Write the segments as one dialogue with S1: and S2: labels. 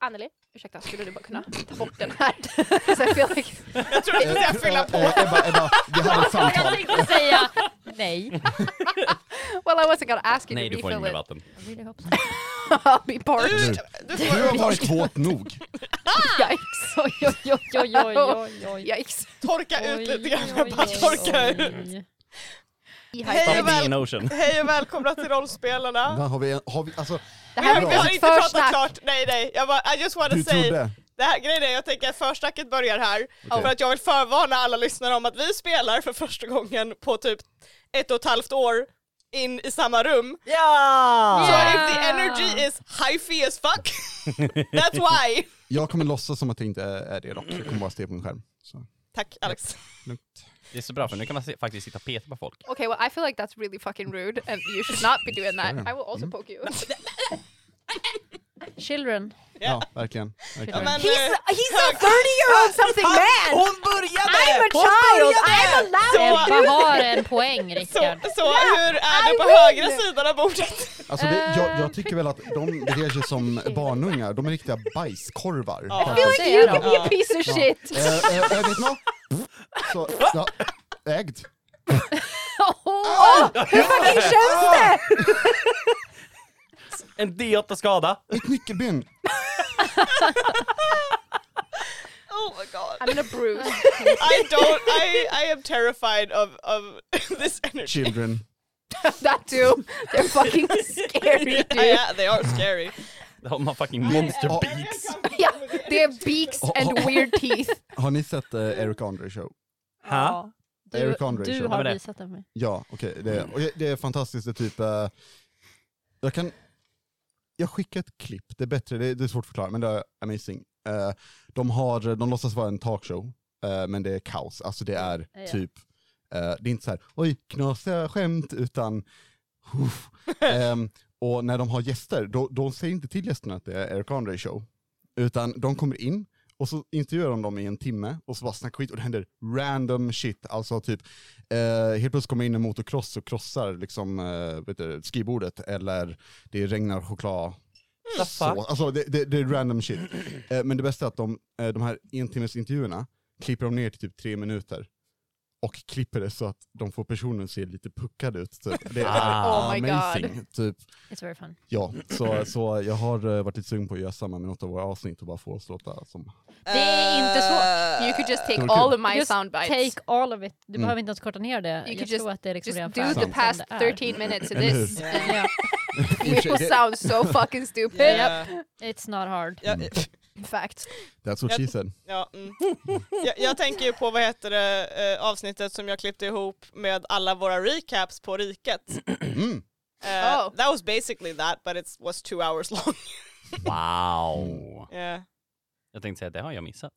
S1: Anneli, ursäkta, skulle du bara kunna ta bort den här? Så jag feel like-
S2: Jag tror att
S3: Eh,
S2: jag fyller på.
S3: eh, Ebba, Ebba, vi hade ett samtal.
S4: Jag tänkte säga nej.
S1: well, I wasn't gonna ask you
S5: Nej,
S1: to
S5: du får
S1: refill
S5: inget mer
S1: it.
S5: vatten.
S4: Jag really hope so.
S1: I'll be parched.
S2: Du, du
S3: Du
S2: får,
S3: har varit våt nog.
S1: Yikes. Oj, oj, oj,
S4: Oj, oj, oj, oj.
S1: Yikes.
S2: torka ut lite grann. Bara torka ut.
S1: Hej.
S2: Hej
S5: Stop
S2: och,
S5: being
S2: väl,
S5: an ocean.
S2: hej och välkomna till rollspelarna.
S3: Där har vi en, har vi, alltså,
S1: Det
S2: Jag
S1: här
S3: bra.
S1: var
S2: jag har
S1: ett
S2: inte pratat
S1: försnack.
S2: klart. Nej, nej. Jag bara, I just wanna
S3: du
S2: say.
S3: trodde.
S2: Det här, grejen är, jag tänker att försnacket börjar här.
S3: Okej.
S2: För att jag vill förvarna alla lyssnare om att vi spelar för första gången på typ ett och ett halvt år in i samma rum.
S5: Ja!
S2: Så
S4: Yeah.
S2: if the energy is hyphy as fuck, that's why!
S3: Jag kommer låtsas som att det inte är det dock. Jag kommer bara stirra på min skärm. Så,
S2: Tack Alex.
S3: lugnt.
S5: Det är så bra för nu kan man se, faktiskt sitta och peta på folk.
S1: Okay, well, I feel like that's really fucking rude, and you should not be doing that. I will
S5: Mm.
S1: also poke you.
S4: Children.
S3: Ja, verkligen. verkligen.
S2: Men, eh,
S1: he's a 30 year old something man!
S6: Hon började!
S1: I'm a
S6: Hon
S1: child!
S6: började!
S1: I'm allowed!
S4: Ebba har en poäng,
S2: så
S4: Rickard.
S2: så hur är det
S1: I
S2: på
S1: win.
S2: högra sidan av bordet?
S3: Alltså det, jag,
S2: eh,
S3: jag tycker väl att de beter sig som barnungar, de är riktiga bajskorvar.
S2: Ja.
S1: I feel like you can be a
S2: Ja.
S1: piece of shit!
S3: Eh, eh, eh, vet ni vad? Så, ja, ägd.
S1: Åh, hur fucking känns det?
S5: En D8 skada.
S3: Mitt nyckelben!
S2: Oh my god.
S1: I'm in a bruise. Alltså,
S2: I don't, I, I am terrified of, of this energy.
S3: Children.
S1: That too. They're fucking scary dude.
S2: Yeah, they are scary.
S5: De har fucking monster
S3: Ja.
S5: beaks.
S1: Yeah, they have beaks
S5: Oh,
S1: and weird teeth.
S3: Har ni sett eh, Eric Andre show?
S5: Ha?
S4: Du,
S3: Eric Andre
S4: du
S3: show.
S5: Ja, men
S4: har
S5: det-
S4: visat den för mig.
S3: Ja, okej. Det,
S4: Mm.
S3: och det- det är fantastiskt. Det är typ... eh, jag kan... Jag skickar ett klipp, det är bättre, det, det är svårt att förklara, men det är amazing. Eh, de, har, de låtsas vara en talkshow, eh, men det är kaos. Alltså det är
S4: Ja.
S3: typ... eh, det är inte så här, oj, knasiga skämt, utan... Uff. Ehm, och när de har gäster, då, de säger inte till gästerna att det är Eric Andre show. Utan de kommer in, och så intervjuar de dem i en timme, och så bara snackar skit, och det händer random shit. Alltså typ, eh, helt plötsligt kommer in en motocross och krossar liksom, eh, vet du, skrivbordet, eller det regnar choklad.
S5: The
S3: Så,
S5: fuck?
S3: alltså det, det, det är random shit. Eh, men det bästa är att de, eh, de här entimmesintervjuerna klipper de ner till typ tre minuter. Och klipper det så att de får personen att se lite puckad ut. Typ. Det är
S5: Ah.
S1: Oh my God.
S3: amazing. Typ.
S4: It's very fun.
S3: Ja, så, så jag har eh, varit lite sugen på att göra samma med något av våra avsnitt och bara få oss låta som...
S4: Det är inte svårt.
S5: Uh,
S1: You could just take
S3: Okay.
S1: all of my
S4: Just
S1: sound bites.
S4: Take all of it. Du
S3: Mm.
S4: behöver inte ens korta ner det.
S1: could
S4: Jag
S1: just-
S4: tror att det är liksom
S1: Just
S4: redan
S1: do
S4: färdigt
S1: the
S4: som
S1: past
S4: det är.
S1: 13 minutes of
S3: Eller hur?
S1: this.
S4: Ja.
S1: and
S3: I och för
S1: It
S3: sig,
S1: will
S3: det-
S1: sound so fucking stupid.
S2: Uh, Yeah.
S4: It's not hard.
S3: Mm.
S2: Ja, eh,
S1: In fact.
S3: That's what she said.
S2: Ja, mm. jag, jag tänker ju på vad heter det, eh, avsnittet som jag klippte ihop med alla våra recaps på riket.
S3: Mm.
S2: Eh,
S1: Oh.
S2: That was basically that but it was two hours long.
S5: Wow.
S2: Yeah,
S5: Jag tänkte säga, det har jag missat.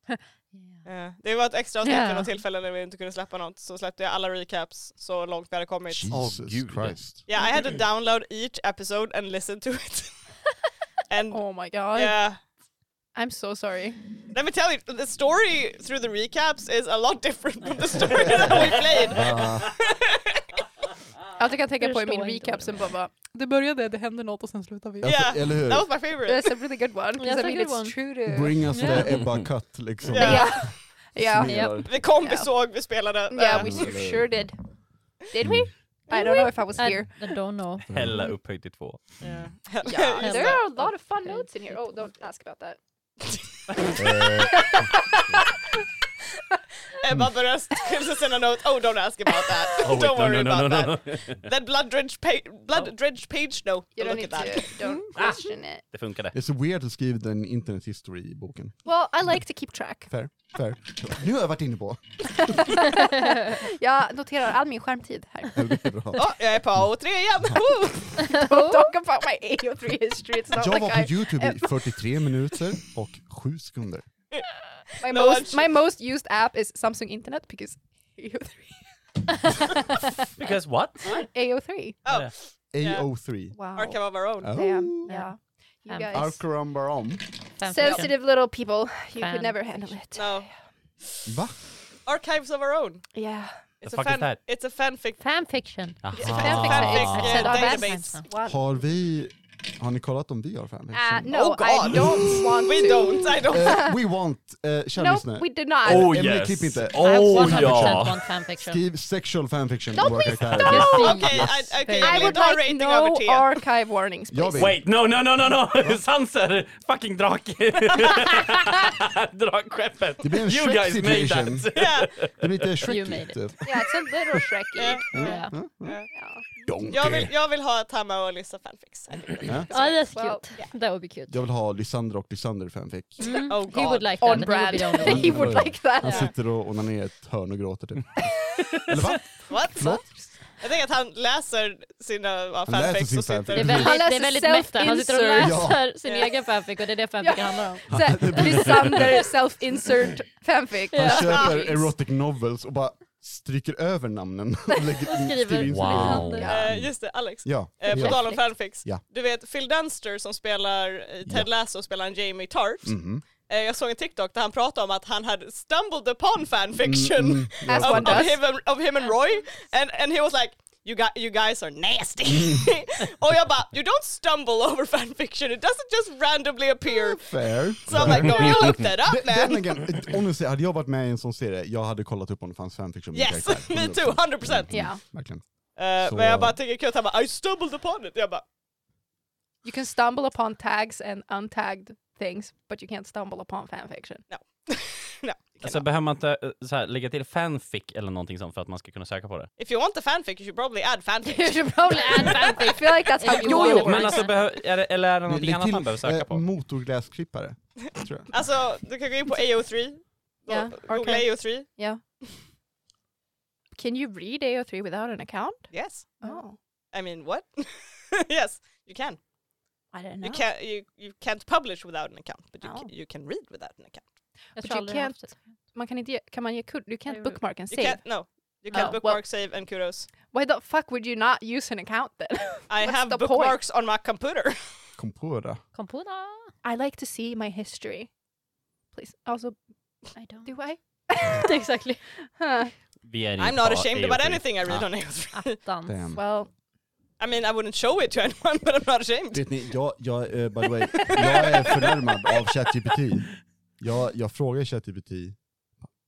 S2: yeah. Det var ett extra avsnitt
S4: Yeah.
S2: vid något tillfälle när vi inte kunde släppa något så släppte jag alla recaps så långt vi hade kommit.
S3: Jesus
S5: Gud.
S3: Christ.
S2: Yeah, I had to
S1: Mm-hmm.
S2: download each episode and listen to it. and
S1: Oh my god.
S2: yeah,
S1: I'm so sorry.
S2: let me tell you, the story through the recaps is a lot different from the story that we played.
S3: Ah,
S1: Allt jag kan tänka
S4: Jag
S1: på är min
S4: förstår inte
S1: recap
S4: vad det
S1: som bara var, det började, det hände något och sen slutade vi.
S3: alltså,
S2: Yeah.
S3: Eller hur?
S2: That was my favorite.
S1: That's a really good one. Because
S4: That's
S1: I
S4: a
S1: mean
S4: good
S1: it's
S4: one.
S1: true to...
S3: Bring us
S4: Yeah.
S3: the Ebba Cut liksom.
S2: Yeah.
S1: Yeah. Yeah.
S3: Som
S4: Yeah.
S3: gör-
S2: Vi kom, vi
S1: Ja.
S2: såg, vi spelade.
S1: Yeah,
S2: Eh,
S1: we
S3: Mm.
S1: sure did. Did we? I don't know if I was
S4: I,
S1: here.
S4: I don't know.
S3: Mm.
S5: Hälla upp höjd till två.
S2: yeah.
S1: Yeah,
S4: Just
S1: there
S4: that.
S1: are a lot of fun
S4: Okay.
S1: notes in here. Oh, don't ask about that.
S3: Eh,
S2: Ebba börjar skriva sina notes. Oh, don't ask about that.
S5: Oh,
S2: don't
S5: wait,
S2: worry
S5: no, no,
S2: about
S5: no, no,
S2: that. That blood drenched page,
S5: Oh.
S2: blood drenched page, no.
S1: You don't
S2: Look
S1: need
S2: at that.
S1: to, don't question it.
S5: Det funkade.
S3: It's weird att skriva den internet history i boken.
S1: Well, I like to keep track.
S3: Fair. Fair. Nu har jag varit inne på.
S1: Jag noterar all min skärmtid här.
S3: Bra.
S2: Åh, Oh, jag är på A3 igen! Oh, Woo!
S1: Don't talk about my AO3 history. It's not
S3: Jag
S1: like
S3: var
S1: I,
S3: på Youtube i 43 minuter och 7 sekunder.
S1: my,
S2: No,
S1: most,
S2: I'm-
S1: my most used app is Samsung Internet because AO3.
S5: Because what?
S1: AO3.
S2: Oh,
S3: AO3.
S1: Wow.
S2: Arkham of our own.
S3: Oh.
S1: Damn. Yeah. You
S4: Um,
S1: guys.
S3: Arkarambaram.
S4: Fem stycken.
S1: Sensitive little people. You could
S4: Fan
S1: never handle it.
S2: No.
S3: Va?
S2: Archives of our own.
S1: Yeah.
S2: It's
S5: The
S2: a,
S5: fuck is
S2: fan,
S5: that?
S2: it's a fanfic.
S4: Fanfiction.
S3: Ah.
S5: Aha.
S2: It's a fanfic
S1: Ah.
S2: eh,
S1: Database.
S2: database.
S3: Har vi Har ni kollat om vi har
S1: Uh,
S3: fanfiction?
S1: no, I
S2: Oh, God.
S1: don't want
S2: We
S1: to.
S2: don't, I don't.
S3: Eh, we want, eh, kör
S1: No,
S3: lyssna.
S1: we do not.
S3: Oh, Emily, klipp inte.
S4: I have
S5: Oh
S4: 100%
S5: ja!
S4: want fanfiction.
S3: Skriv sexual fanfiction
S1: Don't
S3: om våra
S1: we
S3: karaktärer.
S4: Yes,
S1: stop?
S4: please.
S2: Okej,
S4: Yes,
S2: I- okej,
S4: please.
S1: I
S2: Emily,
S1: would
S2: dra
S1: like
S2: rating över
S1: no
S2: te.
S1: archive warnings,
S3: Jag
S1: please.
S3: vill-
S5: Wait, no, no, no, no, no! Sanser! Fucking drake! Drakskeppet!
S3: Det blir en
S5: You
S3: Shrek
S5: guys made
S3: situation.
S5: that!
S2: Ja,
S3: Det blir lite
S4: You made
S3: Shrek
S4: it.
S3: typ.
S1: Yeah, it's a little
S2: ja.
S1: Shreky.
S4: Yeah.
S5: Mm.
S1: yeah.
S3: Donkey.
S2: jag, vill, jag vill ha ett Hanna och Lisa fanfix. I think that's
S3: Ja.
S4: Oh, that's cute.
S1: Well,
S4: That would be cute.
S3: Jag vill ha Lysander och Lysander fanfic.
S4: Mm.
S2: Oh
S4: he
S2: God.
S4: would like
S1: On
S4: that. and He would
S1: brand.
S4: be the only one.
S1: he would like
S3: Han
S1: that.
S2: Ja.
S3: sitter och onanerar i ett hörn och gråter typ. Eller va?
S2: What?
S3: Förlåt?
S2: Jag tänker att han läser sina ja,
S3: läser
S2: fanfics
S3: sin
S2: och sitter...
S4: Det är
S3: fanfic.
S4: väldigt,
S1: Han
S4: det
S1: läser
S4: är väldigt meta. Han sitter och
S1: self-insert.
S4: läser sin
S2: Ja.
S4: egen fanfic och det är det fanfic
S1: Ja.
S4: handlar om.
S1: Så, Lysander self-insert fanfic.
S3: Han
S4: Ja.
S3: köper erotic novels och bara stryker över namnen och lägger in,
S4: Skriver.
S3: skriver in sin
S5: Wow.
S3: egen.
S4: Alexander.
S1: Ja.
S2: Eh, just det, Alex.
S3: Ja.
S2: Eh, på
S3: ja.
S2: tal om fanfics.
S3: Ja.
S2: Du vet Phil Dunster som spelar eh, Ted Lasso spelar en Jamie Tart.
S3: Mhm.
S2: Eh, jag såg en TikTok där han pratade om att han hade stumbled upon fanfiction
S3: Mm, mm.
S1: As
S2: of,
S1: one
S2: of,
S1: does.
S2: him, and- of him and Roy. And, and he was like You, gu- you guys are nasty. och jag bara, you don't stumble over fanfiction, it doesn't just randomly appear.
S3: Fair.
S2: So I'm like, no, you looked that up
S3: De- den
S2: man.
S3: again, eh, honestly, hade jag varit med i en sån serie, jag hade kollat upp om det fanns fanfiction med
S2: Yes,
S3: karaktär.
S2: me too, 100%.
S1: Yeah.
S3: Verkligen.
S2: Eh,
S3: Så-
S2: Men jag bara tycker det är kul att han bara, I stumbled upon it. Jag bara,
S1: You can stumble upon tags and untagged things, but you can't stumble upon fanfiction.
S2: no.
S5: Alltså behöver man inte eh, så här, lägga till fanfic eller någonting sånt för att man ska kunna söka på det?
S2: If you want the fanfic you should probably add fanfic.
S1: You should probably add fanfic. I feel like that's how
S4: Jo,
S1: you
S4: jo,
S1: want it
S4: men
S1: works.
S5: Men alltså behöver, är det, eller är det någonting
S3: Lägg
S5: annat
S3: till,
S5: man behöver söka
S3: eh,
S5: på?
S3: Motorgräsklippare. tror jag.
S2: Alltså, du kan gå in på AO3.
S1: Ja,
S2: Googla
S1: archive.
S2: AO3.
S1: Yeah. Can you read AO3 without an account?
S2: Yes.
S1: Oh,
S2: I mean, what? yes, you can.
S1: I don't
S2: You can you, you can't publish without an account, but you,
S1: No.
S2: ca- you can read without an account.
S4: Jag
S1: But
S4: tror
S1: you
S4: aldrig jag haft det.
S1: Man kan inte ge, kan man ge kund? You can't
S4: Jo.
S1: bookmark and
S2: You
S1: save.
S2: can't no. You can't
S1: Oh, well-
S2: bookmark, save, and kudos.
S1: Why the fuck would you not use an account then?
S2: I
S1: What's
S2: have
S1: the point?
S2: bookmarks on my computer.
S3: Kom på det.
S4: Kompoda?
S1: I like to see my history. Please. Also,
S4: I don't.
S1: do I?
S4: Exactly.
S1: Huh.
S5: Vi är
S2: I'm
S5: inte
S2: not
S5: på
S2: ashamed
S5: AO3.
S2: about anything I read
S5: Ah.
S2: on AO3.
S4: Attans.
S3: Damn.
S1: Well,
S2: I mean, I wouldn't show it to anyone, but I'm not ashamed.
S3: Vet ni, jag, jag, eh, by the way, jag är förnärmad av ChatGPT. Jag, jag frågar ChatGPT,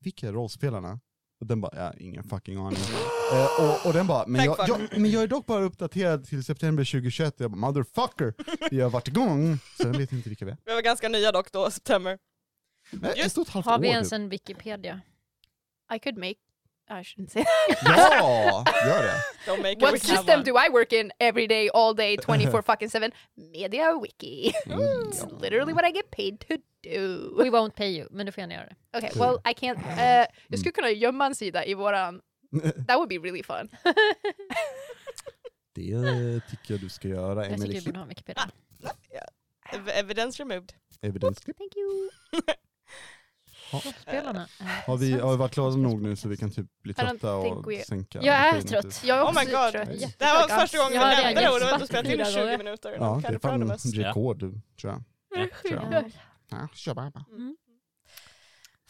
S3: vilka är rollspelarna? Och den bara, ja, ingen fucking aning. Eh, och, och den bara, men jag,
S2: Tack för.
S3: jag, men jag är dock bara uppdaterad till september 2021. Jag bara, motherfucker, vi har varit igång. Så jag vet inte vilka vi är.
S2: Vi var ganska nya dock då, september.
S3: Men
S2: Just-
S3: ett och ett halvt
S4: Har vi
S3: år
S4: ens
S3: typ.
S4: en Wikipedia?
S1: I could make. I shouldn't say.
S3: Ja, gör det.
S2: Don't make a
S1: what
S2: wiki.
S1: system do I work in every day, all day, twenty four fucking seven? Media wiki. it's literally what I get paid to do.
S4: We won't pay you, men du får gärna göra det.
S1: Okay. Well, I can't.
S3: Mm.
S1: Uh, jag skulle kunna gömma en sida i våran. That would be really fun.
S3: Det eh, tycker jag du ska göra,
S4: Jag tycker
S3: Emelie.
S4: vi borde ha en Wikipedia.
S2: Ev- Evidence removed.
S3: Evidens.
S1: Thank you.
S4: Rollspelarna. är
S3: Har vi, har vi varit klara
S4: svenska
S3: nog nu så vi kan typ bli
S1: I don't
S3: trötta och
S1: think we-
S3: sänka?
S4: Jag är
S3: energin lite?
S4: trött.
S1: Jag är
S2: Oh
S1: också
S2: my god.
S1: trött.
S2: Det här var
S1: Jättetrött.
S2: första gången
S4: Ja,
S2: vi
S4: det
S2: nämnde
S4: är
S2: det och du har
S4: gäspat
S2: inte spelat in
S4: fyra
S2: 20
S4: gånger.
S2: minuter.
S3: Ja, det
S2: Kind
S3: är
S2: of proud
S3: fan
S2: of
S3: en
S2: us.
S3: rekord, tror jag.
S4: spel.
S3: Ja. Ja, kör bara.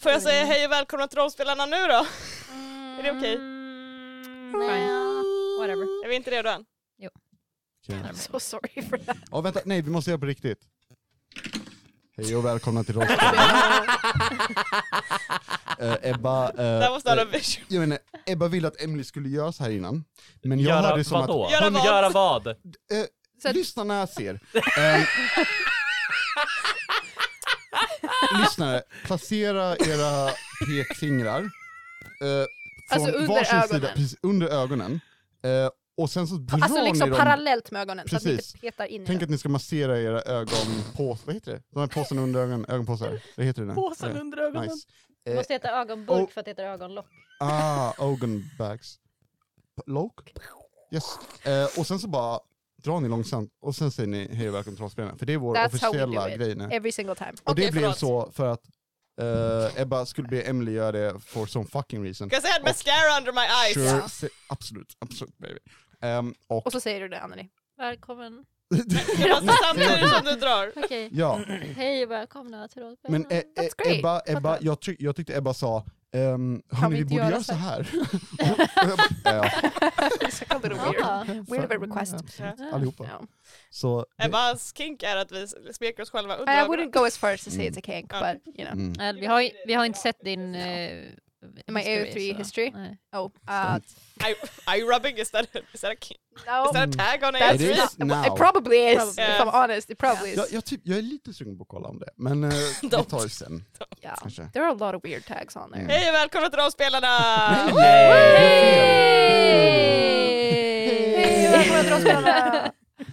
S2: Får jag säga hej och välkomna till rollspelarna nu då? Är det okej?
S4: Mm, Fine. Whatever.
S2: Är vi inte redo än?
S3: Okej.
S1: I'm so sorry for that.
S3: Ja, vänta, nej, vi måste göra på riktigt. Hej och välkomna till Rollspel. Eh, Ebba, eh,
S2: That was not a
S3: eh,
S2: vision.
S3: jag menar, Ebba ville att Emily skulle göra så här innan, men jag
S5: Göra
S3: hörde det som
S5: vadå?
S2: Göra vad?
S5: Göra vad?
S1: Så
S3: att
S1: att-
S3: lyssnarna ser. Eh, lyssnare, placera era pekfingrar eh, från
S1: Alltså under
S3: varsin sida,
S1: ögonen.
S3: precis under ögonen. Eh, och sen så drar
S1: Alltså
S3: ni
S1: liksom
S3: dem.
S1: parallellt med ögonen så att ni
S3: Precis.
S1: inte petar in i
S3: Tänk
S1: den.
S3: att ni ska massera era ögonpåsar, vad heter det? De här påsarna under ögonen, ögonpåsar. Vad heter det? nu?
S5: Påsen
S3: Eh,
S5: under ögonen.
S3: Nice.
S4: Det måste heta ögonburk för att det heter ögonlock.
S3: Ah, ögonbags. P- Loke? Yes. Eh, och sen så bara drar ni långsamt och sen säger ni hej och välkomna till rollspelarna, för det är vår
S1: That's how we do
S3: officiella
S1: it.
S3: grej nu.
S1: Every single time.
S3: Och det
S2: Okej,
S3: blev
S2: förlåt.
S3: så för att eh, Ebba skulle be Emily göra det for some fucking reason.
S2: Because I had mascara under my eyes.
S3: Sure, se- absolut, absolut baby. Ehm, och
S1: Och så säger du det Anneli.
S4: Välkommen
S2: Alltså, samtidigt som du drar.
S4: Okej,
S3: ja,
S4: hej och välkomna till Rådberg.
S3: men e- e-
S1: great.
S3: Ebba, Ebba jag, ty- jag tyckte Ebba sa, um, hörni vi
S1: inte
S3: borde
S1: göra
S3: göra
S1: så
S3: så här. Och jag bara, eh, ja,
S1: It's a little weird.
S4: ah,
S1: Weird of a request.
S3: absolut, Allihopa.
S1: No.
S3: Så, det-
S2: Ebbas kink är att vi smeker oss själva under
S1: I
S2: ögonen.
S1: wouldn't go as far as to say it's a kink, but you know.
S3: mm.
S4: Nej, vi, har, ju- vi har inte sett din... Uh,
S1: My AO3 history?
S4: Nej.
S1: Oh, uh,
S2: Eye, eye rubbing, is that, a, is, that a, ki-
S1: no.
S2: is that a tag on
S1: Oh. That's
S3: It
S2: A3?
S3: is
S1: not, well,
S3: now.
S1: it probably is,
S4: Probably.
S1: if I'm honest. It probably
S3: jag,
S1: is.
S3: jag, typ, jag är lite sugen på att kolla om det, men eh, vi tar det sen
S1: Yeah.
S3: kanske.
S1: There are a lot of weird tags on there.
S3: Mm.
S2: Hej och välkomna till Rollspelarna!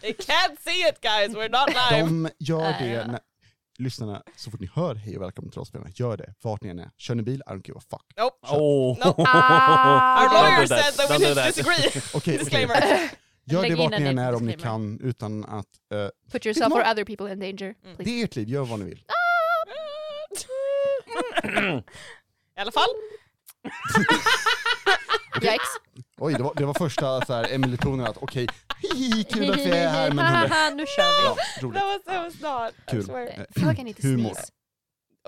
S2: I can't see it guys, we're not live!
S3: De gör det,
S4: Ja.
S3: när, lyssnarna, så fort ni hör Hej och välkommen till rollspelarna, gör det. Vart ni än är. Kör ni bil, I don't give a fuck.
S2: Nope.
S5: Oh.
S2: No. Our
S1: Ah.
S5: Don't do
S2: lawyer
S5: that.
S2: said that
S5: Don't
S2: we need to
S5: do that.
S2: disagree.
S3: Okej, okej.
S2: Disclaimer.
S3: Gör
S4: Lägg
S3: det
S4: in
S3: vart
S4: en
S3: ni än
S4: liten
S3: är om ni
S4: disclaimer.
S3: kan, utan att... eh,
S1: Put yourself or
S3: Ignore-
S1: other people in danger,
S3: det
S1: please.
S3: är ert liv, gör vad ni vill.
S2: I alla fall,
S1: Yikes.
S3: Oj, det var, det var första så här, Emelie-tonen att okej, hihi, kul att vi är här men hörni.
S4: Haha, nu kör
S3: Ja,
S4: vi.
S3: roligt.
S2: that was, that was not. I
S3: Kul.
S2: swear.
S3: Eh,
S1: I feel like I need to
S3: Humor.
S1: sneeze.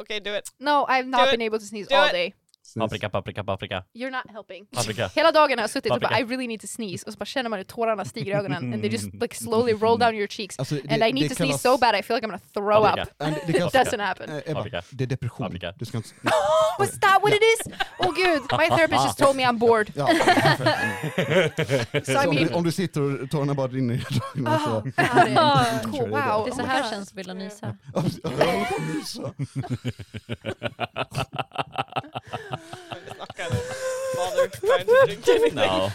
S2: Okay, do it.
S1: No, I've
S2: Do
S1: not
S2: it.
S1: been able to sneeze
S2: Do
S1: all
S2: it.
S1: day.
S3: Sniss.
S5: Paprika, paprika, paprika.
S1: You're not helping.
S5: Paprika.
S1: Hela dagen har jag suttit och bara I
S5: Paprika.
S1: really need to sneeze och så bara känner man hur tårarna stiger i ögonen and they just like slowly roll down your cheeks.
S3: Alltså, det-
S1: And I need
S3: det
S1: to sneeze
S3: kallas-
S1: so bad I feel like I'm gonna throw
S5: Paprika.
S1: up.
S3: Eh, Det
S1: It
S3: kallas...
S1: doesn't happen.
S3: Eh, Ebba,
S5: Paprika.
S3: det är depression.
S5: Paprika.
S3: Du ska inte...
S1: Was that what it is? Oh gud, my therapist just told me I'm bored.
S3: Ja,
S1: So I
S3: om,
S1: mean,
S3: du, om du sitter och tårarna bara rinner i ögonen
S1: oh,
S3: så...
S1: God, it's
S3: Kör
S1: cool,
S3: det
S1: wow.
S3: då.
S4: Det är så
S1: Oh my
S4: här
S1: God.
S4: känns att vilja nysa.
S1: Ah.
S2: I'm not gonna bother trying to drink anything
S5: No.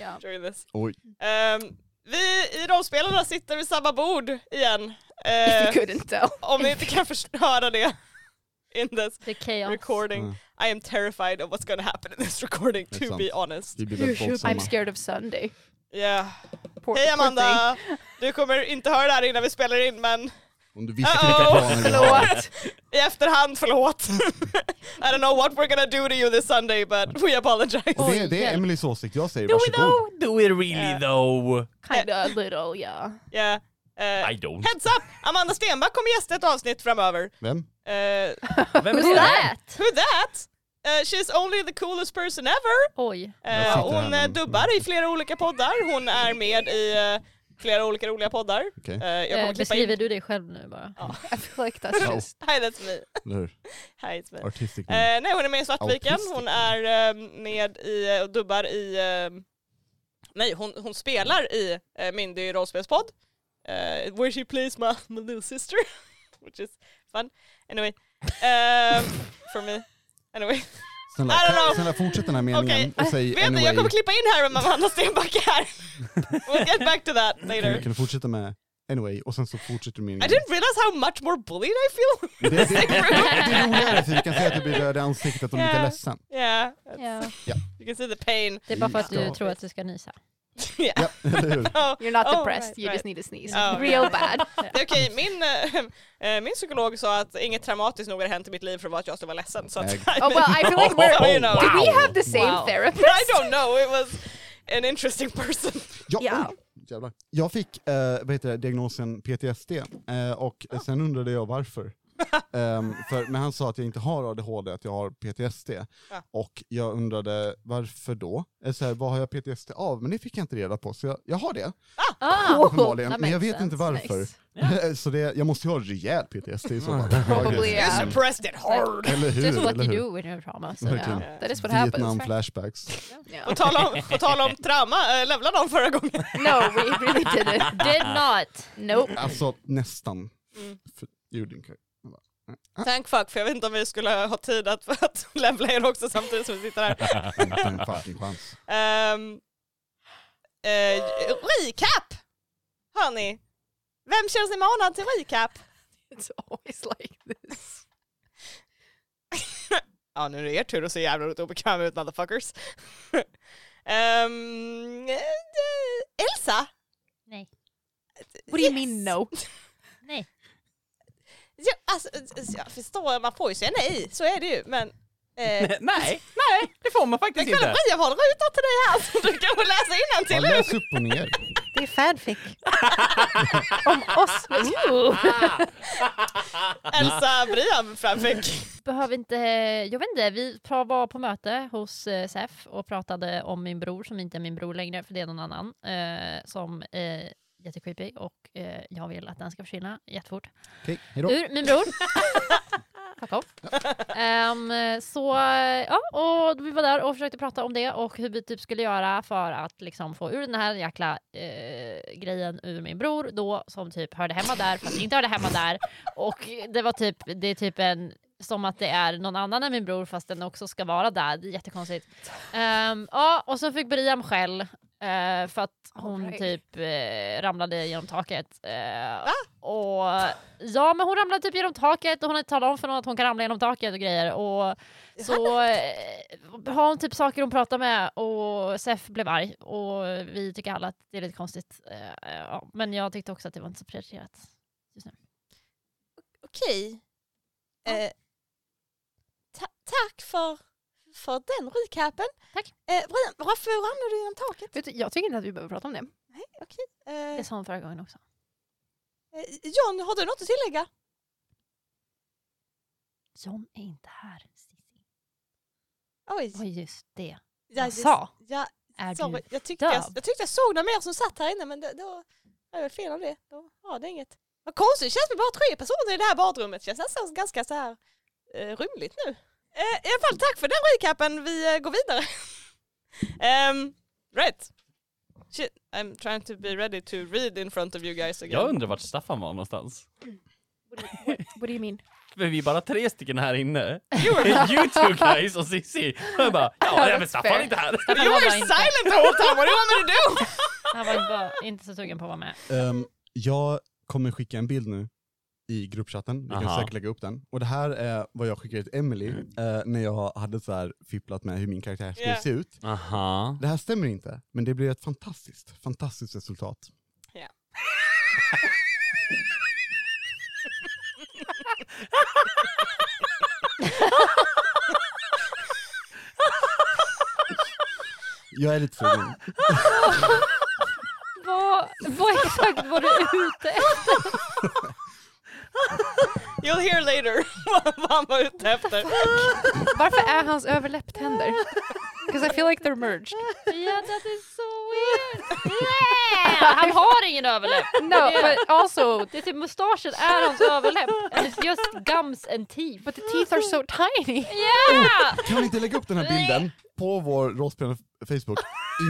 S1: Yeah.
S2: during this.
S3: Oj.
S2: Ehm, vi i rollspelarna sitter vid samma bord igen. Eh,
S1: If you couldn't tell.
S2: om ni inte kan förstöra det in this
S4: The chaos.
S2: recording.
S3: Mm.
S2: I am terrified of what's gonna happen in this recording
S3: Det är
S2: to
S3: sant.
S2: be honest.
S3: Vi blir väldigt
S1: I'm
S3: våldsamma.
S1: scared of Sunday.
S2: Yeah.
S1: Poor,
S2: Hej
S1: poor thing.
S2: Amanda! Du kommer inte höra det här innan vi spelar in men
S3: Om du visste
S2: Uh-oh.
S3: vilka planer vi har.
S1: Förlåt.
S2: i efterhand, förlåt. I don't know what we're gonna do to you this Sunday but we apologize.
S1: Oh.
S3: Och Det, det är Emelies åsikt, jag säger
S5: Do we
S3: varsågod.
S5: though? Do we really
S2: Yeah.
S5: though?
S1: Kinda a little, yeah.
S2: Yeah. Eh,
S5: I don't.
S2: heads up! Amanda Stenback kommer gästa ett avsnitt framöver.
S3: Vem?
S2: Eh,
S5: Vem
S4: Who's that?
S2: who that? Eh, she's only the coolest person ever.
S4: Oj.
S2: Eh,
S3: Jag sitter
S2: hon
S3: här,
S2: eh,
S3: men-
S2: dubbar i flera olika poddar. Hon är med i eh, flera olika roliga poddar.
S3: Okej.
S2: Eh, jag kommer
S4: Eh,
S2: klippa
S4: Beskriver
S2: in.
S4: du dig själv nu bara?
S1: I feel like that's
S3: No.
S1: just...
S2: Hi that's me.
S3: Eller hur?
S2: Hi it's me.
S3: Artistic
S2: Eh,
S3: name.
S2: nej hon är med i Svartviken.
S3: Autistic.
S2: Hon är eh, med i eh, och dubbar i... eh, nej hon, hon spelar i uh, Mindy rollspelspodd. Eh, where she plays my, my little sister. Which is fun. Anyway. Eh, for me. Anyway.
S3: Snälla,
S2: I don't know.
S3: snälla fortsätt den här meningen
S2: Okej.
S3: och säg
S2: Vet ni,
S3: anyway.
S2: jag kommer klippa in här om Amanda Stenback är här. We'll get back to that
S3: Kan du-
S2: later.
S3: Kan du fortsätta med anyway och sen så fortsätter du
S2: I
S3: meningen.
S2: didn't realize how much more bullied I feel.
S3: Det, det, det, det är roligare för vi kan säga att du blir röd i ansiktet och lite
S2: Ja.
S3: ledsen.
S2: Yeah, that's-
S4: Ja.
S2: you can see the pain.
S4: Det är bara för att du
S3: Ja.
S4: tror att du ska nysa.
S2: yeah.
S3: Ja, eller hur?
S2: Oh,
S1: You're not
S2: oh,
S1: depressed,
S2: right,
S1: you
S2: right.
S1: just need to sneeze.
S2: Oh,
S1: Real
S4: yeah.
S1: bad.
S2: Det är Okej, min, eh, eh, min psykolog sa att inget traumatiskt nog hade hänt i mitt liv för att vara att jag skulle vara ledsen. Så att,
S3: Nej.
S1: Oh well, I feel like we're...
S2: Oh, you know.
S1: Do we have the same
S4: Wow.
S1: therapist?
S2: I don't know, it was an interesting person.
S3: Ja,
S1: Ja.
S3: oj, jävlar. Jag fick eh, vad heter det, diagnosen PTSD eh, och sen undrade jag varför. Ehm, för, men han sa att jag inte har ADHD, att jag har PTSD.
S2: Ja.
S3: Och jag undrade varför då? Eller så här, vad har jag PTSD av? Men det fick jag inte reda på, så jag, jag har det
S4: Ah,
S3: uppenbarligen.
S4: that
S3: Men jag
S4: makes
S3: vet inte
S1: sense.
S3: varför. Eh,
S1: Nice.
S3: så det, jag måste ju ha rejäl PTSD i så fall.
S1: Probably,
S2: You
S1: yeah.
S2: suppressed it hard.
S3: Eller hur?
S4: just what
S3: eller
S4: you
S3: hur?
S4: do when you're trauma. So.
S3: Verkligen.
S1: Yeah. That is what happens.
S3: Vietnam-flashbacks.
S1: Yeah.
S2: På tal om, på tal om trauma, äh, levlade någon förra gången?
S1: No, we really didn't.
S4: Did not.
S1: Nope.
S3: Alltså nästan.
S2: Mm.
S3: För- gjorde inte.
S2: Thank fuck, för jag vet inte om vi skulle ha tid att, att levla er också samtidigt som vi sitter här.
S3: Inte en fucking chans.
S2: Um, eh, recap! Hörni, vem känner sig manad till recap?
S1: It's always like this.
S2: Ja, nu är det er tur att se jävligt obekväm ut motherfuckers. Ehm, eh, Elsa?
S4: Nej.
S1: What do you
S2: Yes.
S1: mean no?
S4: Nej.
S2: Ja, alltså, eh, jag förstår, man får ju säga nej, så är det ju, men... Eh,
S5: Nej, nej, det får man faktiskt
S2: kolla,
S5: inte.
S2: alltså, Maria har en ruta till dig här som du kan få läsa innantill
S3: Ja,
S2: ur.
S3: läs upp och ner.
S1: Det är fanfic. Om oss.
S2: Elsa Brian fanfic.
S4: Behöver inte, jag vet inte, vi pra- var på möte hos eh, SEF och pratade om min bror som inte är min bror längre för det är någon annan eh, som är jättecreepy och eh, jag vill att den ska försvinna jättefort.
S3: Okej, hejdå.
S4: Ur min bror. Fuck off. Ehm, så eh, ja, och vi var där och försökte prata om det och hur vi typ skulle göra för att liksom få ur den här jäkla eh, grejen ur min bror då som typ hörde hemma där fast inte hörde hemma där. Och det var typ, det är typ en som att det är någon annan än min bror fast den också ska vara där. Det är jättekonstigt. Ehm, ja, och så fick Briam skäll eh, för att hon
S1: Alright.
S4: typ eh, ramlade genom taket. Eh, och Ja men hon ramlade typ genom taket och hon har inte talat om för någon att hon kan ramla genom taket och grejer. Och så eh, har hon typ saker hon pratar med och Sef blev arg och vi tycker alla att det är lite konstigt. Eh, ja. Men jag tyckte också att det var inte så prioriterat.
S2: Okej. Eh, ta- tack för, för den recapen.
S4: Tack.
S2: Eh, Brian, varför ramlade du genom taket?
S1: Vet du, jag tycker inte att vi behöver prata om det.
S2: Nej, okej. Eh,
S4: Det sa hon förra gången också.
S2: eh, John, har du något att tillägga?
S4: John är inte här. Cissi.
S2: Oj.
S4: Oj just det.
S2: ja,
S4: Jag
S2: just-
S4: sa.
S2: Ja,
S4: Är
S2: sorry.
S4: du
S2: Jag tyckte jag,
S4: döv?
S2: jag tyckte jag såg några mer som satt här inne men det, då är det fel av det. Då var det inget. Vad konstigt, det känns med bara tre personer i det här badrummet. Känns nästan ganska så här eh, rymligt nu. Eh, I alla fall tack för den recapen, vi eh, går vidare. Ehm, right. Shit, I'm trying to be ready to read in front of you guys again.
S5: Jag undrar vart Staffan var någonstans.
S1: What do you mean?
S5: För vi är bara tre stycken här inne. You two guys och Cissi. Och jag bara, ja men Staffan är inte här.
S2: You
S4: Han
S2: were
S4: var inte-
S2: silent the whole time, what do you want me to do?
S4: Han var inte, bara, inte så sugen på att vara med.
S3: Ehm, jag kommer skicka en bild nu i gruppchatten, vi kan
S5: Aha.
S3: säkert lägga upp den. Och det här är vad jag skickade till Emily eh, när jag hade så här fipplat med hur min karaktär skulle
S2: Yeah.
S3: se ut.
S5: Aha.
S3: Det här stämmer inte, men det blir ett fantastiskt, fantastiskt resultat. Jag är lite sugen.
S4: Vad, vad exakt var du ute efter?
S2: You'll hear later vad han var ute efter.
S1: Varför är hans överläpp tänder? Because I feel like they're merged.
S4: Ja that is so weird. Yeah! Han har ingen överläpp.
S1: No, but also,
S4: Det är typ mustaschen är hans överläpp. And it's just gums and teeth.
S1: but the teeth are so tiny.
S4: Yeah!
S3: Kan vi inte lägga upp den här bilden på vår rollspelande Facebook?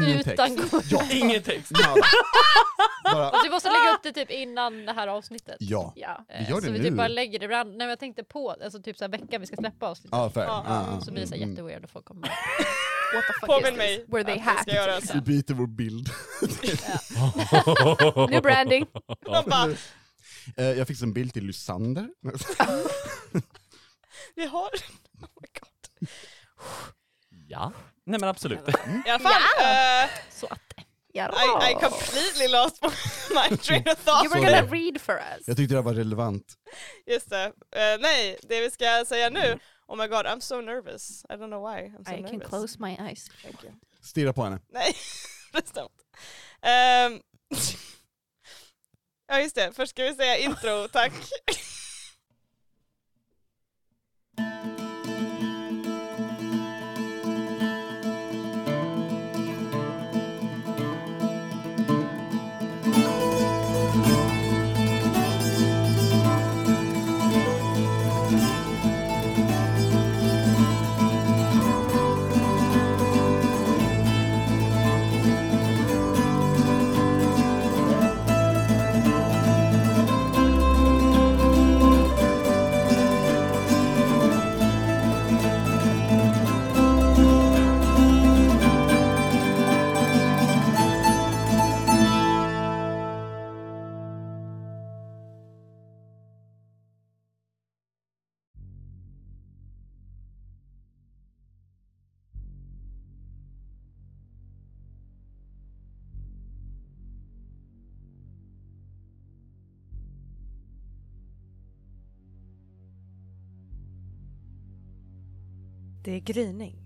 S3: Ingen
S4: Utan
S3: text.
S4: gums.
S3: Ja,
S5: Ingen text.
S3: nada. Bara,
S4: Du måste lägga upp det typ innan det här avsnittet.
S3: ja.
S1: Ja.
S4: Eh,
S3: Vi gör det
S4: så vi
S3: nu.
S4: typ bara lägger det ibland. Nej men jag tänkte på, alltså typ såhär veckan vi ska släppa avsnittet.
S3: Ja, fair.
S2: Ja,
S3: Ja, ja.
S4: Så blir det såhär
S3: Mm,
S4: jätteweird och folk kommer
S1: What the fuck
S2: Påminn
S1: is
S2: mig
S1: this? Were they
S2: att det ska
S1: hacked?
S2: göras.
S3: mm. Vi byter vår bild.
S1: New branding.
S2: De bara,
S3: Eh, Jag fick en bild till Lysander.
S2: vi har... Oh my god.
S5: Ja. Nej men absolut.
S2: I alla fall, eh,
S4: så att
S1: Ja.
S2: I, I completely lost my train of thought.
S1: You were gonna read for us.
S3: Jag tyckte det var relevant.
S2: Just det. Eh, nej, det vi ska säga nu. Oh my god, I'm so nervous. I don't know why. I'm so
S1: I
S2: nervous.
S1: can close my eyes.
S2: Thank you.
S3: Stirra på henne.
S2: Nej, bestämt. Um, ja, just det. Först ska vi säga intro, tack.
S6: Det är gryning.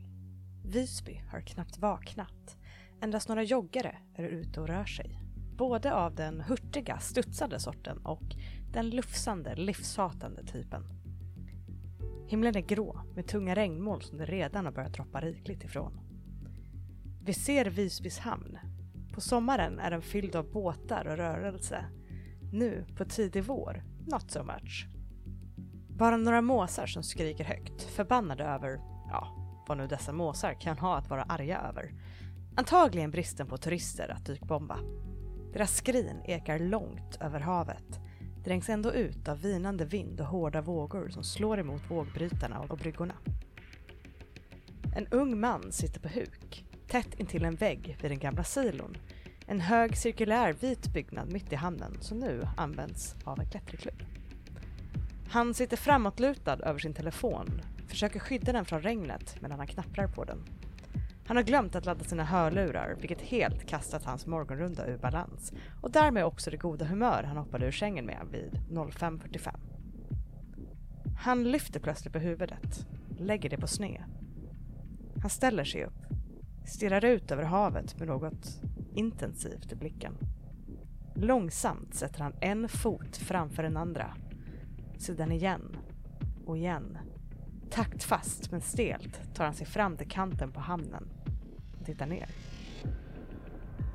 S6: Visby har knappt vaknat. Endast några joggare är ute och rör sig. både av den hurtiga, studsade sorten och den lufsande, livshatande typen. Himlen är grå med tunga regnmoln som det redan har börjat droppa rikligt ifrån. Vi ser Visbys hamn. På sommaren är den fylld av båtar och rörelse. Nu, på tidig vår, not so much. Bara några måsar som skriker högt, förbannade över, ja, vad nu dessa måsar kan ha att vara arga över. Antagligen bristen på turister att dykbomba. Deras skrin ekar långt över havet. Drängs ändå ut av vinande vind och hårda vågor som slår emot vågbrytarna och bryggorna. En ung man sitter på huk, tätt intill en vägg vid den gamla silon. En hög cirkulär vit byggnad mitt i hamnen som nu används av en klätterklubb. Han sitter framåtlutad över sin telefon, försöker skydda den från regnet medan han knapprar på den. Han har glömt att ladda sina hörlurar, vilket helt kastat hans morgonrunda ur balans och därmed också det goda humör han hoppade ur sängen med vid 05.45. Han lyfter plötsligt på huvudet, lägger det på sned. Han ställer sig upp, stirrar ut över havet med något intensivt i blicken. Långsamt sätter han en fot framför den andra, sedan igen och igen. Taktfast men stelt tar han sig fram till kanten på hamnen och tittar ner.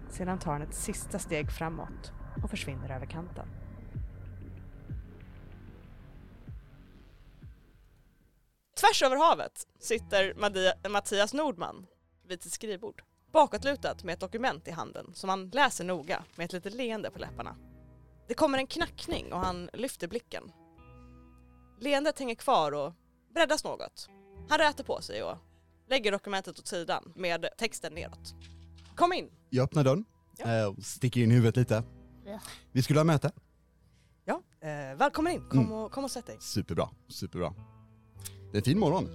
S6: Sedan tar han ett sista steg framåt och försvinner över kanten.
S2: Tvärs över havet sitter Madia- Mattias Nordman vid sitt skrivbord. Bakåtlutat med ett dokument i handen som han läser noga med ett litet leende på läpparna. Det kommer en knackning och han lyfter blicken. Leendet hänger kvar och breddas något. Han rätar på sig och lägger dokumentet åt sidan med texten neråt. Kom in!
S3: Jag öppnar dörren,
S2: Ja.
S3: eh, och sticker in huvudet lite.
S4: Ja.
S3: Vi skulle ha möte.
S2: Ja, eh, välkommen in. Kom
S3: Mm.
S2: och, kom och sätt dig.
S3: Superbra, superbra. Det är en fin morgon,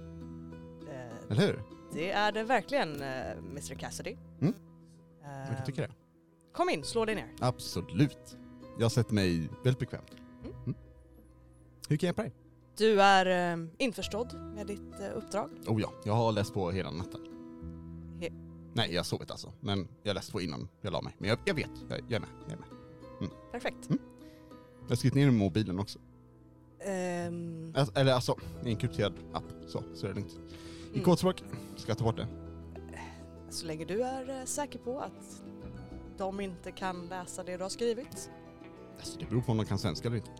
S2: Eh,
S3: eller hur?
S2: det är det verkligen, eh, Mr Cassidy.
S3: Mm.
S2: Eh,
S3: Jag kan tycka det.
S2: Kom in, slå dig ner.
S3: Absolut. Jag sätter mig väldigt bekvämt.
S2: Mm.
S3: Mm. Hur kan jag hjälpa dig?
S2: Du är eh, införstådd med ditt eh, uppdrag.
S3: Oh ja, jag har läst på hela natten.
S2: He-
S3: Nej, jag har sovit alltså. Men jag läste på innan jag la mig. Men jag, jag vet, jag, jag är med. Jag, är med.
S2: Perfekt.
S3: jag har skrivit ner i mobilen också.
S2: Ehm,
S3: Alltså, eller alltså, i en krypterad app. Så, så är det lugnt. I
S2: Mm.
S3: kodspråk, ska jag ta bort det?
S2: Så länge du är eh, säker på att de inte kan läsa det du har skrivit.
S3: Alltså, det beror på om de kan svenska eller inte.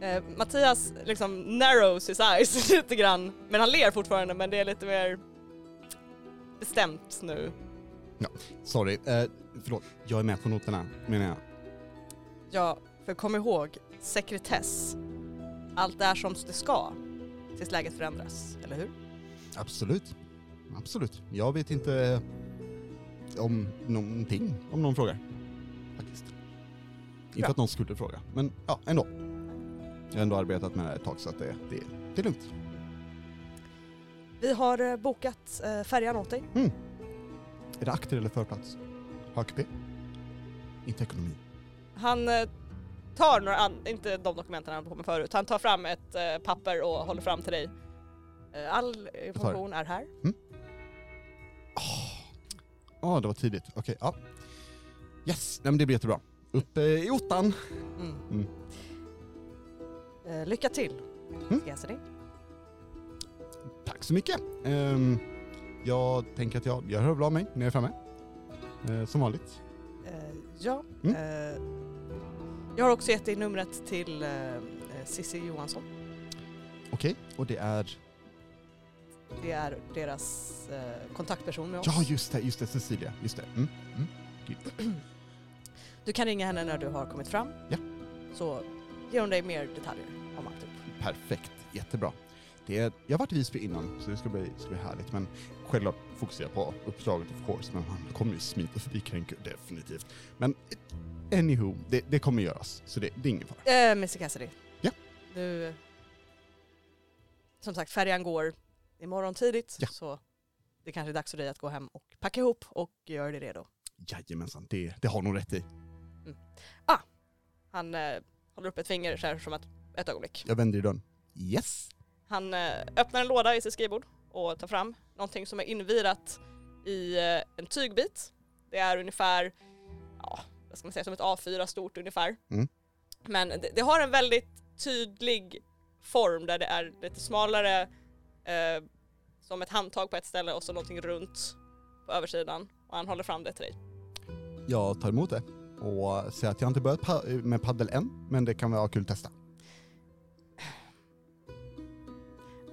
S2: Eh, Mattias liksom narrows his eyes lite grann. Men han ler fortfarande men det är lite mer bestämt nu.
S3: Sorry, eh, förlåt. Jag är med på noterna, menar jag.
S2: Ja, för kom ihåg, sekretess. Allt är som det ska tills läget förändras, eller hur?
S3: Absolut. Absolut. Jag vet inte eh, om någonting, om någon frågar. Faktiskt. Inte
S2: Bra.
S3: att någon skulle fråga, men ja, ändå. Jag har ändå arbetat med det här ett tag så att det, det, det är lugnt.
S2: Vi har eh, bokat eh, färjan åt dig.
S3: Är det akter eller förplats? HKP? Inte ekonomi.
S2: Han eh, tar några, an- inte de dokumenten han höll på med förut, han tar fram ett eh, papper och håller fram till dig. Eh, all information är här.
S3: Ja, Ah. det var tidigt. Okej, ja. Yes, nej men det blir jättebra. Uppe i ottan.
S2: Mm.
S3: Mm.
S2: Eh, lycka till.
S3: Mm.
S2: Ska jag se det?
S3: Tack så mycket. Ehm, jag tänker att jag, jag hör väl av mig när jag är framme. Eh, som vanligt.
S2: Eh, ja.
S3: Mm.
S2: Eh, jag har också gett dig numret till eh, eh, Cissi Johansson.
S3: Okej, och det är...
S2: Det är deras eh, kontaktperson med oss.
S3: Ja, just det, just det, Cecilia. Just det. Mm. Mm.
S2: Du kan ringa henne när du har kommit fram.
S3: Ja.
S2: Så ger hon dig mer detaljer om alltihop.
S3: Perfekt, jättebra. Det är, jag har varit i Visby innan, så det ska bli, ska bli härligt. Men självklart fokuserar jag på uppdraget of course, men han kommer ju smita förbi Kränker definitivt. Men eh, anywho, det, det kommer göras, så det, det är ingen fara.
S2: Eh, Mr Cassidy.
S3: Ja.
S2: Du... Som sagt, färjan går imorgon tidigt.
S3: Ja.
S2: Så det kanske är dags för dig att gå hem och packa ihop och göra dig redo.
S3: Jajamensan, det, det har nog rätt i.
S2: Han eh, håller upp ett finger så här som att, ett ögonblick.
S3: Jag vänder i dörren. Yes!
S2: Han eh, öppnar en låda i sitt skrivbord och tar fram någonting som är invirat i eh, en tygbit. Det är ungefär, ja, vad ska man säga, som ett A4 stort ungefär.
S3: Mm.
S2: Men det, det har en väldigt tydlig form där det är lite smalare, eh, som ett handtag på ett ställe och så någonting runt på översidan. Och han håller fram det till dig.
S3: Jag tar emot det och säger att jag inte börjat pa- med paddel än, men det kan vara kul att testa.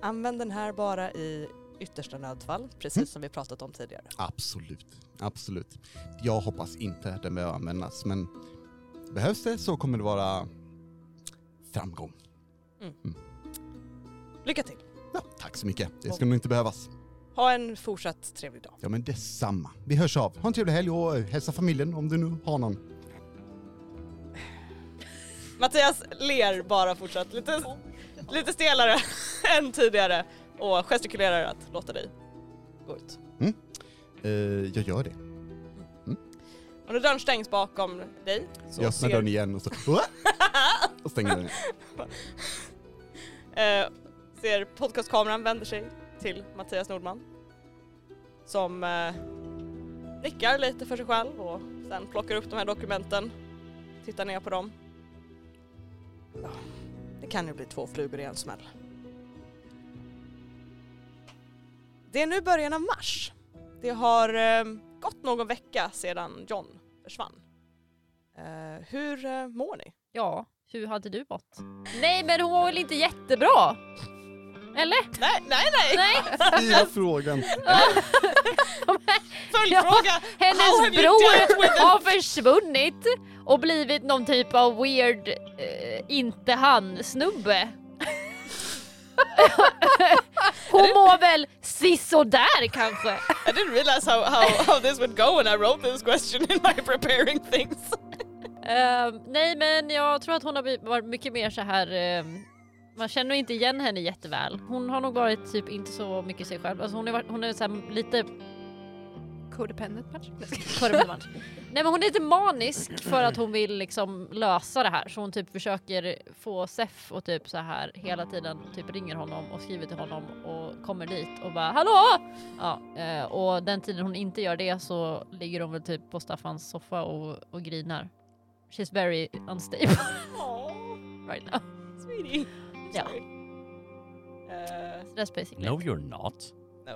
S2: Använd den här bara i yttersta nödfall, precis
S3: Mm.
S2: som vi pratat om tidigare.
S3: Absolut, absolut. Jag hoppas inte att den behöver användas, men behövs det så kommer det vara framgång.
S2: Lycka till!
S3: Ja, tack så mycket. Det ska nog inte behövas.
S2: Ha en fortsatt trevlig dag.
S3: Ja, men detsamma. Vi hörs av. Ha en trevlig helg och hälsa familjen om du nu har någon.
S2: Mattias ler bara fortsatt, lite, lite stelare än tidigare och gestikulerar att låta dig gå ut.
S3: Eh, jag gör det.
S2: Och när dörren stängs bakom dig så
S3: jag öppnar
S2: ser
S3: dörren igen och så... och stänger den.
S2: Eh, ser podcastkameran vänder sig till Mattias Nordman. Som eh, nickar lite för sig själv och sen plockar upp de här dokumenten. Tittar ner på dem. Ja, det kan ju bli två flugor i en smäll. Det är nu början av mars. Det har eh, gått någon vecka sedan John försvann. Eh, hur eh, mår ni?
S4: Ja, hur hade du mått? Nej men hon var väl inte jättebra? Eller?
S2: Nej, nej, nej!
S4: Nej!
S3: Ställa frågan.
S2: Följdfråga! How have
S4: Hennes
S2: you
S4: bror
S2: dealt with it?
S4: har försvunnit och blivit någon typ av weird eh, inte han-snubbe. Hon mår väl sisådär kanske?
S2: I didn't realize how, how, how this would go when I wrote this question in my preparing things.
S4: Ehm, nej men jag tror att hon har blivit- varit mycket mer så här. ehm, man känner nog inte igen henne jätteväl. Hon har nog varit typ inte så mycket sig själv. Alltså hon, har varit, hon är så här lite
S1: Codependent match.
S4: korvmatch. Nej men hon är lite manisk för att hon vill liksom lösa det här. Så hon typ försöker få Sef och typ så här hela tiden typ ringer honom och skriver till honom och kommer dit och bara hallå! Ja, eh, och den tiden hon inte gör det så ligger hon väl typ på Staffans soffa och, och grinar. She's very unstable
S2: Aww,
S4: right now.
S2: sweetie.
S4: Ja.
S2: Sorry. Uh,
S4: That's basically
S5: No you're not.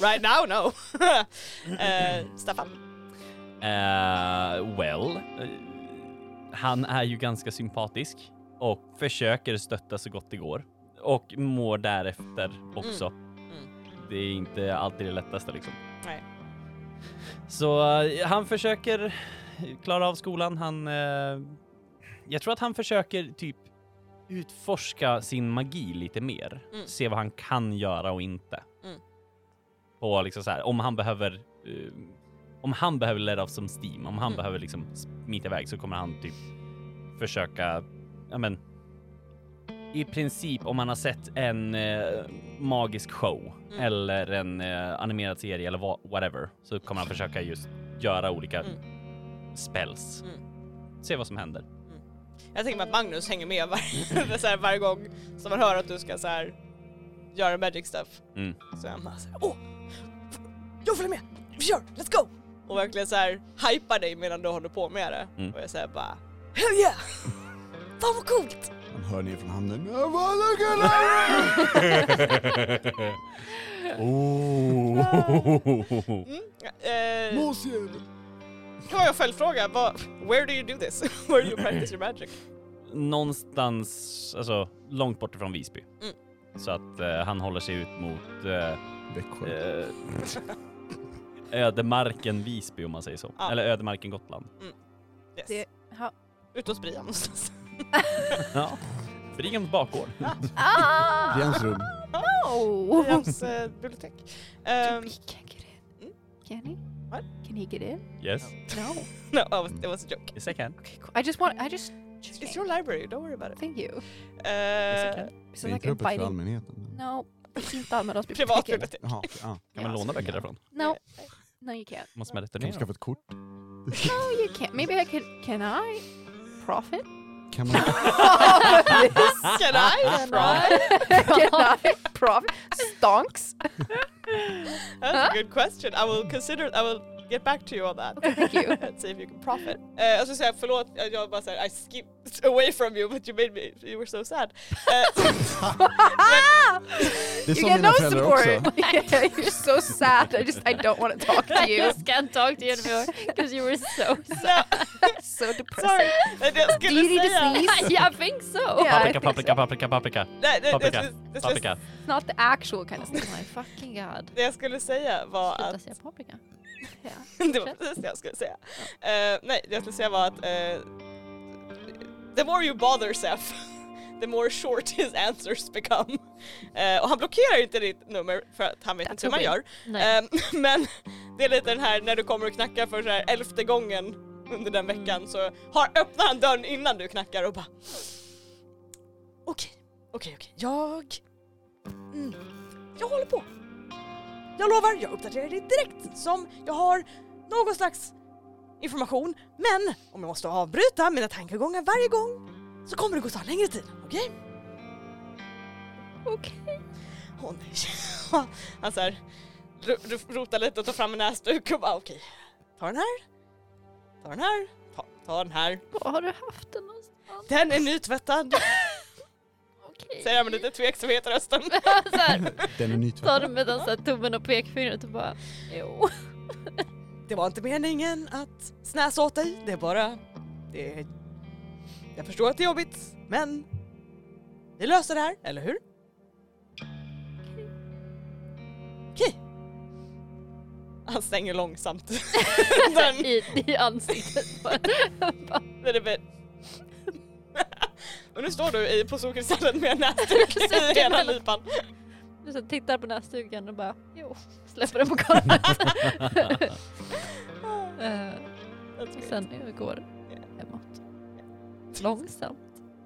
S2: right now, no.
S5: uh,
S2: Eh, Staffan.
S5: Eh, well, eh, han är ju ganska sympatisk och försöker stötta så gott det går och mår därefter
S2: Mm.
S5: också. Det är inte alltid det lättaste liksom.
S2: Nej.
S5: Så eh, han försöker eh, klara av skolan. Han, eh, jag tror att han försöker typ utforska sin magi lite mer,
S2: Mm.
S5: se vad han kan göra och inte.
S2: Mm.
S5: Och liksom så här, om han behöver, eh, om han behöver let off som steam, om han
S2: Mm.
S5: behöver liksom smita iväg så kommer han typ försöka, ja men i princip om man har sett en eh, magisk show
S2: Mm.
S5: eller en eh, animerad serie eller vad- whatever så kommer han försöka just göra olika
S2: Mm.
S5: spells.
S2: Mm.
S5: Se vad som händer.
S2: Jag tänker mig att Magnus hänger med var- så här varje gång som man hör att du ska så här göra magic stuff.
S5: Mm.
S2: Så är han bara så här, åh! Jag följer med! Vi kör! Let's go! Och verkligen så här hypar dig medan du håller på med det.
S5: Mm.
S2: Och jag säger bara, hell yeah! Fan vad coolt!
S3: Han hör ner från hamnen. "Jag var så kul att
S5: Oh.
S2: Eh,
S3: höra!" Måsjävel.
S2: kan jag följdfråga? Vad- Where do you do this? Where do you practice your magic?
S5: Någonstans, alltså långt bort ifrån Visby.
S2: Mm.
S5: Så att eh, han håller sig ut mot eh,
S3: Växjö.
S5: eh, ödemarken Visby om man säger så.
S2: Ja.
S5: Eller ödemarken Gotland.
S2: Yes.
S1: Det- ja.
S2: Ut hos Brian någonstans.
S5: Ja. Brighams bakgård.
S3: Det är
S1: Ah!
S3: hans rum.
S1: Oh.
S2: Brians eh, bibliotek.
S1: Can
S2: Um,
S1: we get in?
S2: Mm.
S1: Can he?
S2: What?
S1: Can he get in?
S5: Yes.
S1: No.
S2: no, I was, it was a joke.
S5: Yes I can.
S1: Okay, cool. I just want. I just.
S2: It's your library, don't worry about it.
S1: Thank you.
S2: Eh,
S1: It's
S3: Det är
S1: like
S3: inte öppet för
S1: inviting.
S3: allmänheten.
S1: No, it's inte allmänhetsbiblioteket.
S2: Privatbibliotek.
S3: Jaha, ja.
S5: Kan man låna böcker därifrån?
S1: No, no you can't.
S5: Måste man
S3: Kan man
S5: returnera?
S3: skaffa ett kort?
S1: No, you can't. Maybe I could. Can I profit?
S3: Kan man...
S2: Can I? Bra.
S1: can I profit? Stonks.
S2: That's a good question. I will consider. I will get back to you on that.
S1: Thank you.
S2: See if you can profit. Eh, och så säger jag förlåt, jag jag bara såhär I skipped away from you but you made me, you were so sad. Eh,
S3: Det
S1: You
S3: sa
S1: get
S3: mina
S1: no
S3: föräldrar också.
S1: support. yeah, you're so sad. I just I don't want to talk to you.
S4: I just can't talk to you anymore because you were so sad.
S2: så,
S1: so depressed.
S2: sorry, men jag skulle
S1: Do you need
S2: säga...
S1: a sneeze?
S4: yeah, I think so.
S1: Yeah. I
S5: Paprika,
S1: think
S5: paprika, paprika, paprika,
S2: Nej, nej, det,
S5: Paprika.
S2: det, det, det,
S5: paprika.
S1: It's not the actual kind of
S4: Oh
S1: sneeze.
S4: my fucking god.
S2: det jag skulle säga var att
S4: Sluta säga paprika.
S2: det var precis det jag skulle säga. Eh, nej, det jag skulle säga var att eh, the more you bother Seth, the more short his answers become. Eh, och han blockerar inte ditt nummer för att han vet
S1: That's
S2: inte hur man
S1: okay.
S2: gör.
S4: Nej.
S2: Eh, men det är lite den här när du kommer och knackar för så här elfte gången under den veckan så har, öppnar han dörren innan du knackar och bara Okej, okej, okej. Jag... Mm, jag håller på. Jag lovar, jag uppdaterar dig direkt som jag har någon slags information. Men om jag måste avbryta mina tankegångar varje gång så kommer det gå ta längre tid. Okej?
S1: Okay.
S2: Åh nej. Han så här, ro- ro- rotar lite och tar fram en näsduk och bara okej. Ta den här. Ta den här. Ta, ta den här.
S4: Var har du haft den någonstans?
S2: Den är nytvättad.
S4: Okej.
S2: Säger han med lite tveksamhet i rösten.
S4: så här,
S3: Den är
S4: tar
S3: nytvättad.
S4: den med den så här tummen och pekfingret och bara jo.
S2: Det var inte meningen att snäsa åt dig. Det är bara... Det är... Jag förstår att det är jobbigt, men... Vi löser det här, eller hur? Okej. Han stänger långsamt. den,
S4: I, i ansiktet. på den. Bara,
S2: den är bit. Och nu står du i, på solkristallen med en näsduk i ena lipan.
S4: du så tittar på näsduken och bara jo. Släpper den på golvet. Eh,
S2: That's
S4: och
S2: weird.
S4: sen går hemåt. Långsamt.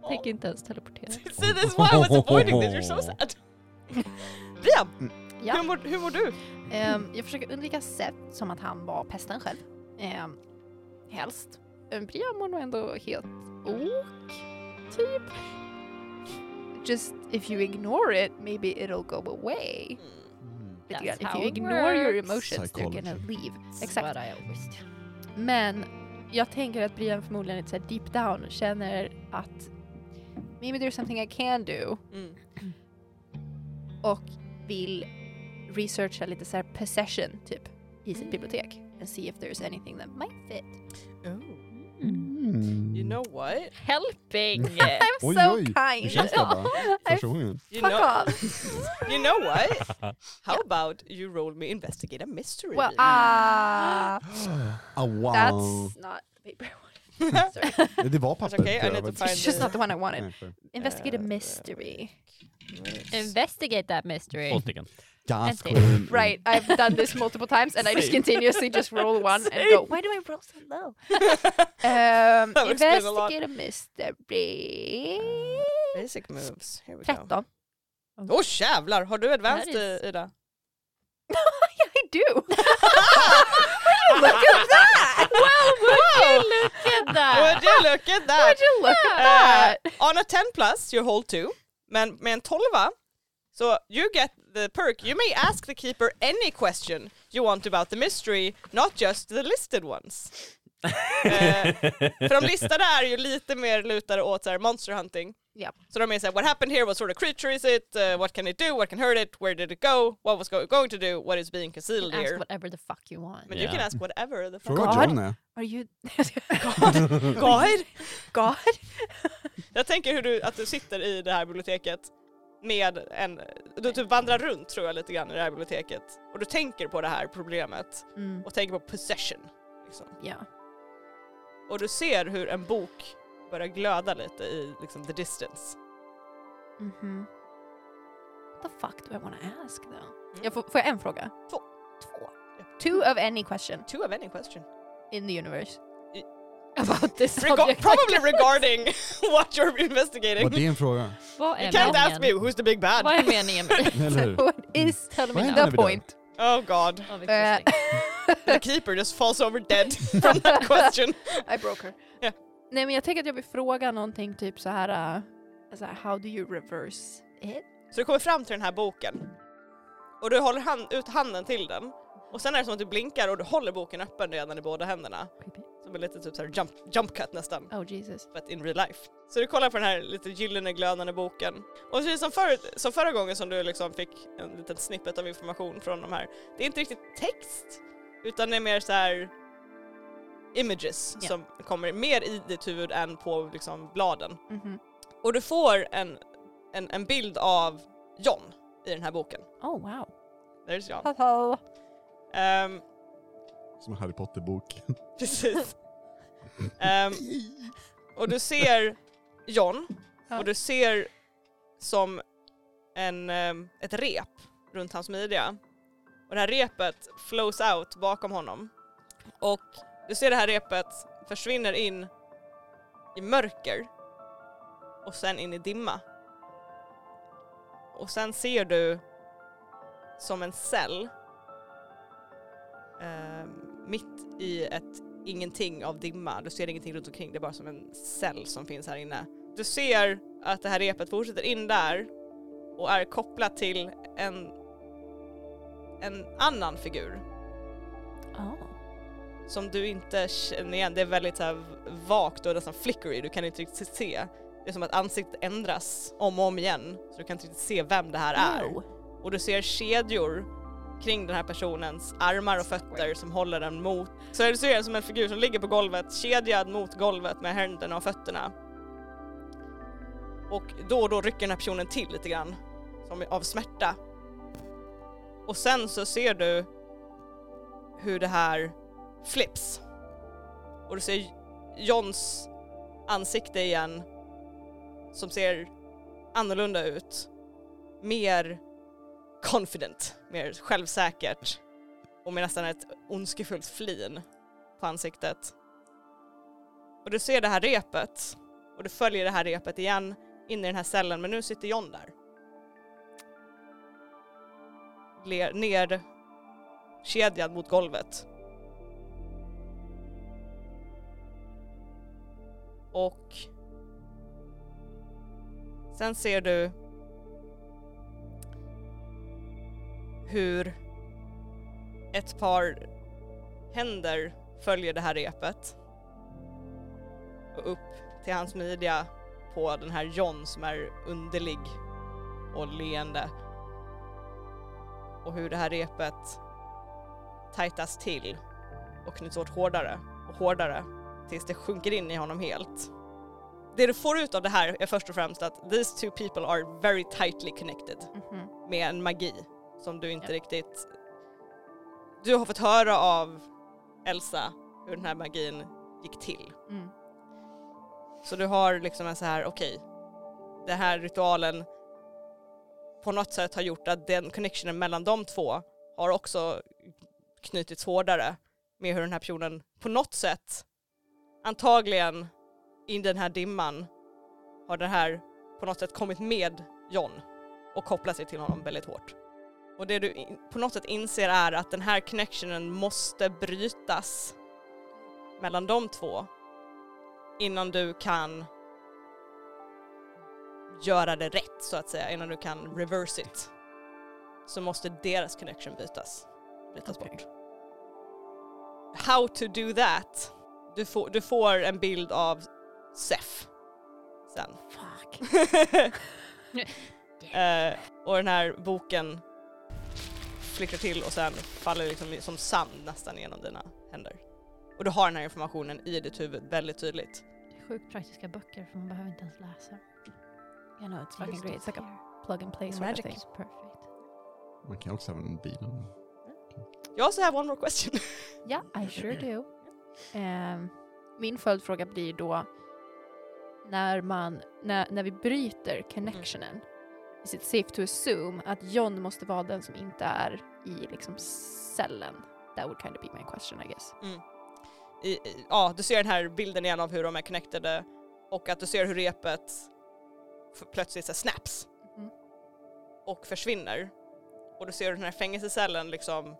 S4: Tänker inte ens teleportera.
S2: See this is why I was avoiding this, you're so sad. Liam,
S1: Ja.
S2: hur, mår, hur mår du?
S1: Ehm, jag försöker undvika Seth som att han var pesten själv. Um, helst. Um, Brian mår nog ändå helt ok, typ. Just if you ignore it, maybe it'll go away.
S3: Mm,
S1: Lite
S4: That's
S1: grann. If
S4: how
S1: you
S4: it
S1: ignore your
S4: works.
S1: emotions, they're gonna
S3: Psychology.
S1: leave.
S4: Exakt.
S1: Exakt. Men jag tänker att Brian förmodligen inte så här deep down känner att maybe there's something I can do och vill researcha lite så här possession typ i sitt bibliotek and see if there's anything that might fit.
S2: Oh,
S3: Mm.
S2: you know what?
S4: Helping!
S1: I'm
S3: Oj,
S1: so
S3: oj. Hur
S1: kind!
S3: känns det bara? Första gången.
S2: You
S1: Fuck
S2: know,
S1: off!
S2: you know what? How about you roll me investigate a mystery?
S1: Well, ah,
S3: Ah, wow.
S1: that's not the paper I wanted. Sorry.
S3: Det var papper.
S2: That's okay, I
S3: tror jag.
S2: need to
S3: Vad-
S2: find
S1: It's just not the one I wanted.
S3: Nej, för-
S1: Investigate a mystery.
S4: Investigate that mystery.
S5: Två stycken.
S3: Ganska
S4: That's
S3: skönt.
S1: Right, I've done this multiple times and I just continuously just roll one and go, why do I roll so low? um,
S2: That would explain a lot.
S1: investigate a mystery.
S2: Basic moves. Here we go.
S1: 13.
S2: Åh oh, jävlar, har du advanced
S4: Det här är-
S2: i- Ida?
S1: I do. Would you look at that? Wow, would
S4: Look at
S1: Ah.
S2: Would
S4: that!
S2: you look at that?
S1: you look at
S2: Uh,
S1: that?
S2: on a 10 plus you hold two, men med en 12 so you get the perk. You may ask the keeper any question you want about the mystery, not just the listed ones. Eh, för de listade är ju lite mer lutade åt så här monster hunting.
S1: Japp.
S4: Oh,
S2: Så de är såhär, what happened here, what sort of creature is it, Eh, what can it do, what can hurt it, where did it go, what was go- going to do, what is being concealed
S4: Ask
S2: here.
S4: whatever the fuck you want.
S2: Men you
S5: Yeah.
S2: can ask whatever the fuck.
S3: Fråga
S1: God.
S3: vad John är.
S1: Are you
S2: God.
S1: God?
S2: Jag tänker hur du, att du sitter i det här biblioteket med en, du typ vandrar runt tror jag lite grann i det här biblioteket och du tänker på det här problemet
S1: Mm,
S2: och tänker på possession. Liksom.
S1: ja.
S2: Och du ser hur en bok börjar glöda lite i liksom, the distance.
S1: Mhm. What the fuck do I want to ask
S4: Mm.
S1: though? Jag får, får jag en fråga?
S2: Två.
S1: Två. Two of any question
S2: Two of any question.
S1: in the universe.
S2: I-
S1: About this
S2: Rega-
S1: subject.
S2: probably regarding what you're
S3: Var
S2: investigating.
S3: det en fråga?
S4: Vad är
S2: You can't ask me
S4: meningen?
S2: who's the big bad.
S4: Vad är meningen med det?
S3: Eller hur?
S1: What is
S2: Mm.
S4: Tell
S3: Vad
S4: me
S3: är
S4: now.
S1: the
S3: det vi gör?
S1: point?
S2: Oh god.
S4: Av
S1: Eh,
S4: exhausting.
S2: The keeper just falls over dead from that question.
S1: I broke her.
S2: Ja.
S1: Nej men jag tänker att jag vill fråga någonting typ så här, uh, så här how do you reverse it?
S2: Så du kommer fram till den här boken och du håller hand, ut handen till den Och sen är det som att du blinkar och du håller boken öppen redan i båda händerna.
S1: Creepy.
S2: Som är lite typ såhär jump, jump cut nästan.
S1: Oh Jesus.
S2: but in real life. Så du kollar på den här lite gyllene glödande boken. Och precis som, förut, som förra gången som du liksom fick en liten snippet av information från de här. Det är inte riktigt text, utan det är mer så här images
S1: Ja.
S2: som kommer mer i ditt huvud än på liksom bladen.
S1: Mhm.
S2: Och du får en, en, en bild av John i den här boken.
S1: Oh wow.
S2: There's John.
S1: Hello.
S2: Ehm,
S3: Som en Harry Potter-bok.
S2: precis. Ehm, och du ser John
S1: Ja.
S2: och du ser som en, ehm, ett rep runt hans midja. Och det här repet flows out bakom honom. Och du ser det här repet försvinner in i mörker och sen in i dimma. Och sen ser du som en cell ehm, mitt i ett ingenting av dimma. Du ser ingenting runt omkring, det är bara som en cell som finns här inne. Du ser att det här repet fortsätter in där och är kopplat till en, en annan figur
S1: Oh.
S2: som du inte känner igen. Det är väldigt så här vagt och nästan flickery, du kan inte riktigt se. Det är som att ansiktet ändras om och om igen, så du kan inte riktigt se vem det här är.
S1: Ew.
S2: Och du ser kedjor kring den här personens armar och fötter som håller den mot. Så du ser det som en figur som ligger på golvet, kedjad mot golvet med händerna och fötterna. Och då och då rycker den här personen till lite grann, som av smärta. Och sen så ser du hur det här flips. Och du ser Johns ansikte igen som ser annorlunda ut. Mer confident, mer självsäkert och med nästan ett ondskefullt flin på ansiktet. Och du ser det här repet och du följer det här repet igen in i den här cellen men nu sitter John där. Ler, ner kedjad mot golvet. Och sen ser du hur ett par händer följer det här repet och upp till hans midja på den här John som är underlig och leende. Och hur det här repet tajtas till och knyts åt hårdare och hårdare tills det sjunker in i honom helt. Det du får ut av det här är först och främst att these two people are very tightly connected
S1: Mhm.
S2: med en magi som du inte
S1: Ja.
S2: riktigt... Du har fått höra av Elsa hur den här magin gick till.
S1: Mm.
S2: Så du har liksom en så här, okej, den här ritualen på något sätt har gjort att den connectionen mellan de två har också knutits hårdare med hur den här personen på något sätt, antagligen i den här dimman, har den här på något sätt kommit med John och kopplat sig till honom väldigt hårt. Och det du in- på något sätt inser är att den här connectionen måste brytas mellan de två innan du kan göra det rätt så att säga, innan du kan reverse it. Så måste deras connection bytas, bytas
S1: Okej.
S2: bort. How to do that, du får, du får en bild av Seth sen.
S1: Fuck.
S2: Eh, och den här boken flickrar till och sen faller liksom i- som sand nästan genom dina händer. Och du har den här informationen i ditt huvud väldigt tydligt.
S4: Det är sjukt praktiska böcker för man behöver inte ens läsa.
S1: You know it's fucking
S4: Just
S1: great. It's like a plug and play sort
S4: Magic
S1: of thing.
S4: is perfect.
S3: Man kan också använda den bilen.
S2: Jag har så här one more question.
S1: Ja, I sure do. Ehm, min följdfråga blir då när, man, när, när vi bryter connectionen, is it safe to assume att John måste vara den som inte är i liksom cellen? That would kind of be my question I guess.
S2: I, i, ja, du ser den här bilden igen av hur de är connectade och att du ser hur repet f- plötsligt så här snaps
S1: Mhm.
S2: och försvinner. Och du ser hur den här fängelsecellen liksom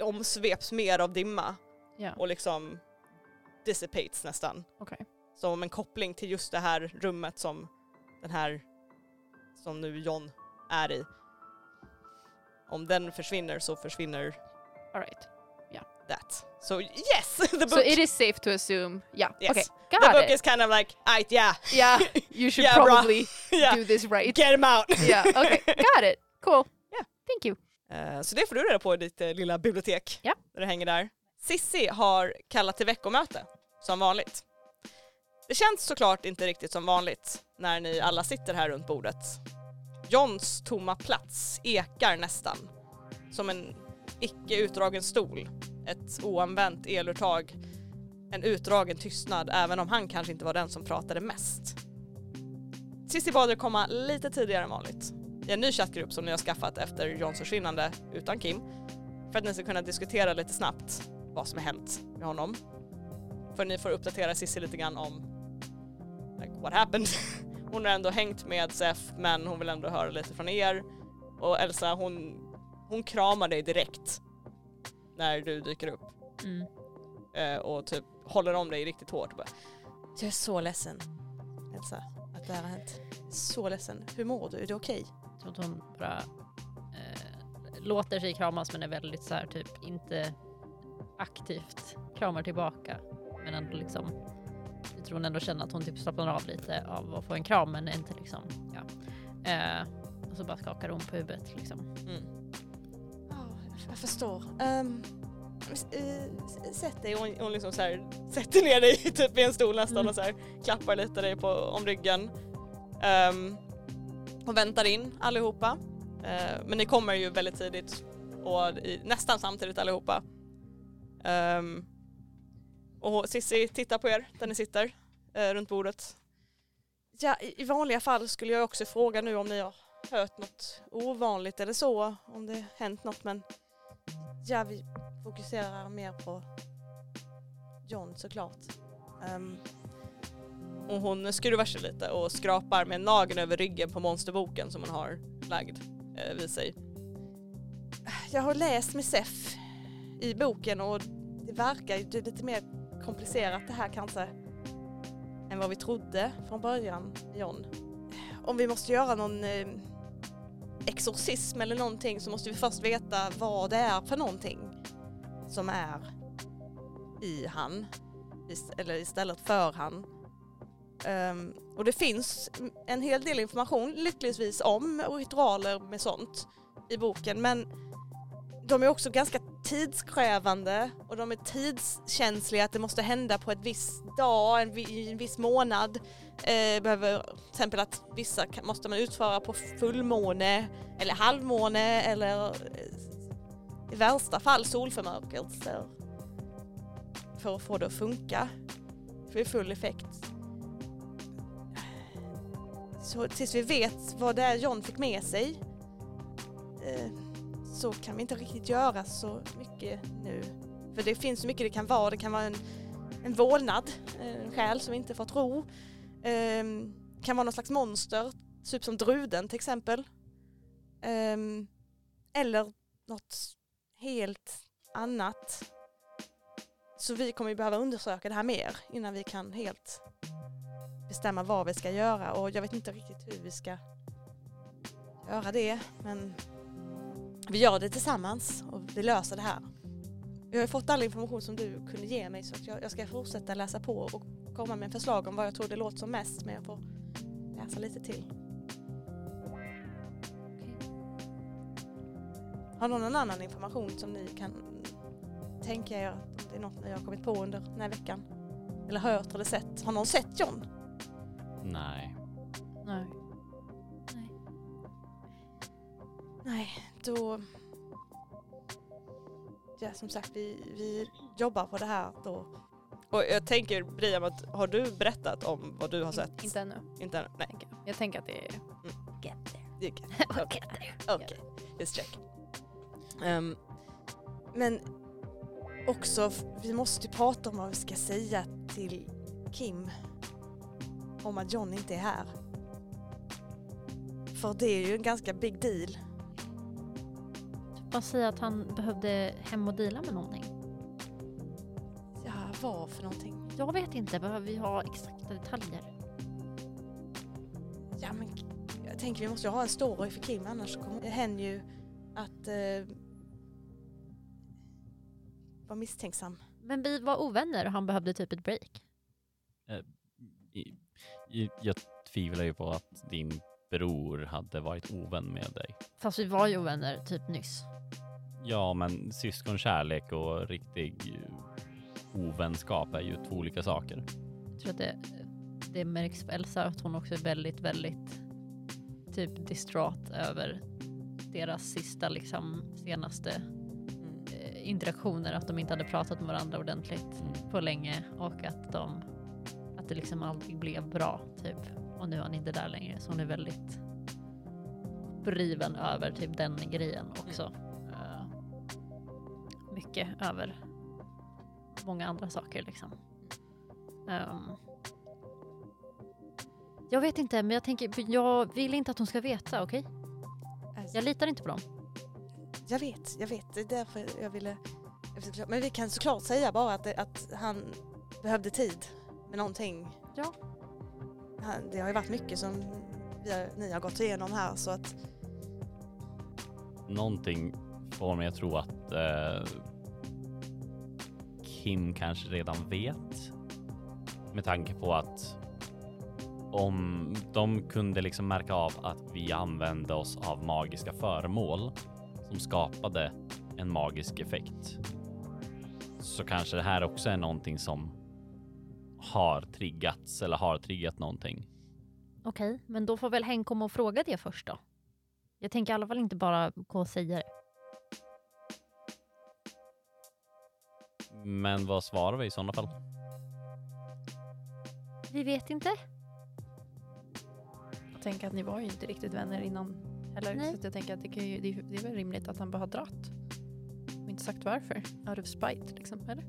S2: omsveps mer av dimma
S1: Ja,
S2: och liksom dissipates nästan.
S1: okej.
S2: som en koppling till just det här rummet som den här som nu John är i. Om den försvinner så försvinner
S1: Alright.
S2: that. So yes, the book.
S1: So it is safe to assume, yeah.
S2: Yes.
S1: Okay,
S2: the
S1: got
S2: book
S1: it.
S2: is kind of like, I, yeah,
S1: yeah, you should
S2: Yeah, bruh.
S1: probably
S2: yeah,
S1: do this right.
S2: get him out.
S1: yeah, okay, got it. Cool.
S2: Yeah.
S1: Thank you.
S2: Eh, Så det får du reda på i ditt eh, lilla bibliotek.
S1: Ja.
S2: Där det hänger där. Sissi har kallat till veckomöte, som vanligt. Det känns såklart inte riktigt som vanligt när ni alla sitter här runt bordet. Johns tomma plats ekar nästan. Som en icke utdragen stol, ett oanvänt eluttag, en utdragen tystnad även om han kanske inte var den som pratade mest. Sissi bad er komma lite tidigare än vanligt i en ny chattgrupp som ni har skaffat efter Johns försvinnande utan Kim. För att ni ska kunna diskutera lite snabbt vad som har hänt med honom. För ni får uppdatera Cissi lite grann om like, what happened. Hon har ändå hängt med Sef men hon vill ändå höra lite från er. Och Elsa hon, hon kramar dig direkt när du dyker upp
S4: Mm.
S2: eh, och typ håller om dig riktigt hårt. och Bara, jag är så ledsen Elsa att det här har hänt. Så ledsen. Hur mår du? Är du okej?
S4: Så att hon bara eh, låter sig kramas men är väldigt så här typ inte aktivt kramar tillbaka. Men ändå liksom, jag tror hon ändå känner att hon typ slappnar av lite av att få en kram men inte liksom, ja. Eh, och så bara skakar hon på huvudet liksom.
S2: jag förstår. Um, sätt dig, hon, hon liksom så här, sätter ner dig typ i en stol nästan
S4: Mm.
S2: och så här, klappar lite dig på, om ryggen. Ehm, och väntar in allihopa. Eh, men ni kommer ju väldigt tidigt och i, nästan samtidigt allihopa. Ehm, och Sissi tittar på er där ni sitter eh, runt bordet. Ja, i, i vanliga fall skulle jag också fråga nu om ni har hört något ovanligt eller så, om det hänt något men ja, vi fokuserar mer på John såklart. Ehm, och hon skruvar sig lite och skrapar med nageln över ryggen på monsterboken som hon har lagd eh, vid sig. Jag har läst med Sef i boken och det verkar ju det är lite mer komplicerat det här kanske än vad vi trodde från början, John. Om vi måste göra någon eh, exorcism eller någonting så måste vi först veta vad det är för någonting som är i han, ist- eller istället för han. Ehm, och det finns en hel del information lyckligtvis om ritualer med sånt i boken men de är också ganska tidskrävande och de är tidskänsliga att det måste hända på ett viss dag, en, vi- i en viss månad. Eh, behöver till exempel att vissa kan, måste man utföra på fullmåne eller halvmåne eller eh, i värsta fall solförmörkelser för att få det att funka för full effekt. Så tills vi vet vad det är John fick med sig eh, så kan vi inte riktigt göra så mycket nu. För det finns så mycket det kan vara. Det kan vara en, en vålnad, eh, en själ som vi inte fått ro. Ehm, kan vara någon slags monster, typ som druden till exempel. Ehm, eller något helt annat. Så vi kommer ju behöva undersöka det här mer innan vi kan helt bestämma vad vi ska göra och jag vet inte riktigt hur vi ska göra det men vi gör det tillsammans och vi löser det här. Jag har ju fått all information som du kunde ge mig så att jag, jag ska fortsätta läsa på och komma med förslag om vad jag tror det låter som mest men jag får läsa lite till. Har någon någon annan information som ni kan tänka er att det är något ni har kommit på under den här veckan? Eller hört eller sett? Har någon sett John?
S5: Nej.
S4: Nej.
S2: Nej, då... Ja, som sagt, vi, vi jobbar på det här då. Och jag tänker Brian, att har du berättat om vad du har sett?
S1: Inte ännu.
S2: Inte ännu? Nej.
S1: tänker jag. Jag tänker att det är...
S4: Get there.
S2: Det kan-
S4: Get there.
S2: Okej, just check. Ehm, men också, f- vi måste ju prata om vad vi ska säga till Kim. Om att John inte är här. För det är ju en ganska big deal.
S4: Bara säga att han behövde hem och deala med någonting.
S2: Ja, vad för någonting?
S4: Jag vet inte, behöver vi ha exakta detaljer?
S2: Ja men jag tänker vi måste ju ha en story för Kim annars kommer det händer ju att eh,
S6: var misstänksam.
S4: Men vi var ovänner och han behövde typ ett break.
S5: I, i, jag tvivlar ju på att din bror hade varit ovän med dig.
S4: Fast vi var ju ovänner typ nyss.
S5: Ja, men syskonkärlek och riktig eh, ovänskap är ju två olika saker.
S4: Jag tror att det, det märks på Elsa att hon också är väldigt, väldigt typ distrat över deras sista, liksom senaste eh, interaktioner, att de inte hade pratat med varandra ordentligt
S5: Mm.
S4: på länge och att de, att det liksom aldrig blev bra typ. Och nu är han inte där längre så hon är väldigt riven över typ den grejen också. Eh, mycket över många andra saker liksom. Ehm. jag vet inte, men jag tänker, jag vill inte att hon ska veta, okej?
S2: Alltså,
S4: Jag litar inte på dem.
S6: Jag vet, jag vet. Det är därför jag ville... jag ville- Men vi kan såklart säga bara att, att han behövde tid med någonting.
S4: Ja.
S6: Han, det har ju varit mycket som vi har, ni har gått igenom här så att...
S5: Någonting får mig att tro att eh, Kim kanske redan vet. Med tanke på att om de kunde liksom märka av att vi använde oss av magiska föremål som skapade en magisk effekt. Så kanske det här också är någonting som har triggats eller har triggat någonting.
S4: Okej, men då får väl Hen komma och fråga det först då. Jag tänker i alla fall inte bara gå och säga det.
S5: Men vad svarar vi i sådana fall?
S4: Vi vet inte.
S1: Jag tänker att ni var ju inte riktigt vänner innan heller.
S4: Nej.
S1: Så att jag tänker att det, kan ju, det, är- det är väl rimligt att han bara har dratt. Och inte sagt varför. Out of spite liksom, eller?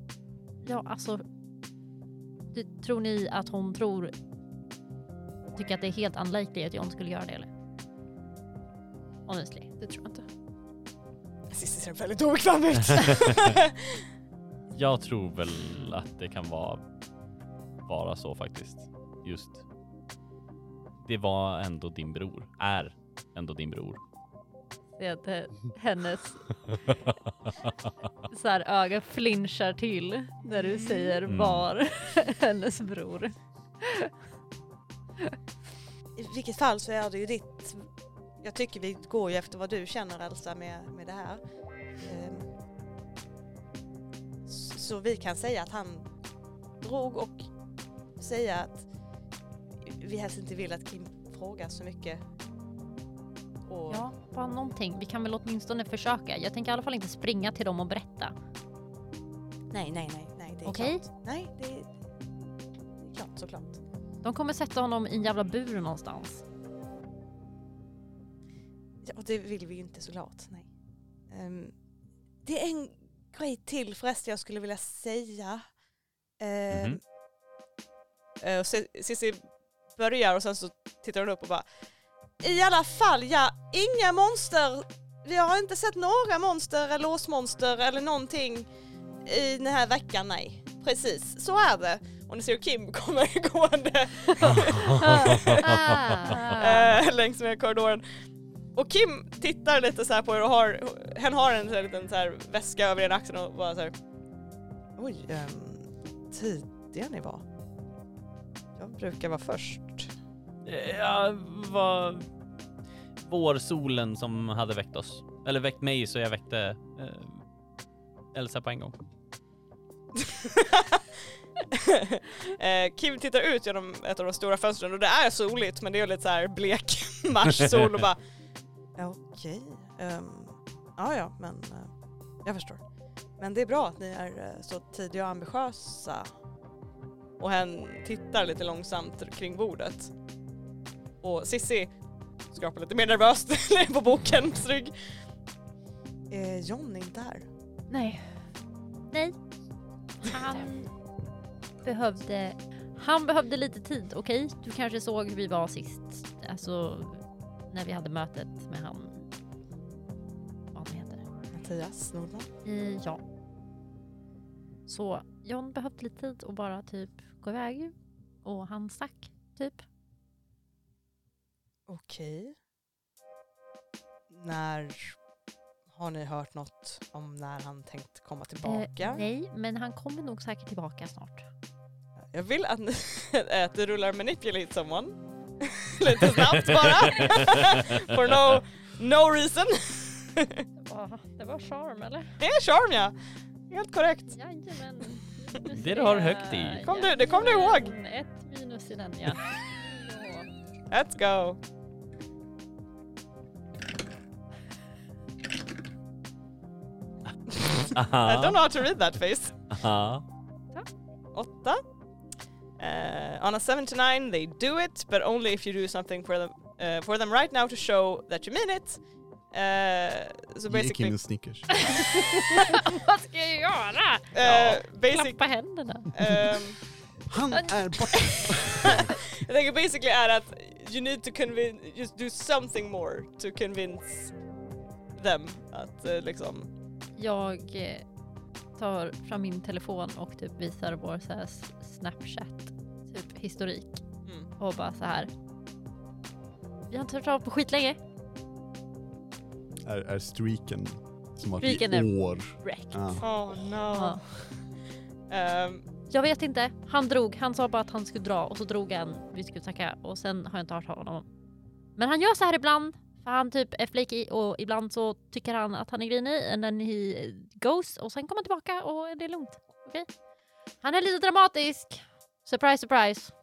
S4: Ja, alltså. Du, tror ni att hon tror... Tycker att det är helt unlikely att John skulle göra det eller? Honestly.
S1: Det tror jag inte.
S6: Cissi ser väldigt obekväm ut.
S5: Jag tror väl att det kan vara bara så faktiskt. Just. Det var ändå din bror. Är ändå din bror.
S4: Det, eh, hennes så här, öga flinchar till när du säger
S5: Mm.
S4: var hennes bror.
S6: I vilket fall så är det ju ditt... Jag tycker vi går ju efter vad du känner Elsa med, med det här. Ehm, s- Så vi kan säga att han drog och säga att vi helst inte vill att Kim frågar så mycket. Och
S4: Ja, bara någonting. Vi kan väl åtminstone försöka. Jag tänker i alla fall inte springa till dem och berätta.
S6: Nej, nej, nej, nej, det är
S4: Okej?
S6: klart. Nej, det är, det är klart såklart.
S4: De kommer sätta honom i en jävla bur någonstans.
S6: Ja, och det vill vi ju inte såklart, nej. Ehm, det är en grej till förresten jag skulle vilja säga. Ehm,
S2: Mm-hmm.
S5: Mhm.
S2: Eh, och C- Cissi börjar och sen så tittar hon upp och bara I alla fall ja, inga monster! Vi har inte sett några monster eller åsmonster eller någonting i den här veckan, nej. Precis, så är det. Och ni ser hur Kim kommer gående eh, längs med korridoren. Och Kim tittar lite så här på er och har, hen har en så här liten så här väska över ena axeln och bara så här,
S6: Oj, um, tidiga ni var. Jag brukar vara först.
S5: Ja, var vårsolen som hade väckt oss. Eller väckt mig så jag väckte eh, Elsa på en gång.
S2: Eh, Kim tittar ut genom ett av de stora fönstren och det är soligt men det är lite så här blek marssol och bara ehm,
S6: Ja, Okej. Um, ja, ja, men eh, jag förstår. Men det är bra att ni är eh, så tidiga och ambitiösa.
S2: och hen tittar lite långsamt kring bordet. Och Sissi skrapar lite mer nervöst på bokens rygg.
S6: Är John inte här?
S1: Nej.
S4: Han behövde, han behövde lite tid, okej? Du kanske såg hur vi var sist, alltså när vi hade mötet med han, vad han heter.
S6: Mattias Nordman?
S4: Eh, ja. Så John behövde lite tid och bara typ gå iväg och han stack, typ.
S6: Okej. När
S2: Har ni hört något om när han tänkt komma tillbaka?
S4: Eh, nej, men han kommer nog säkert tillbaka snart.
S2: Jag vill att ni, att du rullar manipulate someone. Lite snabbt bara. For no, no reason.
S4: det var charm eller?
S2: Det är charm ja. Helt korrekt.
S4: Jajamän.
S5: Det du har högt i.
S2: Kom du- det kom du ihåg.
S4: Jajamän, Ett minus i den ja.
S2: Let's go. I don't know how to read that face.
S5: aha.
S2: Åtta. Uh, on a seven to nine they do it, but only if you do something for them, uh, for them right now to show that you mean it. Uh, so
S3: Ge
S2: basically,
S3: killen Snickers.
S4: Vad ska jag göra?
S2: uh, basic,
S4: Klappa händerna.
S2: um,
S3: Han är borta.
S2: Jag tänker basically är att you need to convince, just do something more to convince them att eh, liksom,
S4: Jag eh, tar fram min telefon och typ visar vår så här s- Snapchat typ historik
S2: mm,
S4: och bara så här. Vi har inte hört av på skitlänge.
S3: Är, är streaken som att
S4: Streaken
S3: i
S4: är-
S3: år.
S4: Wrecked.
S3: Ja.
S2: oh no.
S4: Ja.
S2: Ehm,
S4: Jag vet inte. Han drog. Han sa bara att han skulle dra och så drog han. Vi skulle snacka och sen har jag inte hört av honom. Men han gör så här ibland. För han typ är flaky och ibland så tycker han att han är grinig and then he goes och sen kommer han tillbaka och det är lugnt. Okej? Han är lite dramatisk. Surprise, surprise.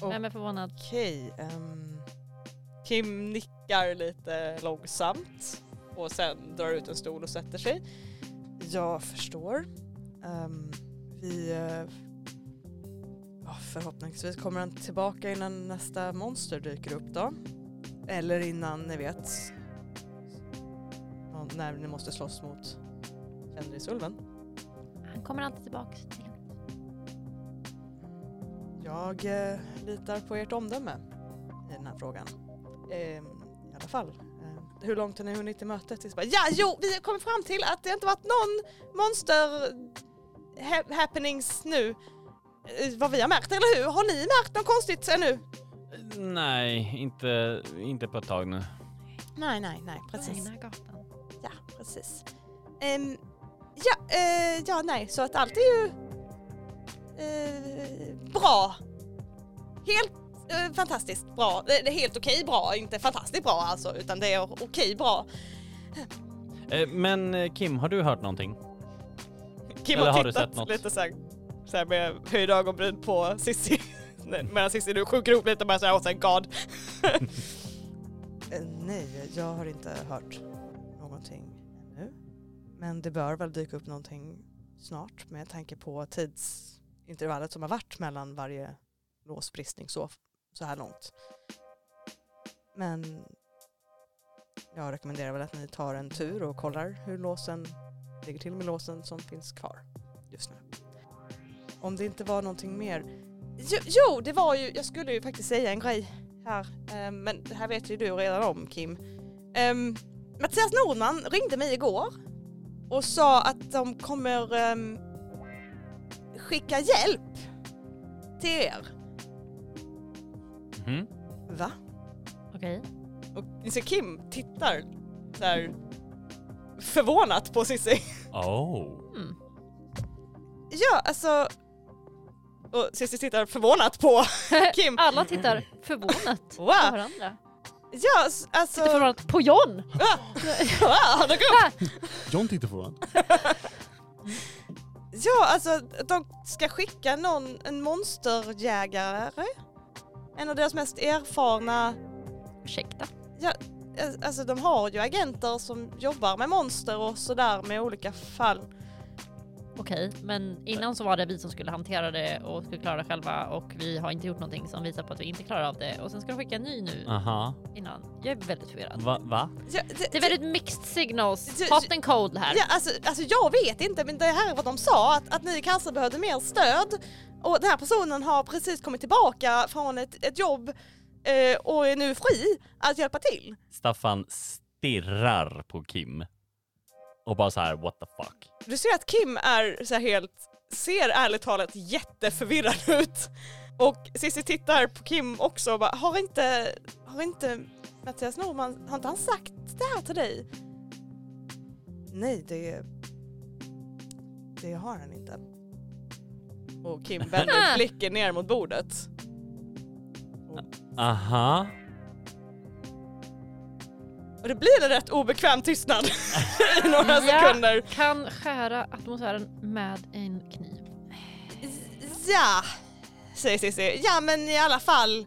S2: Oh.
S4: Vem är förvånad?
S2: Okej. ehm, Kim nickar lite långsamt och sen drar ut en stol och sätter sig. Jag förstår. Ehm, vi... eh, ja, förhoppningsvis kommer han tillbaka innan nästa monster dyker upp då. Eller innan ni vet ja, när ni måste slåss mot Fenrisulven.
S4: Han kommer alltid tillbaks. till-
S2: Jag eh, litar på ert omdöme i den här frågan. Ehm, I alla fall. Ehm, hur långt har ni hunnit i mötet? Det är så bara, ja, jo, vi har kommit fram till att det inte varit någon monster ha- happenings nu. Eh, vad vi har märkt, eller hur? Har ni märkt något konstigt ännu?
S5: Nej, inte, inte på ett tag nu.
S2: Nej, nej, nej,
S4: Lugna gatan.
S2: Ja, precis. Ehm, ja, eh, ja, nej, så att allt är ju eh, bra. Helt eh, fantastiskt bra. Det, det är helt okej bra, inte fantastiskt bra alltså, utan det är okej bra.
S5: Eh, Men eh, Kim, har du hört någonting?
S2: Kim
S5: Eller
S2: har
S5: har du
S2: tittat
S5: sett något?
S2: lite så här, så här med höjda ögonbryn på Cissi. Nej, Medan Cissi nu sjunker ihop lite och bara såhär åh thank god. Eh, Nej, jag har inte hört någonting ännu. Men det bör väl dyka upp någonting snart med tanke på tidsintervallet som har varit mellan varje låsbristning så, så här långt. Men jag rekommenderar väl att ni tar en tur och kollar hur låsen ligger till med låsen som finns kvar just nu. Om det inte var någonting mer. Jo, jo det var ju, jag skulle ju faktiskt säga en grej här, eh, men det här vet ju du redan om Kim. Um, Mattias Nordman ringde mig igår och sa att de kommer ehm, skicka hjälp till er.
S5: Mhm.
S2: Va?
S4: Okej.
S2: Och så Kim tittar så här förvånat på Cissi.
S5: Oh.
S4: Mm.
S2: Ja, alltså... Och Cissi tittar förvånat på Kim.
S4: Alla tittar förvånat på
S2: Wow.
S4: varandra.
S2: Ja, s- alltså...
S4: Tittar förvånat på John!
S2: Ah! Ah, de kom-
S3: John tittar på honom.
S2: Ja, alltså de ska skicka någon, en monsterjägare. En av deras mest erfarna...
S4: Ursäkta.
S2: eh, Alltså de har ju agenter som jobbar med monster och sådär med olika fall.
S4: Okej, men innan så var det vi som skulle hantera det och skulle klara det själva och vi har inte gjort någonting som visar på att vi inte klarar av det och sen ska de skicka en ny nu
S5: Aha.
S4: innan. Jag är väldigt förvirrad.
S5: Va? va?
S2: Ja,
S4: Det är väldigt mixed
S2: Det-
S4: signals, hot and cold här.
S2: Ja, alltså, alltså jag vet inte, men det här är vad de sa, att, att ni kanske behövde mer stöd. Och den här personen har precis kommit tillbaka från ett, ett jobb eh, och är nu fri att hjälpa till.
S5: Staffan stirrar på Kim. Och bara så här, what the fuck?
S2: Du ser att Kim är så här helt, ser ärligt talat jätteförvirrad ut. Och Cissi tittar på Kim också och bara, har inte, har inte Mattias Norman, har inte han sagt det här till dig?
S6: Nej, det... Det har han inte.
S2: Och Kim vänder blicken ner mot bordet.
S5: Aha.
S2: Och det blir en rätt obekväm tystnad i några
S4: Ja.
S2: sekunder.
S4: Kan skära atmosfären med en kniv.
S2: Ja, säger Cissi. Ja men i alla fall.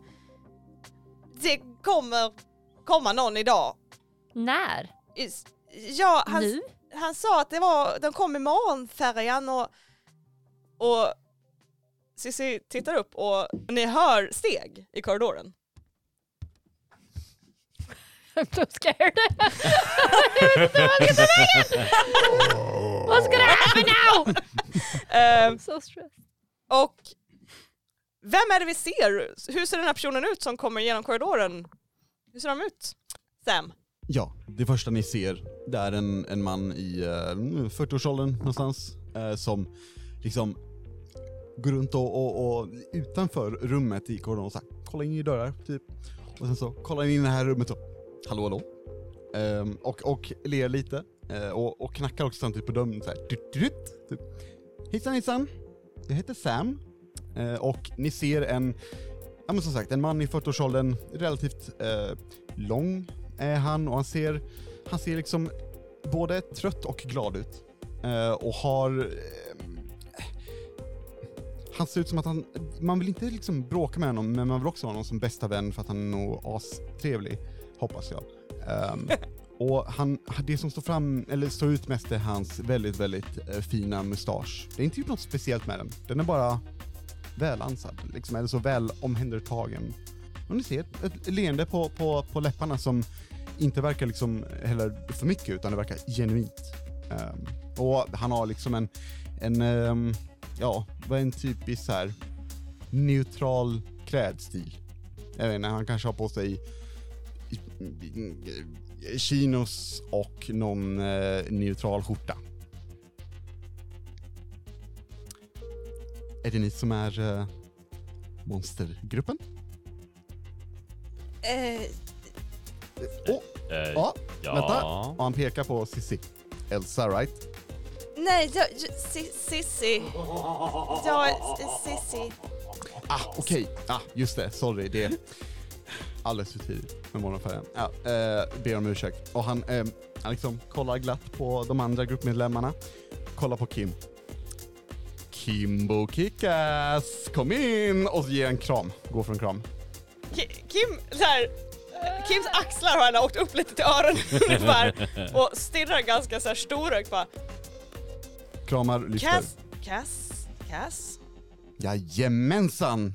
S2: Det kommer komma någon idag.
S4: När?
S2: Is- Ja, han,
S4: Nu?
S2: han sa att det var, den kom imorgon färjan och, och Cissi tittar upp och ni hör steg i korridoren.
S4: I'm so scared. jag vet inte vad jag ska ta vägen! What's gonna happen now?
S2: Eh,
S4: So stressed.
S2: och vem är det vi ser? Hur ser den här personen ut som kommer genom korridoren? Hur ser de ut? Sam?
S3: Ja, det första ni ser det är en, en man i eh, 40-årsåldern någonstans eh, som liksom går runt och, och, och utanför rummet i korridoren och så här, kollar in i dörrar typ. Och sen så kollar han in i det här rummet och hallå hallå. Ehm, och, och ler lite eh, och, och knackar också samtidigt på dörren så här, "Tut, tut, tut", typ. Hejsan hejsan, jag heter Sam Eh, och ni ser en, ja men som sagt en man i 40-årsåldern, relativt eh, lång är han och han ser, han ser liksom både trött och glad ut. Eh, och har... ehm, han ser ut som att han... Man vill inte liksom bråka med honom, men man vill också ha honom som bästa vän för att han är nog astrevlig, hoppas jag. Ehm, och han, det som står fram, eller står ut mest är hans väldigt, väldigt eh, fina mustasch. Det är inte gjort något speciellt med den, den är bara välansad, liksom, eller så väl omhändertagen. Och ni ser ett, ett leende på, på, på läpparna som inte verkar liksom heller för mycket utan det verkar genuint. Ehm, och han har liksom en, en ehm, ja, vad är en typisk så här neutral klädstil. Jag vet inte, han kanske har på sig chinos och någon eh, neutral skjorta. Är det ni som är eh, monstergruppen? Åh,
S5: Eh,
S3: ja,
S5: ja.
S3: vänta. Och han pekar på Sissi. Elsa right?
S2: Nej, jag, Sissi. Jag, Sissi.
S3: Ah, okej. Ah, just det. Sorry, det är alldeles för tidigt med morgonfärgen. Ja, eh, ber om ursäkt. Och han, eh, han liksom kollar glatt på de andra gruppmedlemmarna. Kollar på Kim. Kimbo Kickass, kom in! Och så ger en kram. Går för en kram.
S2: Kim, så här, eh, Kims axlar har han åkt upp lite till öronen ungefär och stirrar ganska så här storögt bara.
S3: Kramar, lyfter.
S2: Cass, Cass, Cass.
S3: Jajamensan!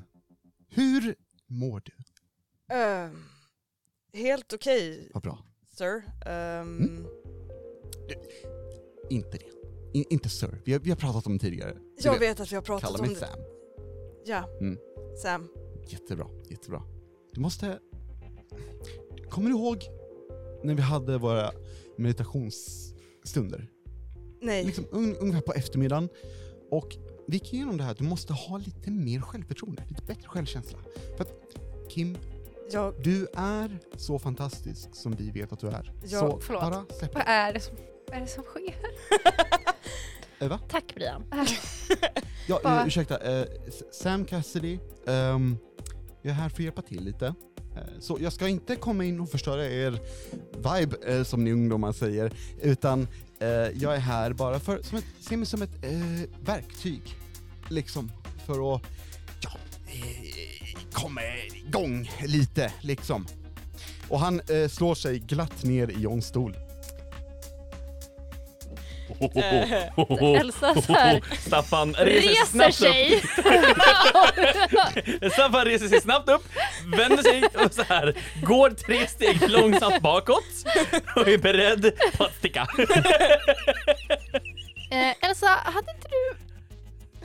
S3: Hur mår du?
S2: Ehm, helt okej,
S3: Vad bra.
S2: sir.
S3: Mm.
S2: Ehm,
S3: Inte det. I- inte Sir. Vi har, vi har pratat om det tidigare. Du
S2: jag vet att vi har pratat
S3: Kalla
S2: om
S3: mig
S2: det.
S3: Sam.
S2: Ja,
S3: Mm.
S2: Sam.
S3: Jättebra, jättebra. Du måste... Kommer du ihåg när vi hade våra meditationsstunder?
S2: Nej.
S3: Liksom un, ungefär på eftermiddagen. Och vi gick igenom det här att du måste ha lite mer självförtroende, lite bättre självkänsla. För att Kim,
S6: Jag,
S3: du är så fantastisk som vi vet att du är.
S6: Ja,
S3: så
S1: förlåt.
S3: bara släpp
S1: Vad är det som, vad är det som sker?
S3: Eva?
S4: Tack Brian.
S3: Ja,
S1: Bara-
S3: eh, ursäkta. eh, S- Sam Cassidy, ehm, jag är här för att hjälpa till lite. Eh, så jag ska inte komma in och förstöra er vibe, eh, som ni ungdomar säger, utan eh, jag är här bara för, som ett, se mig som ett eh, verktyg, liksom, för att ja, eh, komma igång lite, liksom. Och han eh, slår sig glatt ner i Johns stol.
S4: Elsa så här,
S5: Eh. Staffan reser, sig
S4: reser
S5: snabbt sig.
S4: sig.
S5: upp. Staffan reser sig snabbt upp, vänder sig och så här går tre steg långsamt bakåt och är beredd på att sticka.
S1: Eh, Elsa, hade inte du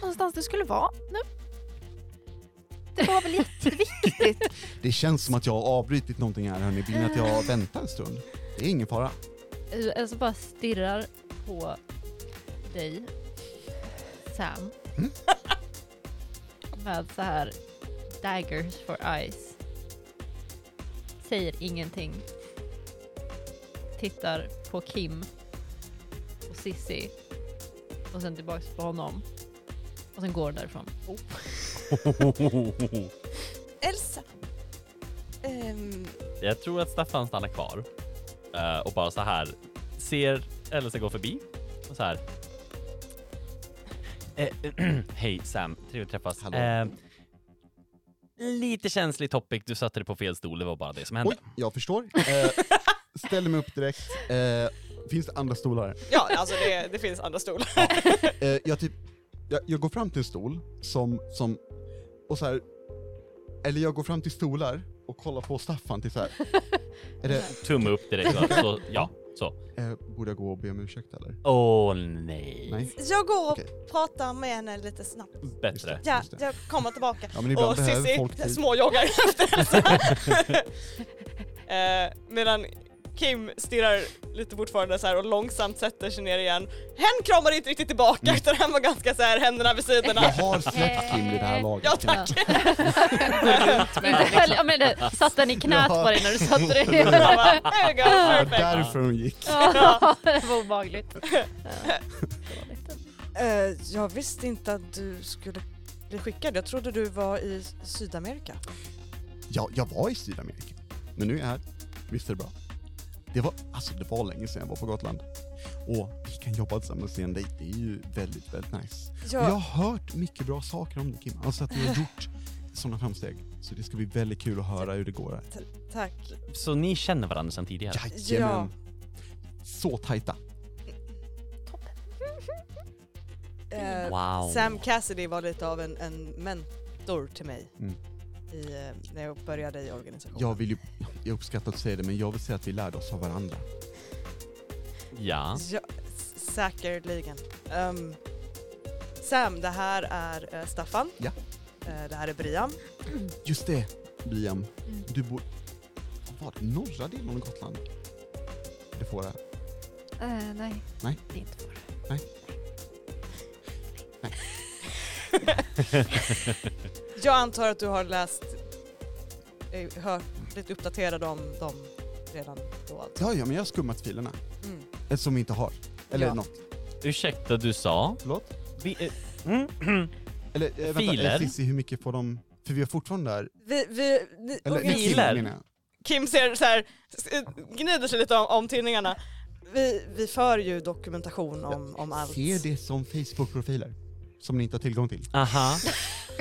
S1: någonstans du skulle vara nu? Det var väl jätteviktigt?
S3: Det känns som att jag har avbrutit någonting här hörni, vill ni att jag väntar en stund? Det är ingen fara.
S4: Elsa bara stirrar på dig, Sam. Med så här daggers for eyes. Säger ingenting. Tittar på Kim. och Sissi. Och sen tillbaks på honom. Och sen går hon därifrån.
S2: Elsa! Ehm,
S5: Jag tror att Staffan stannar kvar eh, och bara så här ser Elsa gå förbi och så här. Eh, Hej Sam, trevligt att träffas.
S3: Hallå.
S5: Eh, lite känslig topic, du satte dig på fel stol, det var bara det som hände.
S3: Oj, jag förstår. Eh, ställer mig upp direkt. Eh, finns det andra stolar?
S2: ja, alltså det, det finns andra stolar.
S3: Eh, jag, typ, jag, jag går fram till en stol som, som, och så här, eller jag går fram till stolar och kollar på Staffan till så här. Är det,
S5: Tumme upp direkt. va? Så, ja, så.
S3: eh, borde jag gå och be om ursäkt eller?
S5: Åh nej.
S3: Nej?
S2: Jag går och
S3: Okej.
S2: pratar med henne lite snabbt.
S3: Just
S5: Bättre.
S3: det,
S2: Ja,
S3: just det.
S2: jag kommer tillbaka.
S3: Ja men ibland
S2: och
S3: behöver
S2: Cissi
S3: folk typ- tid.
S2: småjoggar efter Elsa. eh, medan Kim stirrar lite fortfarande så här och långsamt sätter sig ner igen. Hen kramar inte riktigt tillbaka
S3: Mm.
S2: utan han var ganska så här händerna vid sidorna.
S3: Jag har släppt Kim i det här laget.
S2: Eh, Ja tack!
S4: Inte själv, ja, men det, satt den i knät
S3: liksom. Ja.
S4: på dig när du satte dig ner?
S2: Han bara, There you go,
S3: Det var
S2: perfect.
S3: därför hon gick.
S4: Ja, det var obehagligt.
S6: Eh, jag visste inte att du skulle bli skickad. Jag trodde du var i Sydamerika.
S3: Ja, jag var i Sydamerika. Men nu är jag här. Visst är det bra? Det var, alltså det var länge sedan jag var på Gotland. Och vi kan jobba tillsammans igen. Det det är ju väldigt, väldigt nice. Och Jag har hört mycket bra saker om dig Kim. Alltså att du har gjort sådana framsteg. Så det ska bli väldigt kul att höra hur det går här.
S6: Tack.
S5: Så ni känner varandra sedan tidigare?
S3: Jajamän. Så tajta.
S6: Eh,
S5: Wow.
S6: Sam Cassidy var lite av en, en mentor till mig
S3: Mm.
S6: i, eh, när jag började i organisationen.
S3: Jag vill ju, jag uppskattar att säga det, men jag vill säga att vi lärde oss av varandra.
S5: Ja.
S6: Ja, s- säkerligen. Ehm, Sam, det här är eh, Staffan.
S3: Ja.
S6: Eh, det här är Brian.
S3: Just det, Liam. Du bor... Var det norra delen av Gotland? Det får jag.
S1: Eh, nej.
S3: Nej.
S1: Det är inte för.
S6: Jag antar att du har läst, eh, hört, blivit uppdaterad om dem redan då. alltså.
S3: Ja, ja, men jag har skummat filerna.
S6: Mm.
S3: Eh, Som vi inte har. Eller
S6: Ja.
S3: något.
S5: Ursäkta, du sa?
S3: Förlåt?
S5: Vi, eh, mm,
S3: Eller eh, vänta,
S5: Filer?
S3: eh, Cissi, hur mycket får de... För vi har fortfarande där...
S6: Vi, vi, ni,
S3: Eller,
S6: organis-
S5: Filer?
S3: Kim, menar jag.
S2: Kim ser så här, s- gnider sig lite om, om tinningarna.
S6: vi, vi för ju dokumentation om, om allt.
S3: Ser det som Facebook-profiler. Som ni inte har tillgång till.
S5: aha.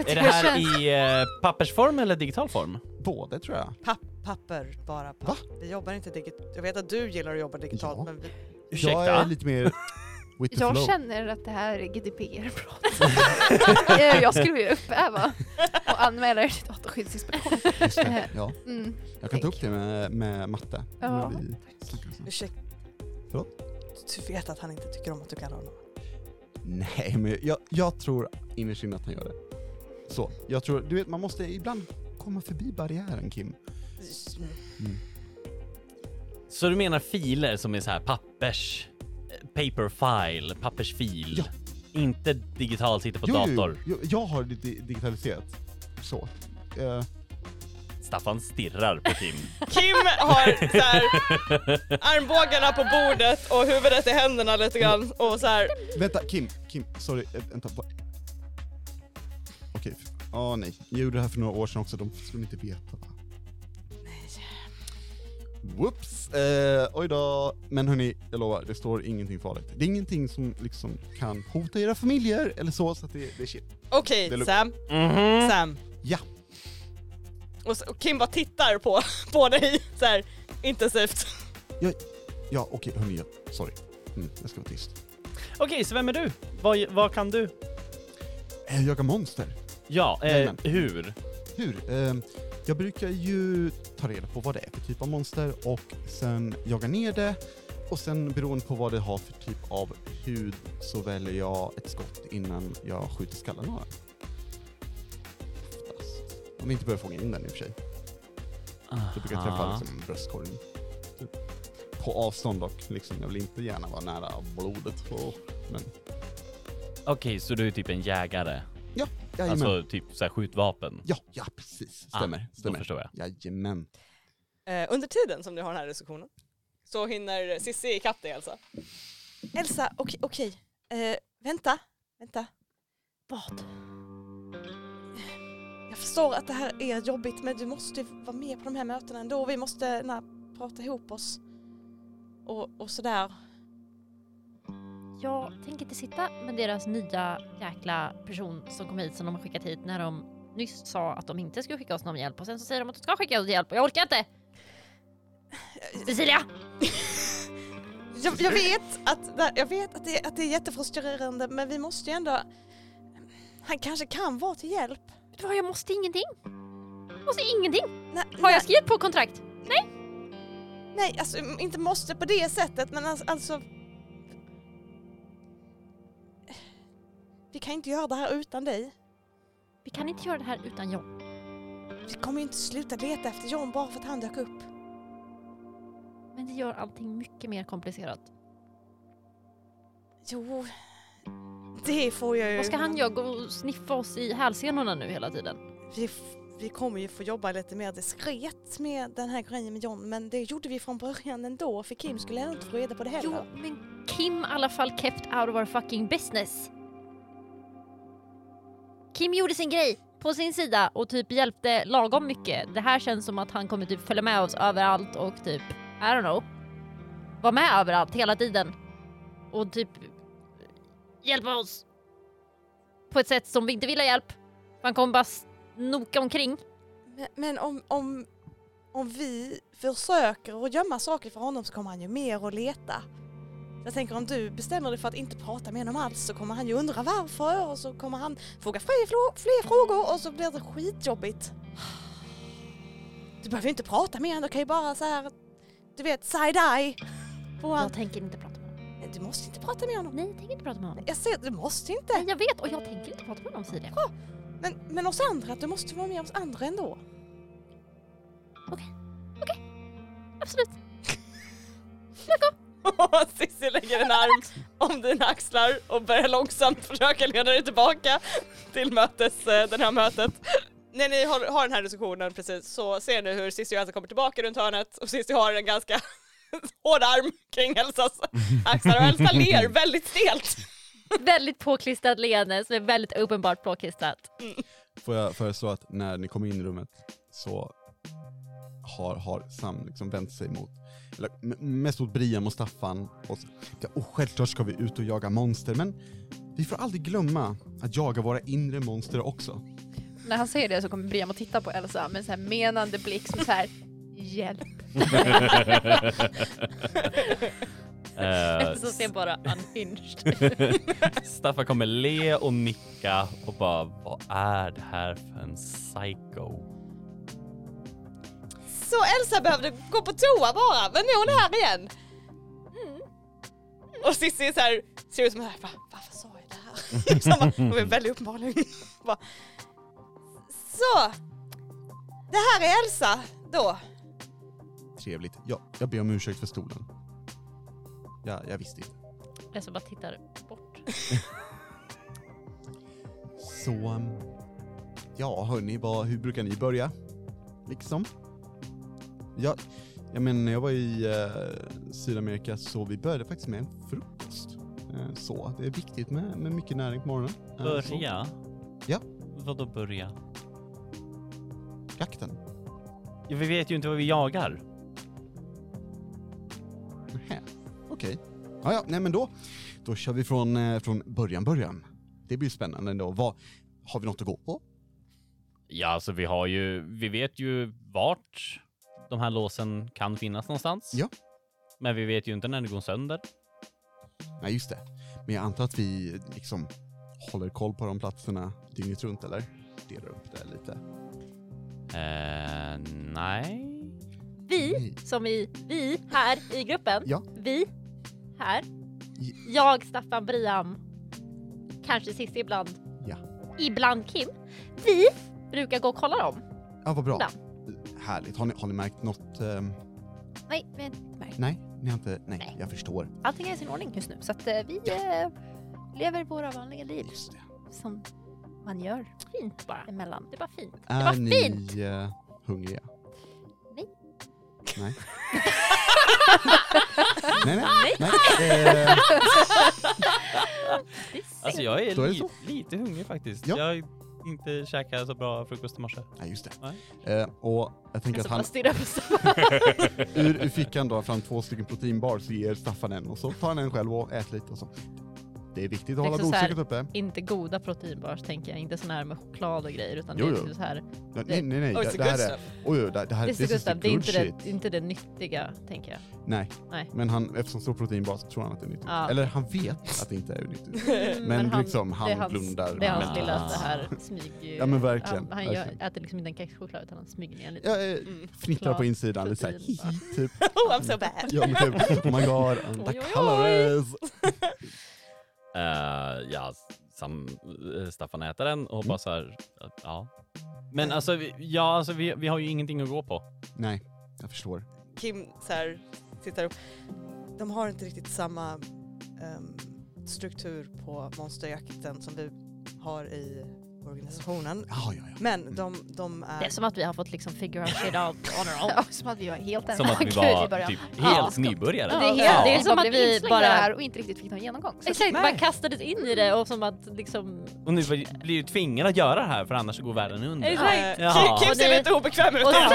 S5: Är det här i eh, pappersform eller digital form?
S3: Både tror jag.
S6: Papp, papper, bara papper.
S3: Va?
S6: Vi jobbar inte digitalt. Jag vet att du gillar att jobba digitalt
S3: Ja.
S6: men vi,
S3: Jag
S5: Ursäkta?
S3: är lite mer... With the
S1: Jag
S3: flow.
S1: känner att det här är GDPR-brott. Eh, jag skulle vilja upphäva och anmäla er till Dataskyddsinspektionen.
S3: Just det. Ja.
S1: Mm.
S3: Jag kan ta upp det med, med matte.
S1: Ja,
S3: När vi
S1: tack.
S3: snackar sen.
S6: ursäkta.
S3: Förlåt?
S6: Du vet att han inte tycker om att du kallar honom.
S3: Nej, men jag, jag tror innerst inne att han gör det. Så, jag tror... Du vet, man måste ibland komma förbi barriären, Kim.
S5: Så du menar filer som är så här pappers... eh, Paper file, pappersfil.
S3: Ja.
S5: Inte digitalt, sitter på dator.
S3: Jo, jo, jag har det di- digitaliserat. Så. Eh,
S5: Staffan stirrar på Kim.
S2: Kim har så här, armbågarna på bordet och huvudet i händerna lite grann och så här,
S3: Vänta, Kim, Kim, sorry, eh, vänta. va- Okej, f- ja nej. Jag gjorde det här för några år sedan också, de skulle inte veta va? Nej. Whoops! Eh, oj då. Men hörni, jag lovar, det står ingenting farligt. Det är ingenting som liksom kan hota era familjer eller så, så att det, det är shit.
S2: okej
S3: Det är lugnt.
S2: Sam,
S5: Mhm.
S2: Sam.
S3: Ja.
S2: Och, så, och Kim bara tittar på, på dig så här intensivt.
S3: Ja, okej hörni, jag, sorry. Mm, jag ska vara tyst.
S5: Okej, så vem är du? Vad, vad kan du?
S3: Eh, jaga monster.
S5: Ja, eh,
S3: Jajamän.
S5: hur?
S3: Hur? Eh, jag brukar ju ta reda på vad det är för typ av monster och sen jaga ner det. Och sen beroende på vad det har för typ av hud så väljer jag ett skott innan jag skjuter skallen av den. Oftast. Om vi inte börjar fånga in den i och för sig. Då brukar jag träffa
S5: Aha.
S3: liksom bröstkorgen. Typ. På avstånd dock. Liksom, jag vill inte gärna vara nära blodet. Och, men,
S5: Okej, så du är typ en jägare?
S3: jajamän.
S5: Alltså typ så här skjutvapen? Ah,
S3: ja, ja, precis. Stämmer.
S5: Då
S3: stämmer.
S5: förstår jag.
S3: Jajamän.
S2: Eh, under tiden som du har den här diskussionen så hinner Cissi ikapp dig alltså. Elsa, okej, okej. Eh, vänta, vänta.
S4: Vad?
S2: Jag förstår att det här är jobbigt men du måste vara med på de här mötena ändå. Vi måste na, prata ihop oss. Och, och sådär.
S4: Jag tänker inte sitta med deras nya jäkla person som kom hit som de har skickat hit när de nyss sa att de inte skulle skicka oss någon hjälp och sen så säger de att de ska skicka oss hjälp och jag orkar inte! Cecilia!
S2: Jag, jag, vet, att, jag vet att, det, att det är jättefrustrerande men vi måste ju ändå... Han kanske kan vara till hjälp.
S4: Vet du vad, jag måste ingenting! Jag måste ingenting!
S2: Nej,
S4: Har
S2: nej,
S4: jag skrivit på kontrakt?
S2: nej, alltså inte måste på det sättet men alltså- alltså... Vi kan inte göra det här utan dig.
S4: Vi kan inte göra det här utan John.
S2: Vi kommer ju inte sluta leta efter John bara för att han dök upp.
S4: Men det gör allting mycket mer komplicerat.
S2: Jo, det får jag ju.
S4: Vad ska han göra? Gå och sniffa oss i hälsenorna nu hela tiden?
S2: Vi, f- vi kommer ju få jobba lite mer diskret med den här grejen med John men det gjorde vi från början ändå för Kim skulle ändå inte få reda på det
S4: Jo,
S2: heller.
S4: men Kim i alla fall kept out of our fucking business. Kim gjorde sin grej på sin sida och typ hjälpte lagom mycket. Det här känns som att han kommer typ följa med oss överallt och typ, I don't know, vara med överallt hela tiden. Och typ hjälpa oss. På ett sätt som vi inte vill ha hjälp. Han kommer bara snoka omkring.
S2: Men, men om, om, om vi försöker att gömma saker för honom så kommer han ju mer att leta. Jag tänker om du bestämmer dig för att inte prata med honom alls så kommer han ju undra varför och så kommer han fråga fler, frå- fler frågor och så blir det skitjobbigt. Du behöver ju inte prata med honom, du kan ju bara så här, du vet, side-eye på honom.
S4: Jag tänker inte prata med honom.
S2: Nej, Du måste inte prata med honom.
S4: Nej, jag tänker inte prata med honom.
S2: Jag ser, du måste
S4: Nej,
S2: inte.
S4: jag vet och jag tänker inte prata med honom, Silja.
S2: Men, men oss andra, du måste vara med oss andra ändå.
S4: Absolut.
S2: Cissi lägger en arm om dina axlar och börjar långsamt försöka leda dig tillbaka till mötes, eh, den här mötet. När ni har, har den här diskussionen precis så ser ni hur Cissi och Elsa kommer tillbaka runt hörnet och Cissi har en ganska hård arm kring Elsas axlar och Elsa ler väldigt stelt.
S4: väldigt påklistrat leende som är väldigt uppenbart påklistrat.
S3: Får jag föreslå att när ni kommer in i rummet så har, har Sam liksom vänt sig mot, eller m- mest mot Brian och Staffan och så, ja, och självklart ska vi ut och jaga monster men vi får aldrig glömma att jaga våra inre monster också.
S1: När han säger det så kommer Brian att titta på Elsa med en så här menande blick som så här hjälp.
S5: Eh,
S4: Så ser bara unhinged.
S5: Staffan kommer le och nicka och bara vad är det här för en psycho?
S2: Så Elsa behövde gå på toa bara, men nu är hon här igen. Och Cissi är så här, ser ut som här, Va, varför sa jag det här? Liksom, bara, hon är väldigt uppenbarligen. bara, så, det här är Elsa då.
S3: Trevligt. Ja, jag ber om ursäkt för stolen. Ja, jag visste inte.
S4: Jag så bara tittar bort.
S3: Så, um, ja hörni, vad, hur brukar ni börja? Liksom? Ja, jag menar när jag var i eh, Sydamerika så vi började faktiskt med en frukost. Eh, så, det är viktigt med, med mycket näring på morgonen. Eh, så.
S5: Börja?
S3: Ja.
S5: Vadå börja?
S3: Jakten.
S5: Ja, vi vet ju inte vad vi jagar.
S3: Nähä, Okej. Ja, ja, nej men då, då kör vi från, eh, från början, början. Det blir spännande ändå. Vad, har vi något att gå på?
S5: Ja, alltså vi har ju, vi vet ju vart de här låsen kan finnas någonstans.
S3: Ja.
S5: Men vi vet ju inte när det går sönder.
S3: Nej, just det. Men jag antar att vi liksom håller koll på de platserna dygnet runt, eller? Delar upp det lite.
S5: Eh, nej.
S4: Vi, som i vi här i gruppen.
S3: Ja.
S4: Vi här.
S3: Ja.
S4: Jag, Staffan, Brian. Kanske Cissi ibland.
S3: Ja.
S4: Ibland Kim. Vi brukar gå och kolla dem.
S3: Ja, vad bra.
S4: Ja.
S3: Härligt. Har ni, har ni märkt något? ehm,
S1: Nej, vi har inte märkt.
S3: nej, ni har inte? Nej,
S1: Nej.
S3: jag förstår.
S1: Allting är i sin ordning just nu så att eh, vi eh, lever våra vanliga liv
S3: Just det.
S1: som man gör
S4: Fint bara.
S1: emellan.
S4: Det är bara fint. det
S3: Är
S4: var
S3: ni
S4: fint!
S3: eh, hungriga?
S1: Nej.
S3: Nej. nej, nej, nej. Eh,
S5: Alltså jag
S3: Då
S5: är
S3: är det
S5: li-
S3: så.
S5: lite hungrig faktiskt.
S3: Ja.
S5: Jag har inte käkat så bra frukost i morse.
S3: nej, just det. Eh, och jag tänker att
S1: Som bara
S3: han
S1: stirrar på Staffan.
S3: ur, ur fickan drar fram två stycken proteinbars, ger Staffan en och så tar han en själv och äter lite och så. Det är viktigt att hålla
S4: Liksom så här-
S3: blodsockret uppe.
S4: Inte goda proteinbars tänker jag, inte sån här med choklad och grejer utan
S3: Jo,
S4: det är
S3: jo.
S1: typ
S4: liksom så här.
S3: Nej, nej, nej.
S2: Oh,
S3: det,
S2: it's
S3: det
S2: a good
S3: här är...
S2: stuff.
S3: Oj, oj, det, det här
S4: Det
S3: this is
S4: är,
S3: the
S4: Gustav, det är
S3: good
S4: inte
S3: shit.
S4: det, inte det nyttiga tänker jag.
S3: Nej.
S4: Nej.
S3: Men han, eftersom det står proteinbas så tror han att det är nyttigt.
S4: Ja.
S3: Eller han vet att det inte är nyttigt. Men,
S4: Mm, men han-
S3: liksom, han
S4: det är hans-
S3: blundar.
S4: Det är
S5: men-
S4: hans lilla
S5: Ah.
S4: så här smyg...
S3: Ja men verkligen.
S4: Han, han gör,
S3: verkligen.
S4: äter liksom inte en kexchoklad utan han smyger ner lite.
S3: Jag eh,
S2: Mm.
S3: fnittrar på insidan lite såhär,
S4: Protein, va?
S3: hihi, typ.
S2: Oh I'm so bad.
S3: Ja men typ, oh my god, I'm
S4: Oj, oj,
S3: the
S4: oj.
S3: colors.
S5: Eh, ja, Sam, eh, Staffan äter den
S3: Mm.
S5: och bara så här, att, ja. Men alltså, vi, ja, alltså vi, vi har ju ingenting att gå på.
S3: Nej, jag förstår.
S2: Kim så här, tittar upp. De har inte riktigt samma ehm, struktur på monsterjakten som vi har i organisationen.
S3: Ja, ja, ja.
S2: Men de, de är...
S4: Det är som att vi har fått liksom figure out shit out on our own.
S1: Ja, som att vi var helt
S5: Som att vi
S1: Gud,
S5: var
S1: började.
S5: typ
S4: Ja.
S5: helt nybörjare.
S1: Det
S4: Ja,
S1: är, helt,
S4: ja.
S1: det är som att vi bara...
S4: bara-
S1: här och inte riktigt fick någon genomgång. Så
S4: Exakt,
S2: Nej.
S4: man kastades in i det och som att liksom...
S5: Och nu blir blir ju tvingad att göra det här för annars så går världen under.
S4: Exakt.
S2: Eh,
S5: Jaha.
S2: Kim, Kim ser
S4: Och det-
S2: lite obekväm ut.
S4: Och sen,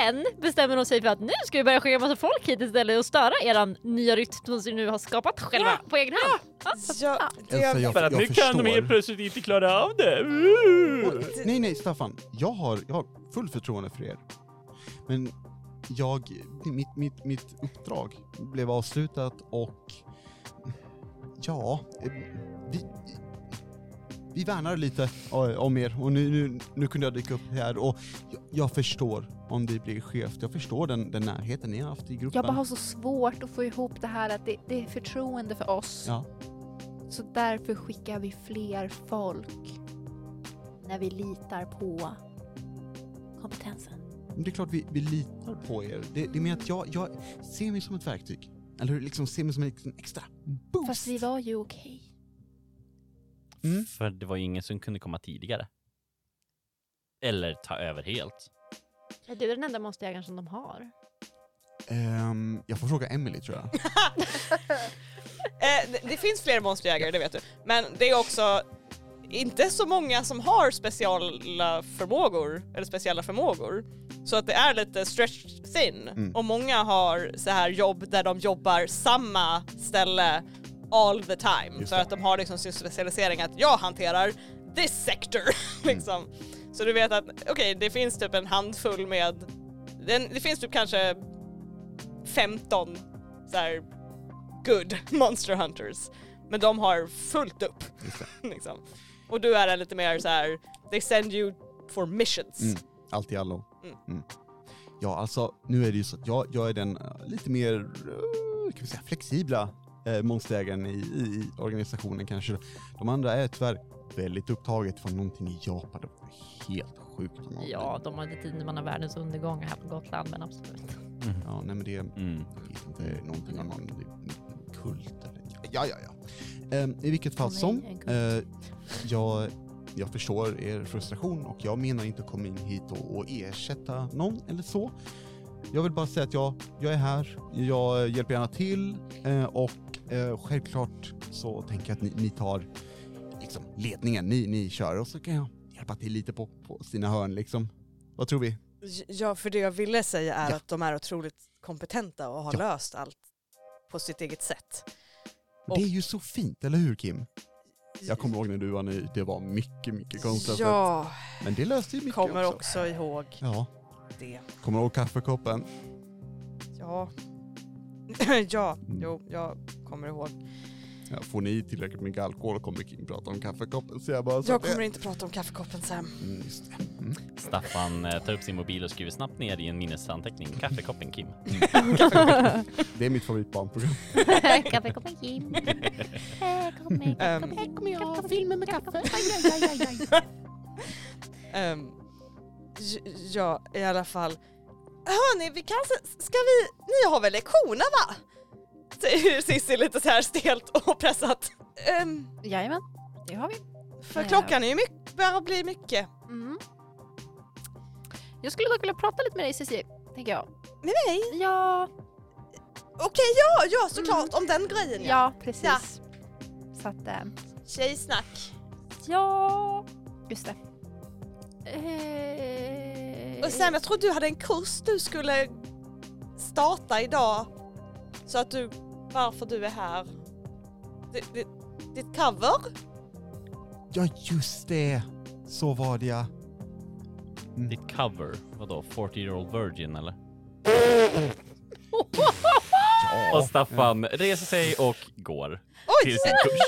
S4: sen bestämmer de sig för att nu ska vi börja skicka massa folk hit istället och störa eran nya rytm som ni nu har skapat själva på egen hand.
S2: Ja,
S3: Elsa,
S2: det,
S3: jag, jag förstår.
S5: plötsligt inte klara av det.
S3: Nej, nej Staffan, jag har, jag har full förtroende för er. Men jag, mitt, mitt, mitt uppdrag blev avslutat och ja, eh, vi, vi värnar lite eh, om er och nu, nu, nu kunde jag dyka upp här och jag, jag förstår om det blir skevt. Jag förstår den, den närheten ni har haft i gruppen.
S1: Jag bara har så svårt att få ihop det här att det, det är förtroende för oss.
S3: Ja.
S1: Så därför skickar vi fler folk. När vi litar på kompetensen.
S3: Men Det är klart vi, vi litar på er. Det, det är mer att jag, jag ser mig som ett verktyg. Eller liksom ser mig som en liksom extra boost.
S1: Fast vi var ju okej.
S3: Mm.
S5: För det var ju ingen som kunde komma tidigare. Eller ta över helt.
S4: Du är den enda monsterjägaren som de har.
S3: Ehm, jag får fråga Emily tror jag.
S2: eh, det, det finns fler monsterjägare, det vet du. Men det är också inte så många som har speciella förmågor, eller speciella förmågor. Så att det är lite stretched thin.
S3: Mm.
S2: Och många har så här jobb där de jobbar samma ställe all the time.
S3: Just
S2: för
S3: det.
S2: att de har liksom sin specialisering att jag hanterar this sector.
S3: Mm.
S2: liksom. Så du vet att okej, det finns typ en handfull med, det, det finns typ kanske 15 så här, good monster hunters. Men de har fullt upp.
S3: Just det.
S2: liksom. Och du är en lite mer så här, they send you for missions.
S3: Mm. Allt i allo.
S2: Mm.
S3: Mm. Ja, alltså nu är det ju så att jag, jag är den eh, lite mer eh, kan vi säga, flexibla eh, monsterägaren i, i, i organisationen kanske. De andra är tyvärr väldigt upptaget för någonting i Japan. Det var helt sjukt.
S4: Ja, de har inte tid när man har världens undergång här på Gotland, men absolut.
S3: ja, nej men det...
S5: Mm.
S3: Jag vet inte, någonting
S1: Mm.
S3: om någon kult eller... Ja, ja, ja. Ehm, I vilket fall
S1: För mig
S3: som,
S1: är en kult.
S3: eh, jag, jag förstår er frustration och jag menar inte att komma in hit och, och ersätta någon eller så. Jag vill bara säga att jag, jag är här, jag hjälper gärna till eh, och eh, självklart så tänker jag att ni, ni tar liksom, ledningen, ni, ni kör och så kan jag hjälpa till lite på, på sina hörn liksom. Vad tror vi?
S2: Ja, för det jag ville säga är
S3: Ja.
S2: att de är otroligt kompetenta och har
S3: Ja.
S2: löst allt på sitt eget sätt. Och-
S3: Det är ju så fint, eller hur Kim? Jag kommer ihåg när du var ny, det var mycket, mycket konstigt.
S2: Jag
S3: Men det löste ju mycket
S2: kommer
S3: också.
S2: också ihåg
S3: Ja,
S2: det.
S3: kommer ihåg kaffekoppen?
S2: Ja. ja,
S3: Mm.
S2: jo, jag kommer ihåg.
S3: Ja, får ni i tillräckligt mycket alkohol kommer Kim prata om kaffekoppen. Så jag bara... så-
S2: Jag kommer inte prata om kaffekoppen Sam.
S3: Mm, just det. Mm.
S5: Staffan eh, tar upp sin mobil och skriver snabbt ner i en minnesanteckning. Kaffekoppen Kim.
S3: Mm. Det är mitt favoritbarnprogram.
S4: Kaffe, kom Kim. Kom
S2: Ehm,
S1: Här kommer jag, filmen med kaffe.
S2: Ehm, j- ja, i alla fall. Hörni, vi kanske, ska vi, ni har väl lektioner va? Säger Cissi lite så här stelt och pressat. Ehm,
S1: Jajamän, det har vi.
S2: för
S1: Ja.
S2: klockan är ju mycket, börjar bli mycket.
S1: Mm. Jag skulle dock vilja prata lite med dig Cissi, tänker jag.
S2: Med mig?
S1: Ja,
S2: Okej, ja, ja
S3: Mm.
S2: såklart om den grejen ja.
S1: Ja, precis. Så att, eh,
S2: Tjejsnack.
S4: Ja.
S1: just det.
S4: Eh,
S2: Och Sam, jag tror du hade en kurs du skulle starta idag. Så att du, varför du är här. Ditt, ditt, ditt cover?
S3: Ja, just det. Så var det ja.
S5: Ditt cover, vadå? 40 year old virgin eller? Och Staffan reser sig och går till sin kurs.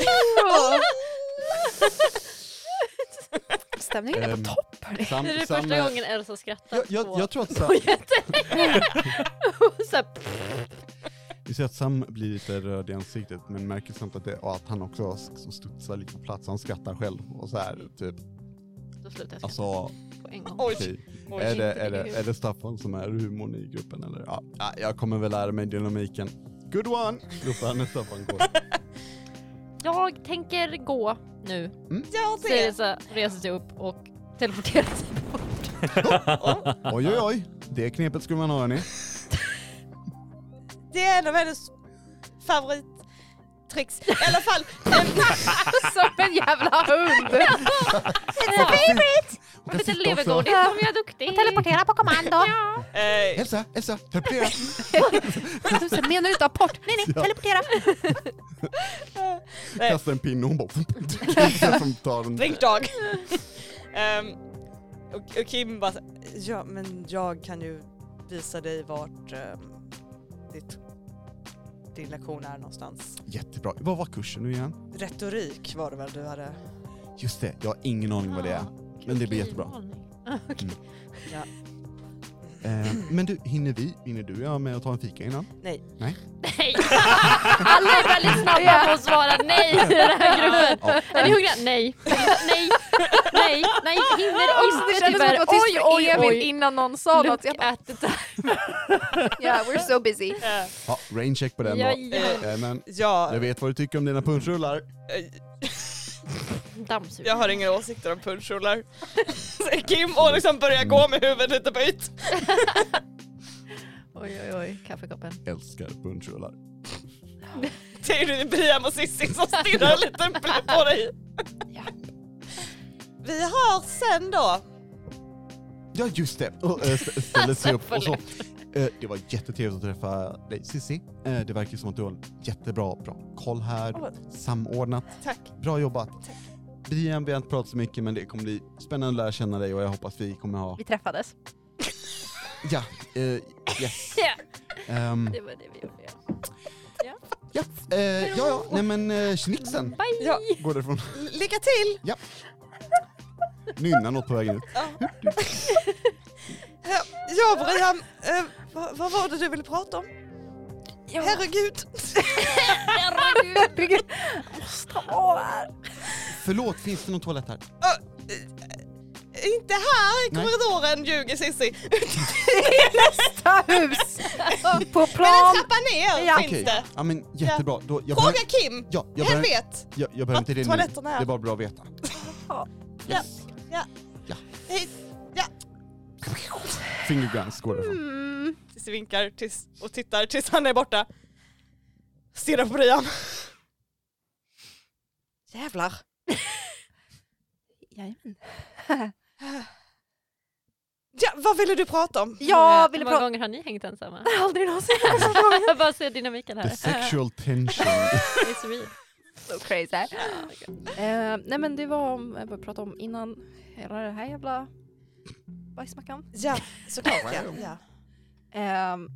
S1: Stämningen är
S3: Ehm,
S1: på topp hörni.
S3: Sam,
S4: Det är det
S3: Sam,
S4: första
S3: eh,
S4: gången Elsa skrattar
S3: Jag, jag,
S4: på-
S3: jag tror att Sam,
S4: på jättelänge. Så här, pff,
S3: vi ser att Sam blir lite röd i ansiktet men märker samt att, det, och att han också s- studsar lite på plats. Han skrattar själv och så här typ.
S4: Då slutar jag skratta
S3: Alltså,
S4: på en gång.
S2: Oj.
S3: okej. Är det, är, det, är det Staffan som är humorn i gruppen eller? Ja, ja, jag kommer väl lära mig dynamiken. Good one! Ropar han när Staffan går.
S4: Jag tänker gå nu.
S2: Gör
S4: Säger
S2: det!
S4: Elsa, reser sig upp och teleporterar sig bort.
S3: Oj oj oj! Det knepet skulle man ha hörni.
S2: Det är en av hennes favorittricks. I alla fall,
S4: Som en jävla hund!
S3: Hon kan
S4: Med en
S3: sitta också.
S4: levergodis om jag är duktig. Teleportera på kommando. Ja.
S2: eh,
S3: Elsa, Elsa, teleportera!
S1: Tusen, menar du inte apport? Nej, nej, teleportera!
S2: Nej.
S3: Kastar en pinne och hon bara... som tar den.
S2: Drink dog. Ehm, och, och Kim bara så- ja men jag kan ju visa dig vart ehm, ditt, din lektion är någonstans.
S3: Jättebra. Vad var kursen nu igen?
S2: Retorik var det väl du hade?
S3: Just det, jag har ingen aning vad det är.
S2: Ah.
S3: Men det blir jättebra.
S1: Ah,
S3: Mm. Eh, men du, hinner vi, hinner du jag med att ta en fika innan?
S4: Nej. Alla är väldigt snabba på att svara nej i den här gruppen.
S3: Ja.
S4: Är ni hungriga? Nej. Nej. Nej. Nej. Hinner
S1: Det
S4: inte
S1: kändes som att
S4: tyvärr.
S1: det var
S4: Oj,
S1: tyst
S4: oj,
S1: för Emil
S4: oj.
S1: innan någon sa något. Jag
S4: Look
S1: bara,
S4: at the time.
S1: yeah, we're so busy.
S2: Eh,
S3: Ja, raincheck på den då.
S4: Jajamän.
S3: Eh, men
S2: ja,
S3: jag vet vad du tycker om dina punschrullar.
S2: eh,
S4: Dammsugare.
S2: jag har inga åsikter om punschrullar. Säger Kim och liksom börjar gå med huvudet lite böjt.
S4: Oj, oj, oj. Kaffekoppen.
S3: Älskar punschrullar.
S2: Det är ju Brian och Cissi som stirrar lite på dig. Vi har sen då
S3: Ja just det, och eh, st- ställer sig upp och så. Eh, Det var jättetrevligt att träffa dig Cissi. Eh, Det verkar som att du har en jättebra bra koll här. Samordnat.
S2: Tack.
S3: Bra jobbat. Brian, vi har inte pratat så mycket men det kommer bli spännande att lära känna dig och jag hoppas vi kommer ha...
S1: Vi träffades.
S3: Ja, eh, yes.
S4: Ja,
S3: Ehm,
S4: det var det vi gjorde.
S3: ja, eh, ja, ja, nej men eh, schnixen
S4: Bye!
S2: Ja.
S3: går därifrån.
S2: Lycka till!
S3: Nynna något på vägen ut.
S2: Ja, ja Brian, eh, vad, vad var det du ville prata om? Herregud!
S4: Herregud.
S3: Förlåt, finns det någon toalett här?
S2: eh, Inte här i
S3: Nej.
S2: korridoren ljuger Cissi.
S1: Ta hus! På
S2: En
S1: plan!
S2: trappa ner
S1: Ja.
S2: finns
S3: Okej.
S2: det.
S3: Ja men jättebra. Då, jag
S2: Fråga
S3: behöver,
S2: Kim,
S3: ja, jag
S2: hen
S3: behöver,
S2: vet.
S3: jag, jag behöver inte det nu.
S2: Toaletterna
S3: Det
S2: är...
S3: var bra att veta.
S2: Ja,
S3: Yes.
S2: ja.
S3: Ja.
S2: Hej.
S3: Finger guns går därifrån.
S1: Mm.
S2: Cissi vinkar tills, och tittar tills han är borta. Stirrar på Brian. Jävlar.
S1: Jajamän.
S2: Ja, vad ville du prata om?
S1: Jag ville
S4: Hur många
S1: prata...
S4: gånger har ni hängt ensamma?
S1: Aldrig någonsin.
S4: Jag bara ser dynamiken
S3: The
S4: här.
S3: sexual tension.
S4: It's real.
S1: So crazy. Eh, nej men det var om, jag började prata om innan hela den här jävla bajsmackan.
S2: Ja, såklart ja. ja.
S1: Ehm,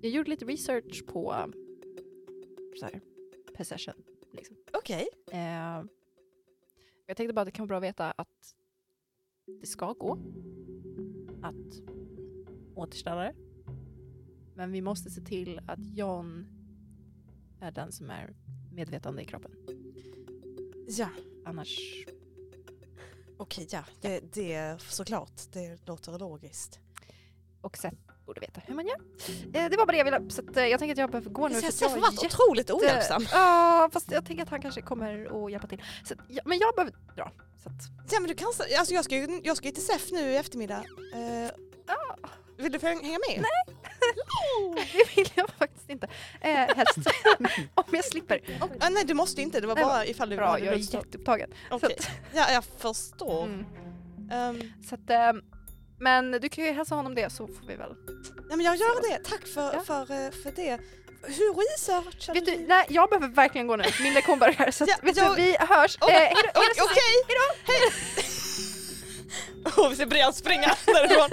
S1: jag gjorde lite research på um, så här, possession.
S2: Okej.
S1: Ehm, jag tänkte bara att det kan vara bra att veta att det ska gå att återställa det. Men vi måste se till att John är den som är medvetande i kroppen.
S2: Ja,
S1: Annars...
S2: okej ja. Det, det är såklart. Det låter logiskt.
S1: Och Seth borde veta hur man gör. Eh, det var bara det jag ville. Så att, eh, jag tänker att jag behöver gå nu.
S2: Jag
S1: för
S2: har
S1: att
S2: sett
S1: jag är
S2: varit otroligt ohjälpsam.
S1: Ja, fast jag tänker att han kanske kommer att hjälpa till. Så, att- ja, men jag behöver dra. Så att,
S2: Ja men du kan, alltså jag ska ju, jag ska ju till SEF nu i eftermiddag. Eh,
S1: ja,
S2: vill du häng- hänga med?
S1: det vill jag faktiskt inte. eh, helst. Om jag slipper.
S2: Ah, nej du måste inte, det var
S1: Nej,
S2: bara ifall du
S1: Bra,
S2: hade
S1: jag är
S2: rullstol.
S1: jätteupptagen. Så
S2: Okej.
S1: att,
S2: Ja, jag förstår.
S1: mm.
S2: Ehm,
S1: så att, ehm, men du kan ju hälsa honom det så får vi väl.
S2: nej, men jag gör det, tack för,
S1: Ja.
S2: för, eh, för det. Hur researchade
S1: Vet du, nej, jag behöver verkligen gå nu. Min lektion börjar. Så att,
S2: Ja,
S1: vet
S2: jag-
S1: du, vi hörs.
S2: Oj,
S1: Eh, hej då,
S2: Oj,
S1: hej då,
S2: Okej! Hej! Och vi ser Brian springa därifrån.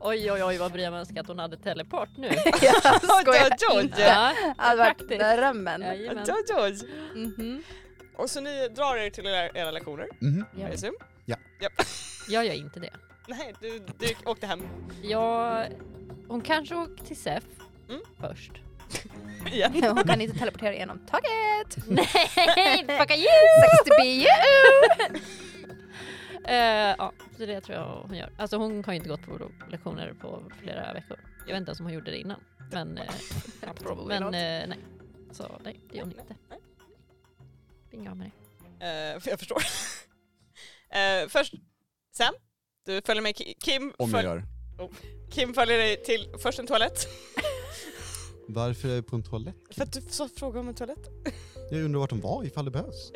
S4: Oj oj oj vad Brian önskar att hon hade teleport nu.
S1: Jag skojar.
S2: Oj, oj, oj.
S4: Ja,
S1: Det hade varit
S4: Praktiskt.
S1: Alltså, drömmen.
S4: jajamän.
S2: Oj, oj.
S4: Mhm.
S2: Och så ni drar er till era, era lektioner,
S3: Mhm.
S4: Ja.
S2: I assume?
S4: Jag gör inte det.
S2: Nej, du, du åkte hem
S4: Jag... Hon kanske åker till SEF
S2: Mm.
S4: först.
S2: igen.
S1: Hon kan inte teleportera genom taket.
S4: Nej, fuck you!
S1: 60 BU!
S4: Eh, ja, så det tror jag hon gör. Alltså hon har ju inte gått på lektioner på flera veckor. Jag vet inte ens om hon gjorde det innan. Men, eh, men eh, nej. Så nej, det gör hon inte. Inga av med det.
S2: Eh, för jag förstår. Eh, först Sam, du följer med Ki- Kim.
S3: Om jag
S2: föl-
S3: gör.
S2: Kim följer dig till först en toalett.
S3: Varför är jag på en toalett?
S2: För att du så fråga om en toalett.
S3: Jag undrar vart de var ifall det behövs.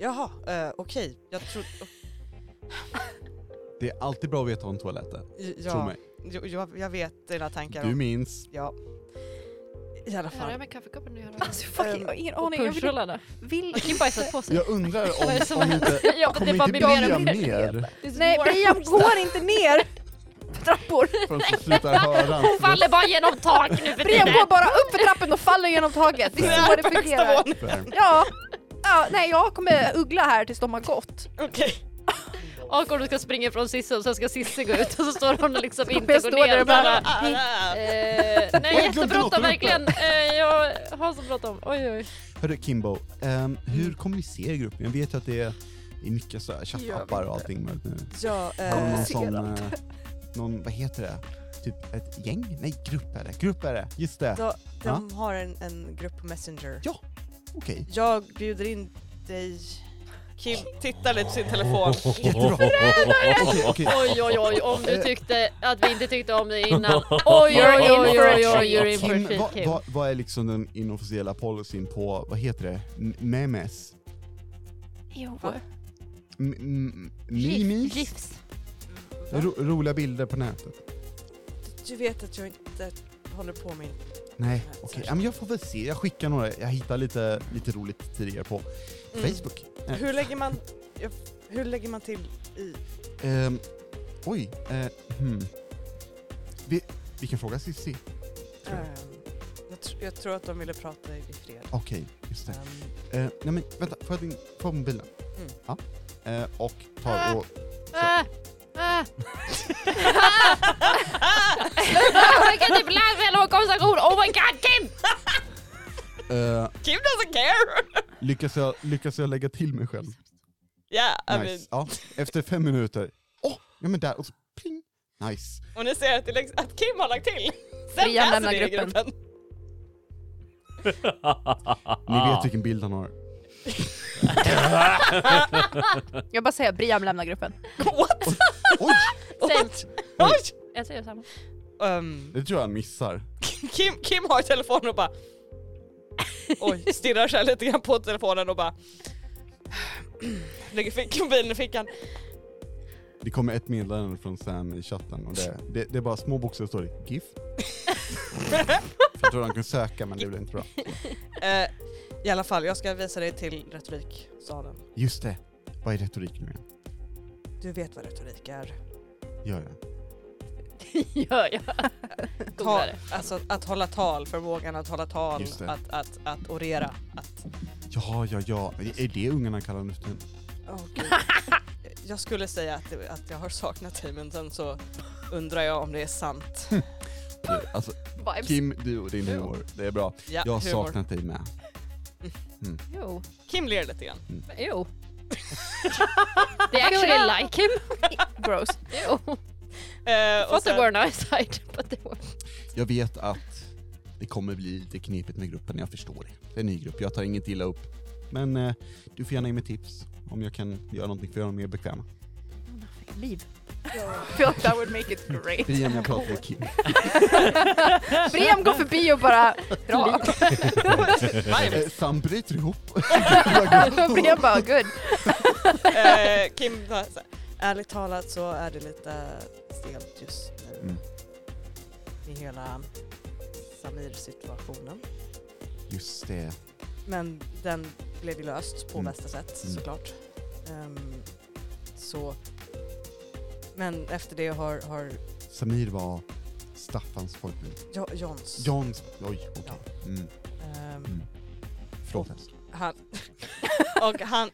S2: Jaha, eh, okej. Jag trodde...
S3: Det är alltid bra att veta om toaletter. Tro
S2: Ja,
S3: mig.
S2: jag, jag, jag vet dina tankar.
S3: Du
S2: om-
S3: minns.
S2: Ja. I alla fall.
S4: med kaffekoppen nu?
S1: Alltså fucking, jag har ingen
S4: Och
S1: aning. Jag vill,
S4: punschrullarna.
S1: vill
S4: Har Kim bajsat på sig?
S3: Jag undrar
S4: Vad är det som
S3: om, om inte...
S4: händer? Ja,
S3: Kommer
S4: bara
S3: inte
S4: blir mer och
S3: Brian
S4: mer.
S3: ner
S1: Nej, Brian går inte ner för trappor.
S3: förrän du slutar höra
S4: Hon
S3: hans
S4: faller bara genom tak nu för
S1: Brian går
S4: tiden!
S1: bara upp för trappen och faller genom taget. Det är så det fungerar.
S3: röster.
S1: Ja. ja, nej jag kommer uggla här tills de har gått.
S2: Okej.
S4: Och om du ska springa från Sisse och sen ska Sisse gå ut och så står hon liksom inte
S1: Jag
S4: och går
S1: står
S4: ner.
S1: där
S4: och
S1: och bara,
S4: bara,
S2: Ah, ah, ah.
S4: Eh, nej,
S3: glömde
S4: jättebråttom
S3: låten,
S4: verkligen. Eh, jag har så bråttom. Oj, oj.
S3: Hörru Kimbo, ehm,
S4: Mm.
S3: hur kommunicerar gruppen? Jag vet ju att det är, det är mycket så här chattappar och allting möjligt nu.
S2: Ja,
S3: Har du
S2: eh,
S3: någon sån, eh, någon, vad heter det? Typ ett gäng? Nej, grupp är det. Grupp är det. Just det.
S2: de, de har en, en grupp på Messenger.
S3: Okej.
S2: Jag bjuder in dig. Kim tittar lite på sin telefon.
S3: Jättebra. Okej, okej. Eh.
S4: Oj, oj, oj, om du tyckte att vi inte tyckte om det innan. Oj, oj, oj, oj, oj, oj you're in for a
S3: Kim,
S4: treat,
S3: vad,
S4: Kim.
S3: vad, vad är liksom den inofficiella policyn på, vad heter det? M- memes?
S1: Jo.
S3: M- m- Mimis?
S4: Gifs.
S3: Ro, roliga bilder på nätet?
S2: Du vet att jag inte håller på med...
S3: Nej, okej. Ja, men jag får väl se. Jag skickar några. Jag hittar lite, lite roligt tidigare på
S2: Mm.
S3: Facebook. Eh,
S2: Hur lägger man... jag- Hur lägger man till i...
S3: Ehm, oj. eh, hmm. vi, vi kan fråga Cissi. Tror jag.
S2: ehm, jag, tr- jag tror att de ville prata i i fred.
S3: Okej, just det.
S2: Ehm,
S3: Eh, nej men vänta, får jag din, får jag mobilen?
S2: Mm.
S3: Ja. Eh, och tar och...
S4: Ah, ah. Jag kan inte ibland väl ha konversation. Oh my god, Kim!
S3: Eh,
S2: Kim doesn't care!
S3: lyckas, jag, lyckas jag lägga till mig själv?
S2: Ja, I mean,
S3: Nice. Ja, efter fem minuter. Åh, ja men där och så pling. Nice.
S2: och ni ser att, det läggs, att Kim har lagt till. Sen
S1: Brian
S2: läser
S1: lämnar
S2: ni i
S1: gruppen.
S2: gruppen.
S3: Ni
S2: Ah.
S3: vet vilken bild han har.
S1: Jag bara säger Brian lämnar gruppen.
S2: What?
S3: Oj,
S4: Sen,
S2: Oj!
S4: jag säger samma.
S2: Ehm,
S3: det tror jag han missar.
S2: Kim, Kim har telefonen och bara... Oj, stirrar sig lite grann på telefonen och bara... Lägger fick- mobilen i fickan.
S3: Det kommer ett meddelande från Sam i chatten och det, det, det är bara små bokstäver står det GIF. jag tror han kunde söka men det blev inte bra.
S2: Eh, I alla fall, jag ska visa dig till retoriksalen.
S3: Just det, vad är retorik nu igen?
S2: Du vet vad retorik är.
S3: Gör jag.
S4: Gör jag.
S2: Ta,
S4: Googlare.
S2: alltså att hålla tal, förmågan att hålla tal,
S3: Just det.
S2: att, att, att orera. Att,
S3: Ja, ja, ja. Är det ungarna kallar nu för tiden?
S2: Åh, gud. jag skulle säga att, det- att jag har saknat dig men sen så undrar jag om det är sant.
S3: Du, Alltså,
S1: Vibes.
S3: Kim, du och din humor. Det är bra.
S2: Ja,
S3: Jag har
S2: humor.
S3: saknat dig med.
S4: Jo.
S2: Kim ler lite grann.
S4: Jo. They actually like him.
S1: Gross.
S4: Jo.
S2: Eh, och
S4: But they
S2: sen,
S4: were nice side. But they were...
S3: Jag vet att det kommer bli lite knepigt med gruppen, jag förstår det. Det är en ny grupp, jag tar inget illa upp. Men eh, du får gärna ge mig tips om jag kan göra någonting för att göra dem mer bekväma.
S1: Liv. I feel like that would make it great.
S3: Brian, jag pratar med Kim.
S1: Brem går förbi och bara drar.
S2: Fine.
S3: Eh, Sam bryter ihop.
S1: Brem bara good.
S2: Eh, Kim, så här, ärligt talat så är det lite stelt just nu
S3: Mm.
S2: i hela Samir-situationen.
S3: Just det.
S2: Men den blev ju löst på
S3: Mm.
S2: bästa sätt
S3: Mm.
S2: såklart. Ehm, så. Men efter det har, har
S3: Samir var Staffans pojkvän.
S2: jo, Johns...
S3: Johns... Oj, okej. Mm.
S2: ehm,
S3: Mm. Förlåt älskling.
S2: han, och han,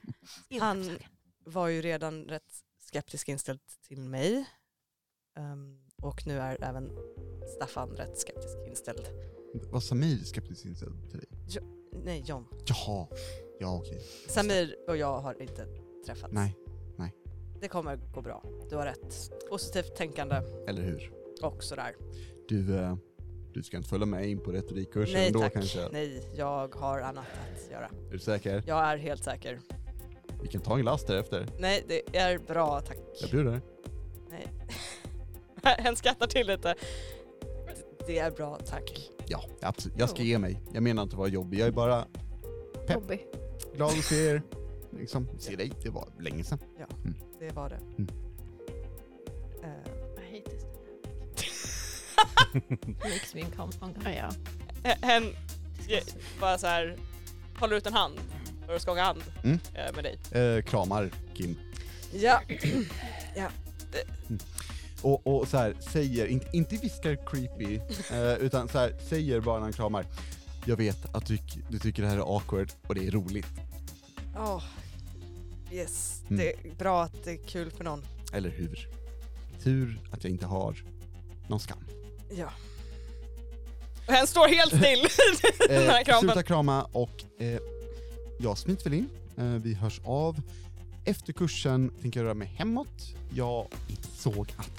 S2: han var ju redan rätt skeptisk inställd till mig. Ehm, och nu är även Staffan rätt skeptisk inställd.
S3: Var Samir skeptisk inställd till dig?
S2: Nej, John.
S3: Jaha. Ja, okej.
S2: Samir och jag har inte träffats.
S3: Nej,
S2: Det kommer gå bra. Du har rätt. Positivt tänkande
S3: eller hur?
S2: och sådär.
S3: Du, eh, du ska inte följa med in på retorikkursen
S2: Nej
S3: ändå
S2: tack,
S3: kanske?
S2: nej jag har annat att göra.
S3: Är du säker?
S2: Jag är helt säker.
S3: Vi kan ta en glass därefter.
S2: Nej det är bra tack.
S3: Jag bjuder.
S2: Nej. Hen skrattar till lite. Det är bra tack.
S3: Ja, absolut. Jag ska ge mig. Jag menar inte att vara jobbig, jag är bara Pepp.
S1: Bobby.
S3: glad att se er. Liksom, se dig, det var länge sedan.
S2: Det var det.
S3: Mm.
S2: Eh,
S4: Makes me
S1: Ja, ja.
S2: Hen- Hen Eh, bara så här håller ut en hand och skakar hand
S3: Mm.
S2: eh, med dig.
S3: Eh, kramar Kim.
S2: Ja.
S3: Och, och så här, säger, inte, inte viskar creepy, eh, utan så här, säger bara när han kramar. Jag vet att du, du tycker det här är awkward och det är roligt,
S2: Åh. Yes.
S3: Mm.
S2: Det är bra att det är kul för någon.
S3: eller hur? Tur att jag inte har någon skam.
S2: Ja. Hen står helt still i den här
S3: Eh,
S2: kramen.
S3: sluta krama och eh, jag smiter väl in. Eh, vi hörs av. Efter kursen tänker jag röra mig hemåt. Jag insåg att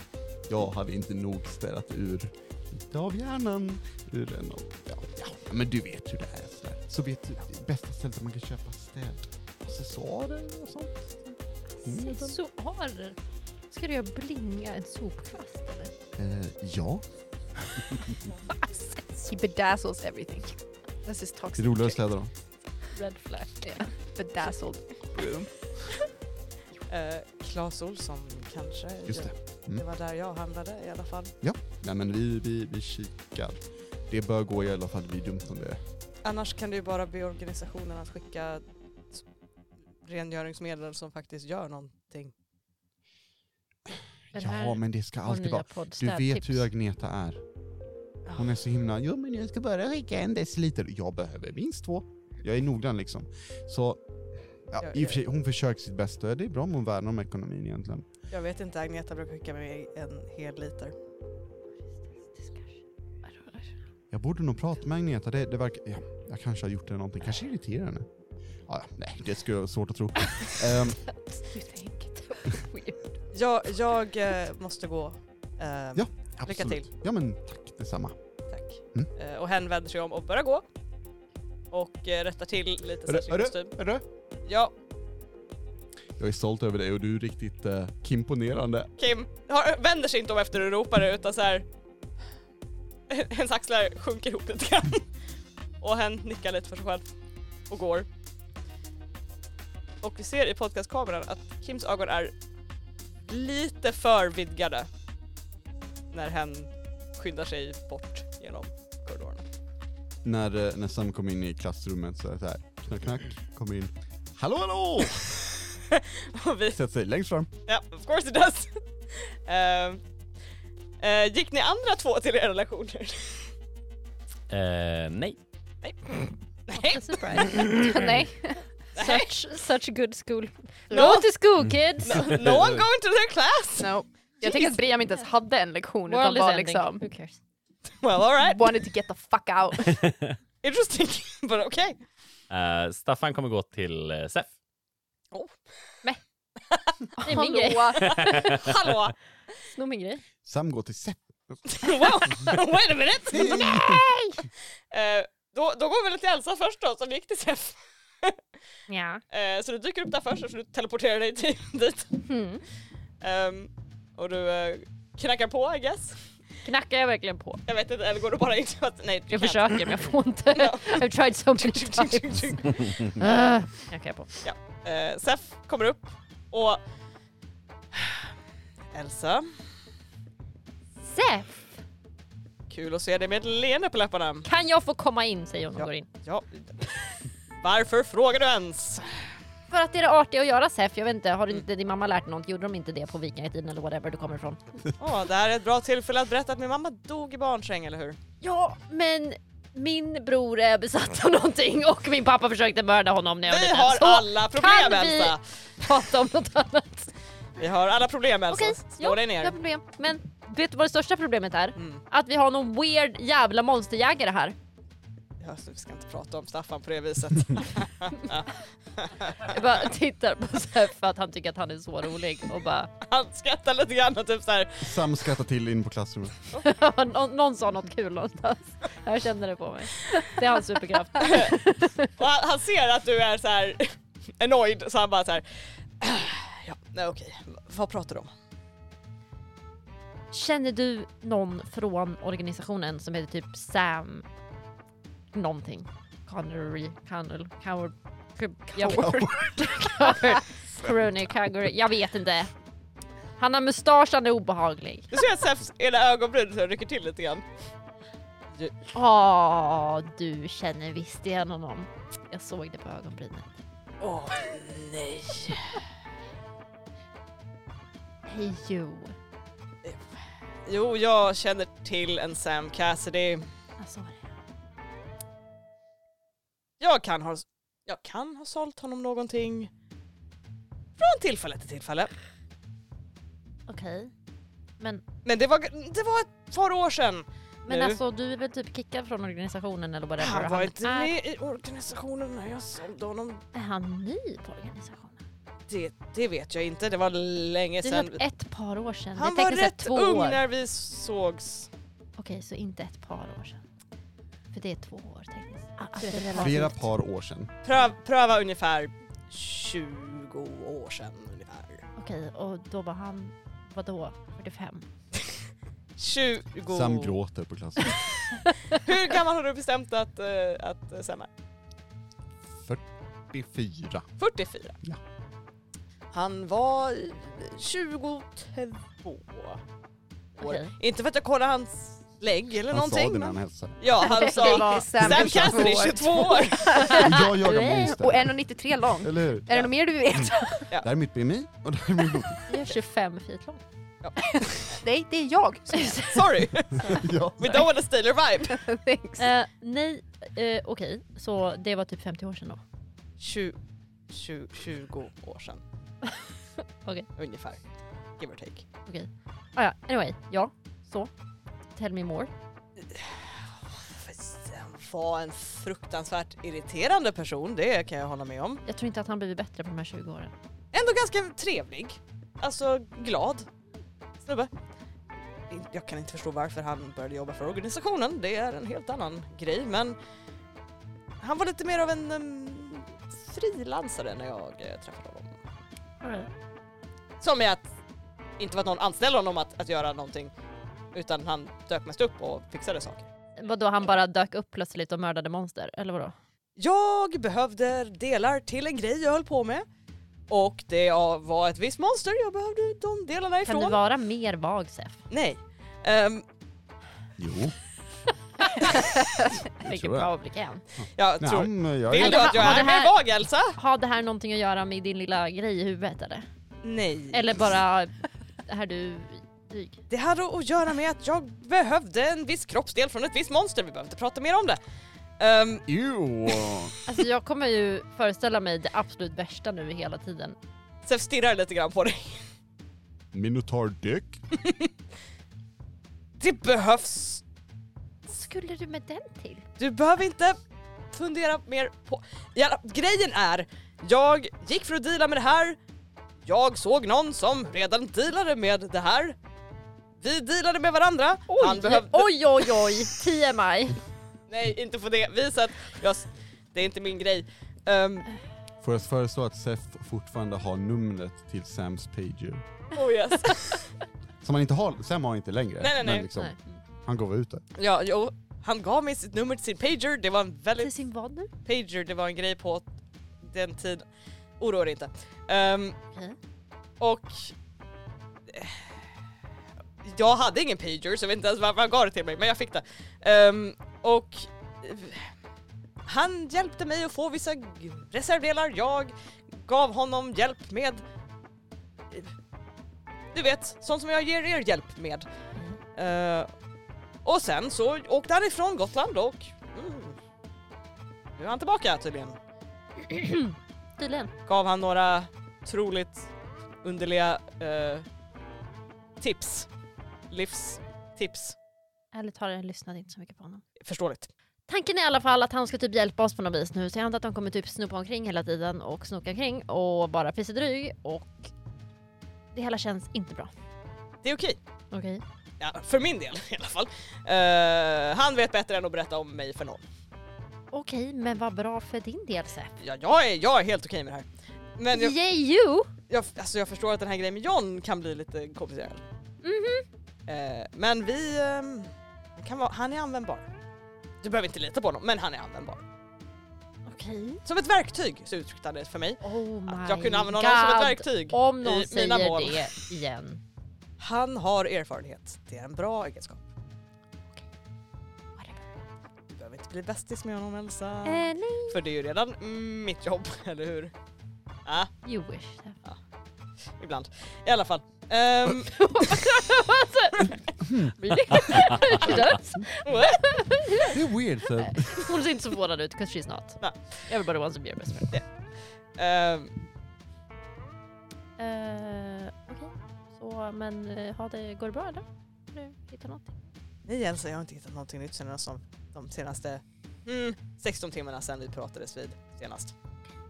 S3: jag hade inte nog städat ur lite av hjärnan. Ur den och, ja, ja, men du vet hur det är. Så, där. så vet du det bästa stället där man kan köpa städaccessoarer och sånt. Mm.
S4: Accessoarer? Ska du göra blinga en sopkvast eller?
S3: Eh, ja,
S1: He bedazzles everything. This is
S3: det
S1: toxic.
S3: är roligare att städa då.
S4: Red flag.
S1: Bedazzled.
S2: Eh, Claes Olsson kanske.
S3: Just det. Mm.
S2: Det var där jag handlade i alla fall.
S3: Nej men vi, vi, vi kikar. Det bör gå i alla fall, det blir dumt om det
S2: Annars kan du ju bara be organisationen att skicka s- rengöringsmedel som faktiskt gör någonting.
S4: Är det här
S3: Ja, men det ska
S4: vår
S3: alltid
S4: nya
S3: vara.
S4: podd
S3: Du vet
S4: Städtips?
S3: hur Agneta är. Hon är så himla, jo men jag ska bara skicka en deciliter. Jag behöver minst två. Jag är noggrann liksom. Så, ja,
S2: Ja,
S3: i och
S2: ja.
S3: för sig, hon försöker sitt bästa. Det är bra om hon värnar om ekonomin egentligen.
S2: Jag vet inte, Agneta brukar skicka mig en hel liter.
S3: Jag borde nog prata med Agneta. Det, det verkar, ja, jag kanske har gjort det någonting. Kanske irriterar henne. Ja, ja, nej, det skulle vara svårt att tro. Ehm,
S4: You think?
S2: Jag, jag eh, måste gå. Ehm,
S3: Ja. absolut.
S2: till.
S3: Ja, men tack detsamma.
S2: Tack.
S3: Mm.
S2: Eh, och hen vänder sig om och börjar gå. Och eh, rättar till lite så här sin
S3: Hörru,
S2: kostym.
S3: hörru.
S2: Ja,
S3: Jag är stolt över dig och du är riktigt eh, kimponerande.
S2: Kim har, vänder sig inte om efter du ropar det, utan så här. Hennes axlar sjunker ihop lite grann. Och hen nickar lite för sig själv och går. Och vi ser i podcastkameran att Kims ögon är lite för vidgade när hen skyndar sig bort genom korridorerna.
S3: När, eh, när Sam kom in i klassrummet så är det så här, knack, knack, kom in. Hallå, hallå!
S2: Och vi
S3: Sätter sig längst fram.
S2: Ja, of course it does. Ehm, eh, gick ni andra två till era lektioner?
S5: Eh, nej.
S2: Nej. Mm,
S4: Surprise.
S1: Nej.
S4: Such, such good school.
S1: No.
S4: Go to school kids!
S2: No, no one going to their class!
S1: No. Jag tänker att Brian inte ens hade en lektion utan
S4: World is
S1: var
S4: ending.
S1: liksom
S4: Who cares?
S2: Well alright,
S1: wanted to get the fuck out.
S2: interesting. But okay.
S5: Eh, Staffan kommer gå till eh, SEF.
S4: Det är min grej.
S1: Hallå.
S2: Hallå!
S4: Sno min grej.
S3: Sam går till Sepp.
S2: Wow, wait a minute! Eh, då, då går vi väl till Elsa först då, som gick till SEF.
S4: Ja. Hmm.
S2: Eh, så du dyker upp där först och du teleporterar dig till, dit.
S4: Mm.
S2: Ehm, Och du eh, knackar på I guess.
S4: Knackar jag verkligen på?
S2: Jag vet inte, eller går du bara in så att... Nej, du
S4: Jag
S2: kan.
S4: försöker men jag får inte. I've tried so many times. Ah, jag kan på.
S2: Eh, Sef kommer upp och... Elsa,
S4: Sef!
S2: kul att se dig med ett leende på läpparna.
S4: Kan jag få komma in? Säger hon och går in.
S2: Ja. Varför frågar du ens?
S4: För att det är det artiga att göra Sef. Jag vet inte, har inte din mamma lärt dig något? Gjorde de inte det på vikingatiden eller whatever du kommer ifrån?
S2: Åh, det här är ett bra tillfälle att berätta att min mamma dog i barnsäng, eller hur?
S4: Ja, men min bror är besatt av någonting och min pappa försökte mörda honom när jag var
S2: Vi
S4: liten.
S2: har
S4: Så
S2: alla problem,
S4: kan vi-
S2: Elsa!
S4: prata om något annat.
S2: Vi har alla problem, Elsa.
S4: Okej,
S2: Alltså, Slå
S4: ja,
S2: dig
S4: jag har
S2: ner.
S4: problem. Men vet du vad det största problemet är?
S2: Mm.
S4: Att vi har någon weird jävla monsterjägare här.
S2: Ja, så vi ska inte prata om Staffan på det viset.
S4: Jag bara tittar på Sef för att han tycker att han är så rolig och bara
S2: Han skrattar lite grann och typ såhär,
S3: Sam skrattar till in på klassrummet.
S4: någon, någon sa något kul någonstans. Jag känner det på mig. Det är hans superkraft.
S2: och han, han ser att du är såhär annoyed så han bara såhär, ja, nej okej, V- vad pratar du om?
S4: Känner du någon från organisationen som heter typ Sam någonting? Connery, Connell, Coward, jag vet- Coward, Crony, Caggery, jag vet inte. Han har mustasch, han är obehaglig.
S2: Du ser att Sefs ena ögonbryn så rycker till lite grann.
S4: Åh, du känner visst igen honom. Jag såg det på ögonbrynen.
S2: Åh nej.
S4: Hej Jo.
S2: Jo, jag känner till en Sam Cassidy.
S4: Jag såg det.
S2: Jag kan ha, jag kan ha sålt honom någonting. Från tillfälle till tillfälle.
S4: Okej. Men,
S2: Men det var, det var ett par år sedan.
S4: men
S2: Nu.
S4: alltså du är väl typ kickad från organisationen eller vad det
S2: Han var inte
S4: är,
S2: med i organisationen när jag sålde honom.
S4: är han ny på organisationen?
S2: Det, det vet jag inte, det var länge
S4: Det är typ
S2: sedan.
S4: ett par år sedan.
S2: Han
S4: det är
S2: var
S4: tekniskt sett
S2: rätt
S4: två
S2: ung
S4: år.
S2: när vi sågs.
S4: Okej, så inte ett par år sedan. För det är två år tekniskt sett. Så Ah, alltså, det är
S3: Flera
S4: relativt.
S3: par år sedan.
S2: Pröv, pröva ungefär 20 år sedan ungefär.
S4: Okej, och då var han, vadå, 45?
S2: 20...
S3: Sam gråter på klassrummet.
S2: Hur gammal har du bestämt att, eh, att eh, Sam är?
S3: 44.
S2: 44.
S3: Ja.
S2: Han var 22 år.
S4: Okej.
S2: Inte för att jag kollar hans lägg eller
S3: Han sa
S2: någonting.
S3: det när
S2: men-
S3: han hälsade.
S2: Ja, han
S1: Det
S2: sa
S1: var
S2: Sam Cassidy 22 år.
S3: Och jag jagar
S1: Och
S3: monster.
S1: 1,93 lång.
S3: Eller hur?
S1: Är det något mer du vet?
S3: Där är mitt BMI och där är min blod.
S4: Jag är 25 feet lång.
S1: Nej, det är jag.
S2: Sorry,
S3: Ja.
S2: we don't wanna steal your vibe.
S1: Thanks.
S4: Eh, nej, eh, okej, så det var typ 50 år sedan då.
S2: 20, 20, 20 år sedan.
S4: Okej.
S2: Ungefär. Give or take.
S4: Ah, ja, anyway, ja, så. Tell me more.
S2: Fast Han var en fruktansvärt irriterande person, det kan jag hålla med om.
S4: Jag tror inte att han blivit bättre på de här 20 åren.
S2: Ändå ganska trevlig. Alltså glad. Snubbe. Jag kan inte förstå varför han började jobba för organisationen, det är en helt annan grej men han var lite mer av en em, frilansare när jag eh, träffade honom. Som är att inte var att någon anställde honom att, att göra någonting utan han dök mest upp och fixade saker.
S4: Vadå, han bara dök upp plötsligt och mördade monster, eller vadå?
S2: Jag behövde delar till en grej jag höll på med och det var ett visst monster jag behövde de delarna
S4: Kan
S2: ifrån.
S4: du vara mer vag, Sef?
S2: Nej. Ehm,
S3: Jo. tror
S4: Vilken
S3: jag.
S4: bra blick igen.
S2: jag tror...
S3: Nej, men jag
S2: Vill
S3: är...
S2: du att jag
S4: Har
S2: är
S4: det här-
S2: mer vag Elsa?
S4: Har det här någonting att göra med din lilla grej i huvudet eller?
S2: Nej.
S4: Eller bara, här du dyg.
S2: Det hade att göra med att jag behövde en viss kroppsdel från ett visst monster. Vi behöver inte prata mer om det. Ehm,
S3: Jo.
S4: Alltså jag kommer ju föreställa mig det absolut värsta nu i hela tiden.
S2: Sef stirrar lite grann på dig.
S3: Minotaur Dick.
S2: Det behövs.
S4: Vad skulle du med den till?
S2: Du behöver inte fundera mer på... Jävla, grejen är, jag gick för att deala med det här. Jag såg någon som redan dealade med det här. Vi dealade med varandra. Han behövde...
S4: Oj oj oj, TMI.
S2: Nej, inte på det viset. Jag... s- Det är inte min grej. Ehm,
S3: Får jag föreslå att Seth fortfarande har numret till Sams pager?
S2: Oh yes.
S3: Som han inte har, Sam har inte längre.
S2: Nej, nej,
S3: men
S2: nej.
S3: Liksom,
S4: Nej.
S3: Han går väl ut där.
S2: Ja, jo. Han gav mig sitt nummer till sin pager. Det var en
S4: Till
S2: väldigt...
S4: sin vad nu?
S2: Pager, det var en grej på den tiden. Oroa dig inte. Ehm,
S4: Okej.
S2: Och... eh, Jag hade ingen pager så jag vet inte ens varför han gav det till mig men jag fick det. Ehm, och... eh, Han hjälpte mig att få vissa g- reservdelar, jag gav honom hjälp med... eh, Du vet, sånt som jag ger er hjälp med. Eh, och sen så åkte han ifrån Gotland och... Mm, nu är han tillbaka tydligen
S4: Tydligen.
S2: gav han några otroligt underliga eh, tips. Livstips.
S4: Ärligt talat, jag lyssnade inte så mycket på honom.
S2: Förståeligt.
S4: Tanken är i alla fall att han ska typ hjälpa oss på något vis nu så jag antar att de kommer typ snopa omkring hela tiden och snoka omkring och bara pissa dryg och det hela känns inte bra.
S2: Det är okej.
S4: Okej.
S2: Ja, för min del i alla fall. Eh, han vet bättre än att berätta om mig för någon.
S4: Okej, men vad bra för din del Seth.
S2: Ja, jag, är, jag är helt okej med det här. Men jag,
S4: Yay you!
S2: jag, alltså jag förstår att den här grejen med John kan bli lite komplicerad.
S4: Mhm.
S2: Eh, men vi... ehm, kan vara, han är användbar. Du behöver inte lita på honom, men han är användbar.
S4: Okej.
S2: Som ett verktyg så uttryckte han det för mig.
S4: Oh my
S2: Att jag kunde använda honom som
S4: God.
S2: ett verktyg.
S4: Om någon
S2: i
S4: säger
S2: mina mål.
S4: det igen.
S2: Han har erfarenhet. Det är en bra egenskap.
S4: Whatever.
S2: Du behöver inte bli bästis med honom Elsa.
S4: Eh, nej.
S2: För det är ju redan mm, mitt jobb, eller hur? Ah,
S4: You wish.
S2: ibland. I alla fall. Ehm,
S4: Alltså, She does.
S3: Det är weird. Så.
S4: Hon ser inte så förvånad ut, 'cause she's not.
S2: Nej.
S4: Everybody wants to be your best friend.
S2: ehm,
S4: Eh, Okej, så men eh, ha det, går det bra eller? Har du hittat någonting?
S2: nej Elsa, jag har inte hittat någonting nytt sen som de senaste mm, 16 timmarna sen vi pratades vid senast.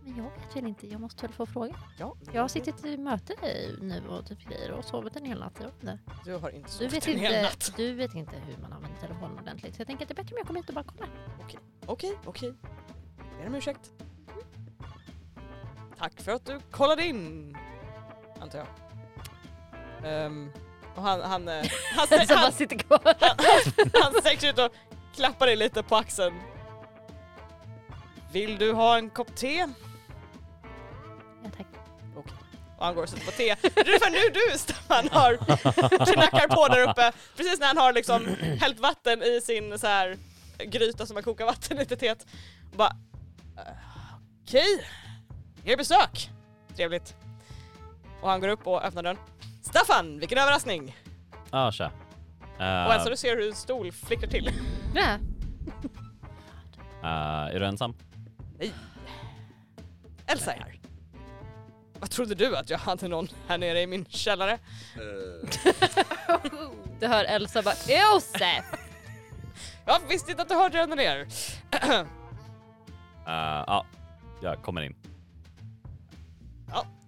S4: Men jag vet väl inte, jag måste väl få fråga.
S2: Ja,
S4: Jag har suttit i möte nu och typ grejer och sovit en hel natt. Jag vet inte.
S2: Du har inte
S4: Du
S2: sovit
S4: vet,
S2: en hel
S4: inte,
S2: natt.
S4: du vet inte hur man använder telefonen ordentligt så jag tänker att det är bättre om jag kommer hit och bara kollar.
S2: Okej, okej. Jag ber om ursäkt. Tack för att du kollade in, antar jag. Ehm, och han, han, eh, han,
S4: Den som
S2: han,
S4: bara sitter kvar.
S2: Han sträcker ut och klappar dig lite på axeln. Vill du ha en kopp te?
S4: Ja, tack.
S2: Och han går och sätter på te. Det är ungefär nu du Staffan har knackar på där uppe. Precis när han har liksom hällt vatten i sin så här gryta som man kokar vatten i till teet. Och bara "Eh, okej, er besök. Trevligt. Och han går upp och öppnar dörren. Staffan, vilken överraskning!
S5: Ja, tja. Eh,
S2: Och alltså du ser hur en stol flickrar till.
S4: Ja.
S5: eh, är du ensam?
S2: Elsa är här. Vad trodde du att jag hade någon här nere i min källare?
S4: Du hör Elsa bara Josef!
S2: Jag visste inte att du hörde henne ner.
S5: Eh, Ja, jag kommer in.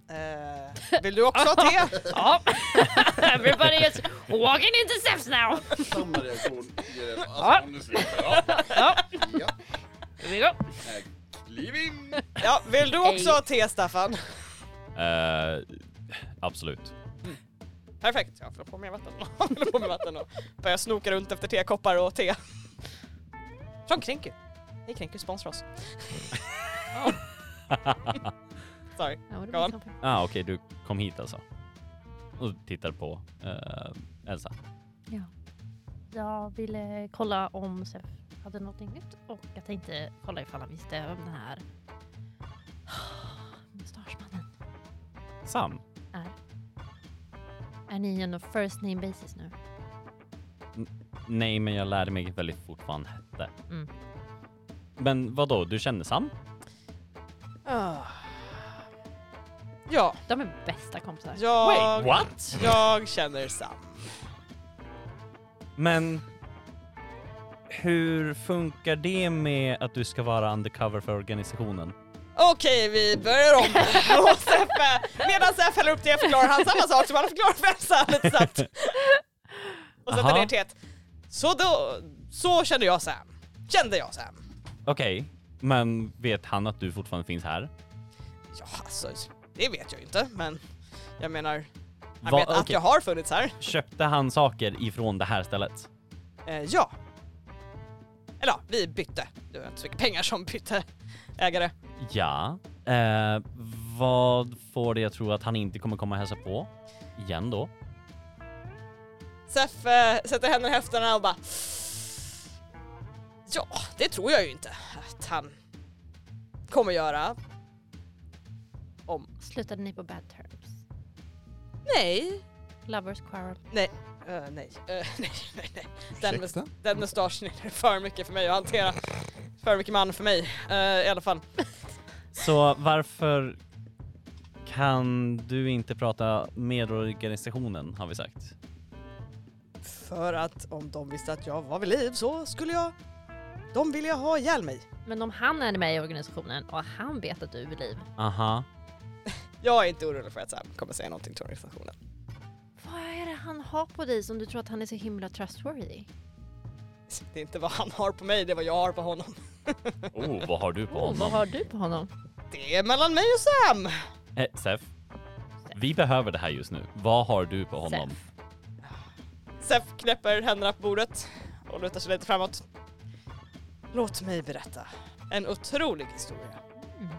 S2: Eh, vill du också ha te?
S4: Ja. Everybody is walking into Zephs now!
S3: Samma reaktion. alltså,
S4: Ja.
S3: nu
S4: Ja. Here we go.
S3: Kliv in!
S2: Ja, vill du också ha te Staffan?
S5: Eh, absolut.
S2: Perfekt, jag får på mig vatten. Jag fyller på mig vatten och börjar snoka runt efter tekoppar och te. Från Krenku. Hej Krenku, sponsra oss. Sorry.
S4: Ja, det
S2: Go on.
S4: var så.
S5: Ah, Okej, du kom hit alltså. Och tittar på eh, Elsa.
S4: Jag ville kolla om Sef hade någonting nytt och jag tänkte kolla ifall han visste om den här mustaschmannen.
S5: Sam?
S4: Är ni on a first name basis nu?
S5: Nej, men jag lärde mig väldigt fort vad han hette.
S4: Mm.
S5: Men vad då? du känner Sam?
S2: Ah. Ja,
S4: De är bästa kompisar.
S2: jag,
S5: what?
S2: jag känner Sam.
S5: Men hur funkar det med att du ska vara undercover för organisationen?
S2: Okej, vi börjar om. Och Seffe, medan Seff häller upp det förklarar han samma sak som han förklarar för Elsa lite snabbt. Och sätter
S5: Aha.
S2: ner teet. Så då, så kände jag Sam. Kände jag Sam.
S5: Okej, men vet han att du fortfarande finns här?
S2: Ja, alltså, det vet jag ju inte, men jag menar, Han
S5: Va-
S2: vet att
S5: okej.
S2: jag har funnits här.
S5: Köpte han saker ifrån det här stället?
S2: Eh, ja. Eller ja, vi bytte. Det var inte så mycket pengar som bytte ägare.
S5: Ja. Eh, vad får det jag tro att han inte kommer komma och hälsa på? Igen då?
S2: Seff eh, sätter händerna i höfterna och bara... Ja, det tror jag ju inte att han kommer göra.
S4: Slutade ni på bad terms?
S2: Nej.
S4: Lovers quarrel?
S2: Eh, nej. Eh, nej, nej, nej. Den,
S3: Ursäkta?
S2: mus- den mustaschen är för mycket för mig att hantera. För mycket man för mig eh, i alla fall.
S5: Så varför kan du inte prata med organisationen har vi sagt?
S2: För att om de visste att jag var vid liv så skulle jag... De ville jag ha ihjäl mig.
S4: Men om han är med i organisationen och han vet att du är vid liv,
S5: Aha.
S2: Jag är inte orolig för att Sam kommer säga någonting till organisationen.
S4: vad är det han har på dig som du tror att han är så himla trustworthy?
S2: Det är inte vad han har på mig, det är vad jag har på honom.
S5: Oh, vad har du på
S4: Oh, vad
S5: honom?
S4: har du på honom?
S2: Det är mellan mig och Sam!
S5: Eh, Sef, vi behöver det här just nu. Vad har du på honom?
S4: Sef.
S2: Sef knäpper händerna på bordet och lutar sig lite framåt. Låt mig berätta en otrolig historia.
S5: Mhm.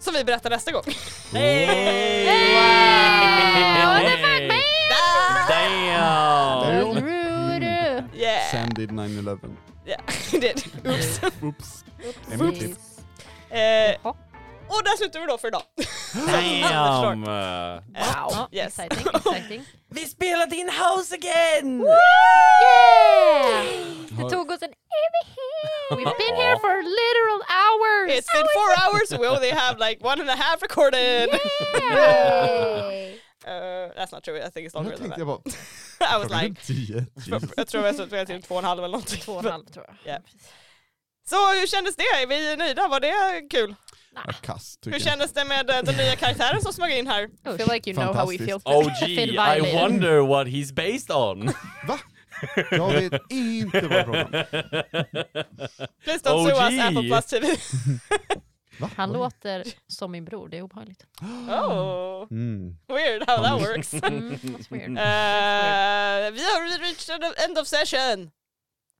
S2: Som vi berättar nästa gång.
S5: Oh! Damn!
S3: Damn. Mm.
S4: Rude.
S2: Yeah!
S3: Sam did 9-11.
S2: Yeah. det, oops.
S3: Oops.
S4: Precis.
S3: Oopsies.
S2: Eh,
S4: Jaha.
S2: och där slutar vi då för idag.
S5: Damn!
S4: Wow,
S2: yes.
S4: exciting, exciting.
S6: Vi spelade in house again!
S4: Det tog oss en evighet! We've been here for literal hours!
S2: It's been four hours, we only have like one and a half recorded.
S4: Yay!
S2: Uh, that's not true, I think it's
S3: Nu
S2: longer than
S3: tänkte
S2: that.
S3: jag
S2: I
S3: bara,
S2: was
S3: klockan är
S2: like,
S3: tio. Jesus.
S2: jag tror jag tror jag till två och en halv eller någonting.
S4: Två och en halv tror jag.
S2: Ja. Så hur kändes det? Är vi nöjda? Var det kul?
S3: Ja, Kass tycker
S2: Hur
S3: jag.
S2: kändes det med eh, den nya karaktären som smög in här?
S1: I feel like you know how we feel.
S5: OG,
S4: Feel
S5: Oh, I
S4: violated.
S5: wonder what he's based on.
S3: Va? Jag vet inte vad frågan är.
S2: Please don't
S3: Oh,
S2: sue
S5: OG.
S2: us, Apple Plus TV.
S3: Va?
S4: Han låter som min bror, det är obehagligt.
S2: Oh,
S3: Mm.
S2: weird how that works.
S4: Mm, that's weird.
S2: Eh, vi har reached the end of session.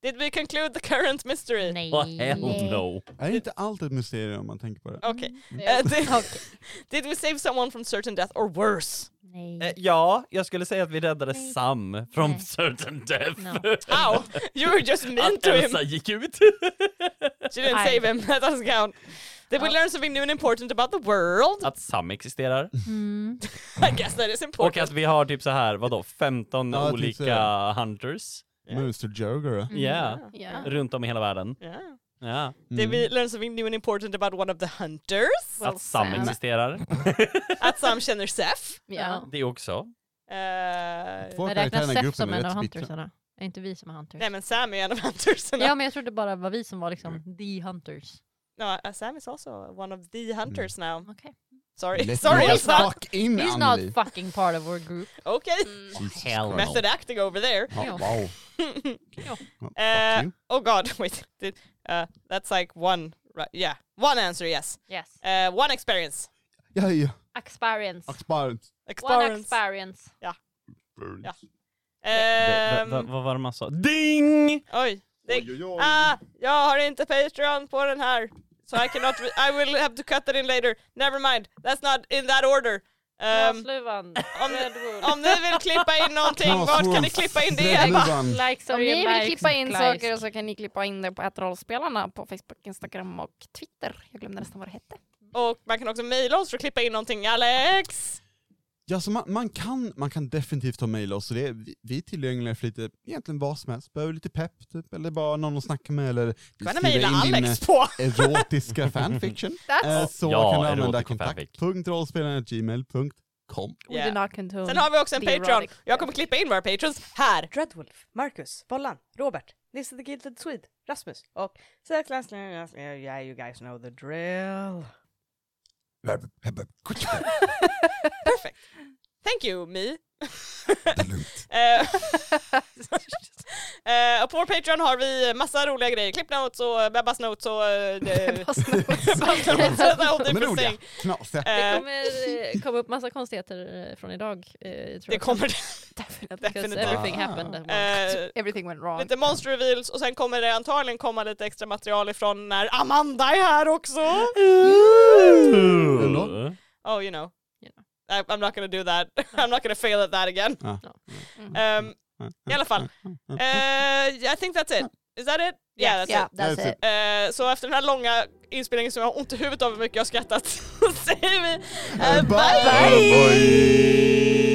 S2: Did we conclude the current mystery?
S4: Nej.
S5: Oh, hell no.
S3: Är det inte allt ett mysterium om man tänker på det?
S2: Okej.
S4: Ja.
S2: Eh, did,
S4: Okej.
S2: did we save someone from certain death or worse?
S5: Eh,
S4: Nej.
S5: ja, jag skulle säga att vi räddade
S4: Nej.
S5: Sam from
S4: Nej.
S5: certain death.
S4: No.
S2: How? You were just mean
S5: Att
S2: to him.
S5: Elsa gick ut.
S2: She didn't
S4: I-
S2: save him. That doesn't count. Did we
S4: Ja.
S2: learn something new and important about the world?
S5: att Sam existerar.
S4: Mm.
S2: I guess that is
S5: Och
S2: important.
S5: att vi har typ så här, vadå, 15
S3: Ja, typ så
S5: olika
S3: här.
S5: hunters.
S3: Mr Jogger.
S4: Mm.
S5: Ja, yeah.
S1: Yeah.
S5: runt om i hela världen.
S2: Yeah.
S5: Ja.
S2: Did
S3: Mm.
S2: we learn something new and important about one of the hunters?
S4: Well,
S5: att Sam
S4: Sam.
S5: existerar.
S2: att Sam känner Seth.
S4: Ja.
S5: Det också.
S2: Eh,
S3: Två
S4: Men räknas
S3: karaktärer i den här
S4: Seth
S3: gruppen
S4: som
S3: är
S4: en av
S3: rätt bittra.
S4: huntersarna? Är inte vi som är hunters?
S2: nej men Sam är en av hunterserna.
S4: Ja men jag trodde bara det var vi som var
S2: Mm.
S4: liksom the hunters.
S2: No, uh, Sam is also one of the hunters now.
S4: Okej.
S2: Sorry,
S3: Mm. Let
S2: sorry
S3: me
S2: Sam.
S3: fuck in
S4: He's
S3: Anneli.
S4: not fucking part of our group.
S2: Okej,
S3: Jesus Christ.
S5: Hell no.
S2: method acting over there.
S3: Ja,
S4: Ja.
S3: wow.
S2: Eh,
S3: you.
S2: oh god, wait. Did, uh, that's like one, right, yeah. One answer, yes.
S4: Yes.
S2: Uh, one experience.
S3: Ja, ja.
S4: Experience.
S3: Experience.
S4: One
S2: Experience.
S4: experience.
S2: Ja.
S5: Det-
S2: Ehm,
S5: va- va- Eh, Vad var det man sa? Ding!
S2: oj. Det,
S3: Oj, oj, oj.
S2: Ah, jag har inte Patreon på den här. So I cannot, re- I will have to cut that in later. Never mind, that's not in that order. Ehm,
S4: Glasluvan.
S2: om,
S4: Redwood.
S2: om ni vill klippa in någonting, vart kan ni klippa in det?
S3: Redluvan.
S4: Like so
S1: Om
S4: you
S1: ni vill
S4: like
S1: klippa in
S4: Kleist.
S1: saker så kan ni klippa in det på ett rollspelarna på Facebook, Instagram och Twitter. Jag glömde nästan vad det hette.
S2: Och man kan också mejla oss för att klippa in någonting. Alex!
S3: Ja, så man, man, kan, man kan definitivt ta mejla oss. Så det är, vi, vi är tillgängliga för lite, egentligen vad som helst. Behöver lite pepp typ, eller bara någon att snacka med eller
S2: Kan ni
S3: skriva
S2: mejla
S3: in din
S2: Alex på?
S3: eh, erotiska fanfiction. Eh, Så
S5: Ja,
S3: kan du använda
S5: erotiska fanfic.
S3: kontakt.rollspelaren.gmail.com
S1: We do not control.
S2: Sen har vi också en
S1: Det är
S2: Patreon.
S1: erotic.
S2: Jag kommer klippa in våra Patrons här.
S6: Dreadwolf, Marcus, Bollan, Robert, Nisse the Gilded Swede, Rasmus och Säklas... Yeah, you guys know the drill.
S2: Perfect. Thank you, me.
S3: Det är lugnt.
S2: Eh, eh, och på vår Patreon har vi massa roliga grejer. Clip notes och Bebbas notes och... eh, det- Bebbas notes and all
S3: Men
S2: different
S3: roliga,
S2: thing.
S3: knasiga.
S2: Eh,
S4: Det kommer eh, komma upp massa konstigheter eh, från idag. eh, jag tror
S2: Det kommer
S4: Definitely. Because
S2: definitivt.
S4: everything
S3: Ah.
S4: happened. that month.
S2: det.
S1: Everything went wrong.
S2: Lite monster reveals och sen kommer det antagligen komma lite extra material ifrån när Amanda är här också.
S3: Undå?
S2: Oh you know.
S4: You know.
S2: I, I'm not gonna do that. I'm not gonna fail at that again.
S3: Ja.
S4: Ja.
S2: Um, I alla fall. Eh, I think that's it. Is that it? Yeah, that's
S1: yeah,
S2: it.
S1: that's
S3: That's
S1: it.
S2: Eh, så efter den här långa inspelningen som jag har ont i huvudet av hur mycket jag har skrattat så säger vi eh,
S3: Bye.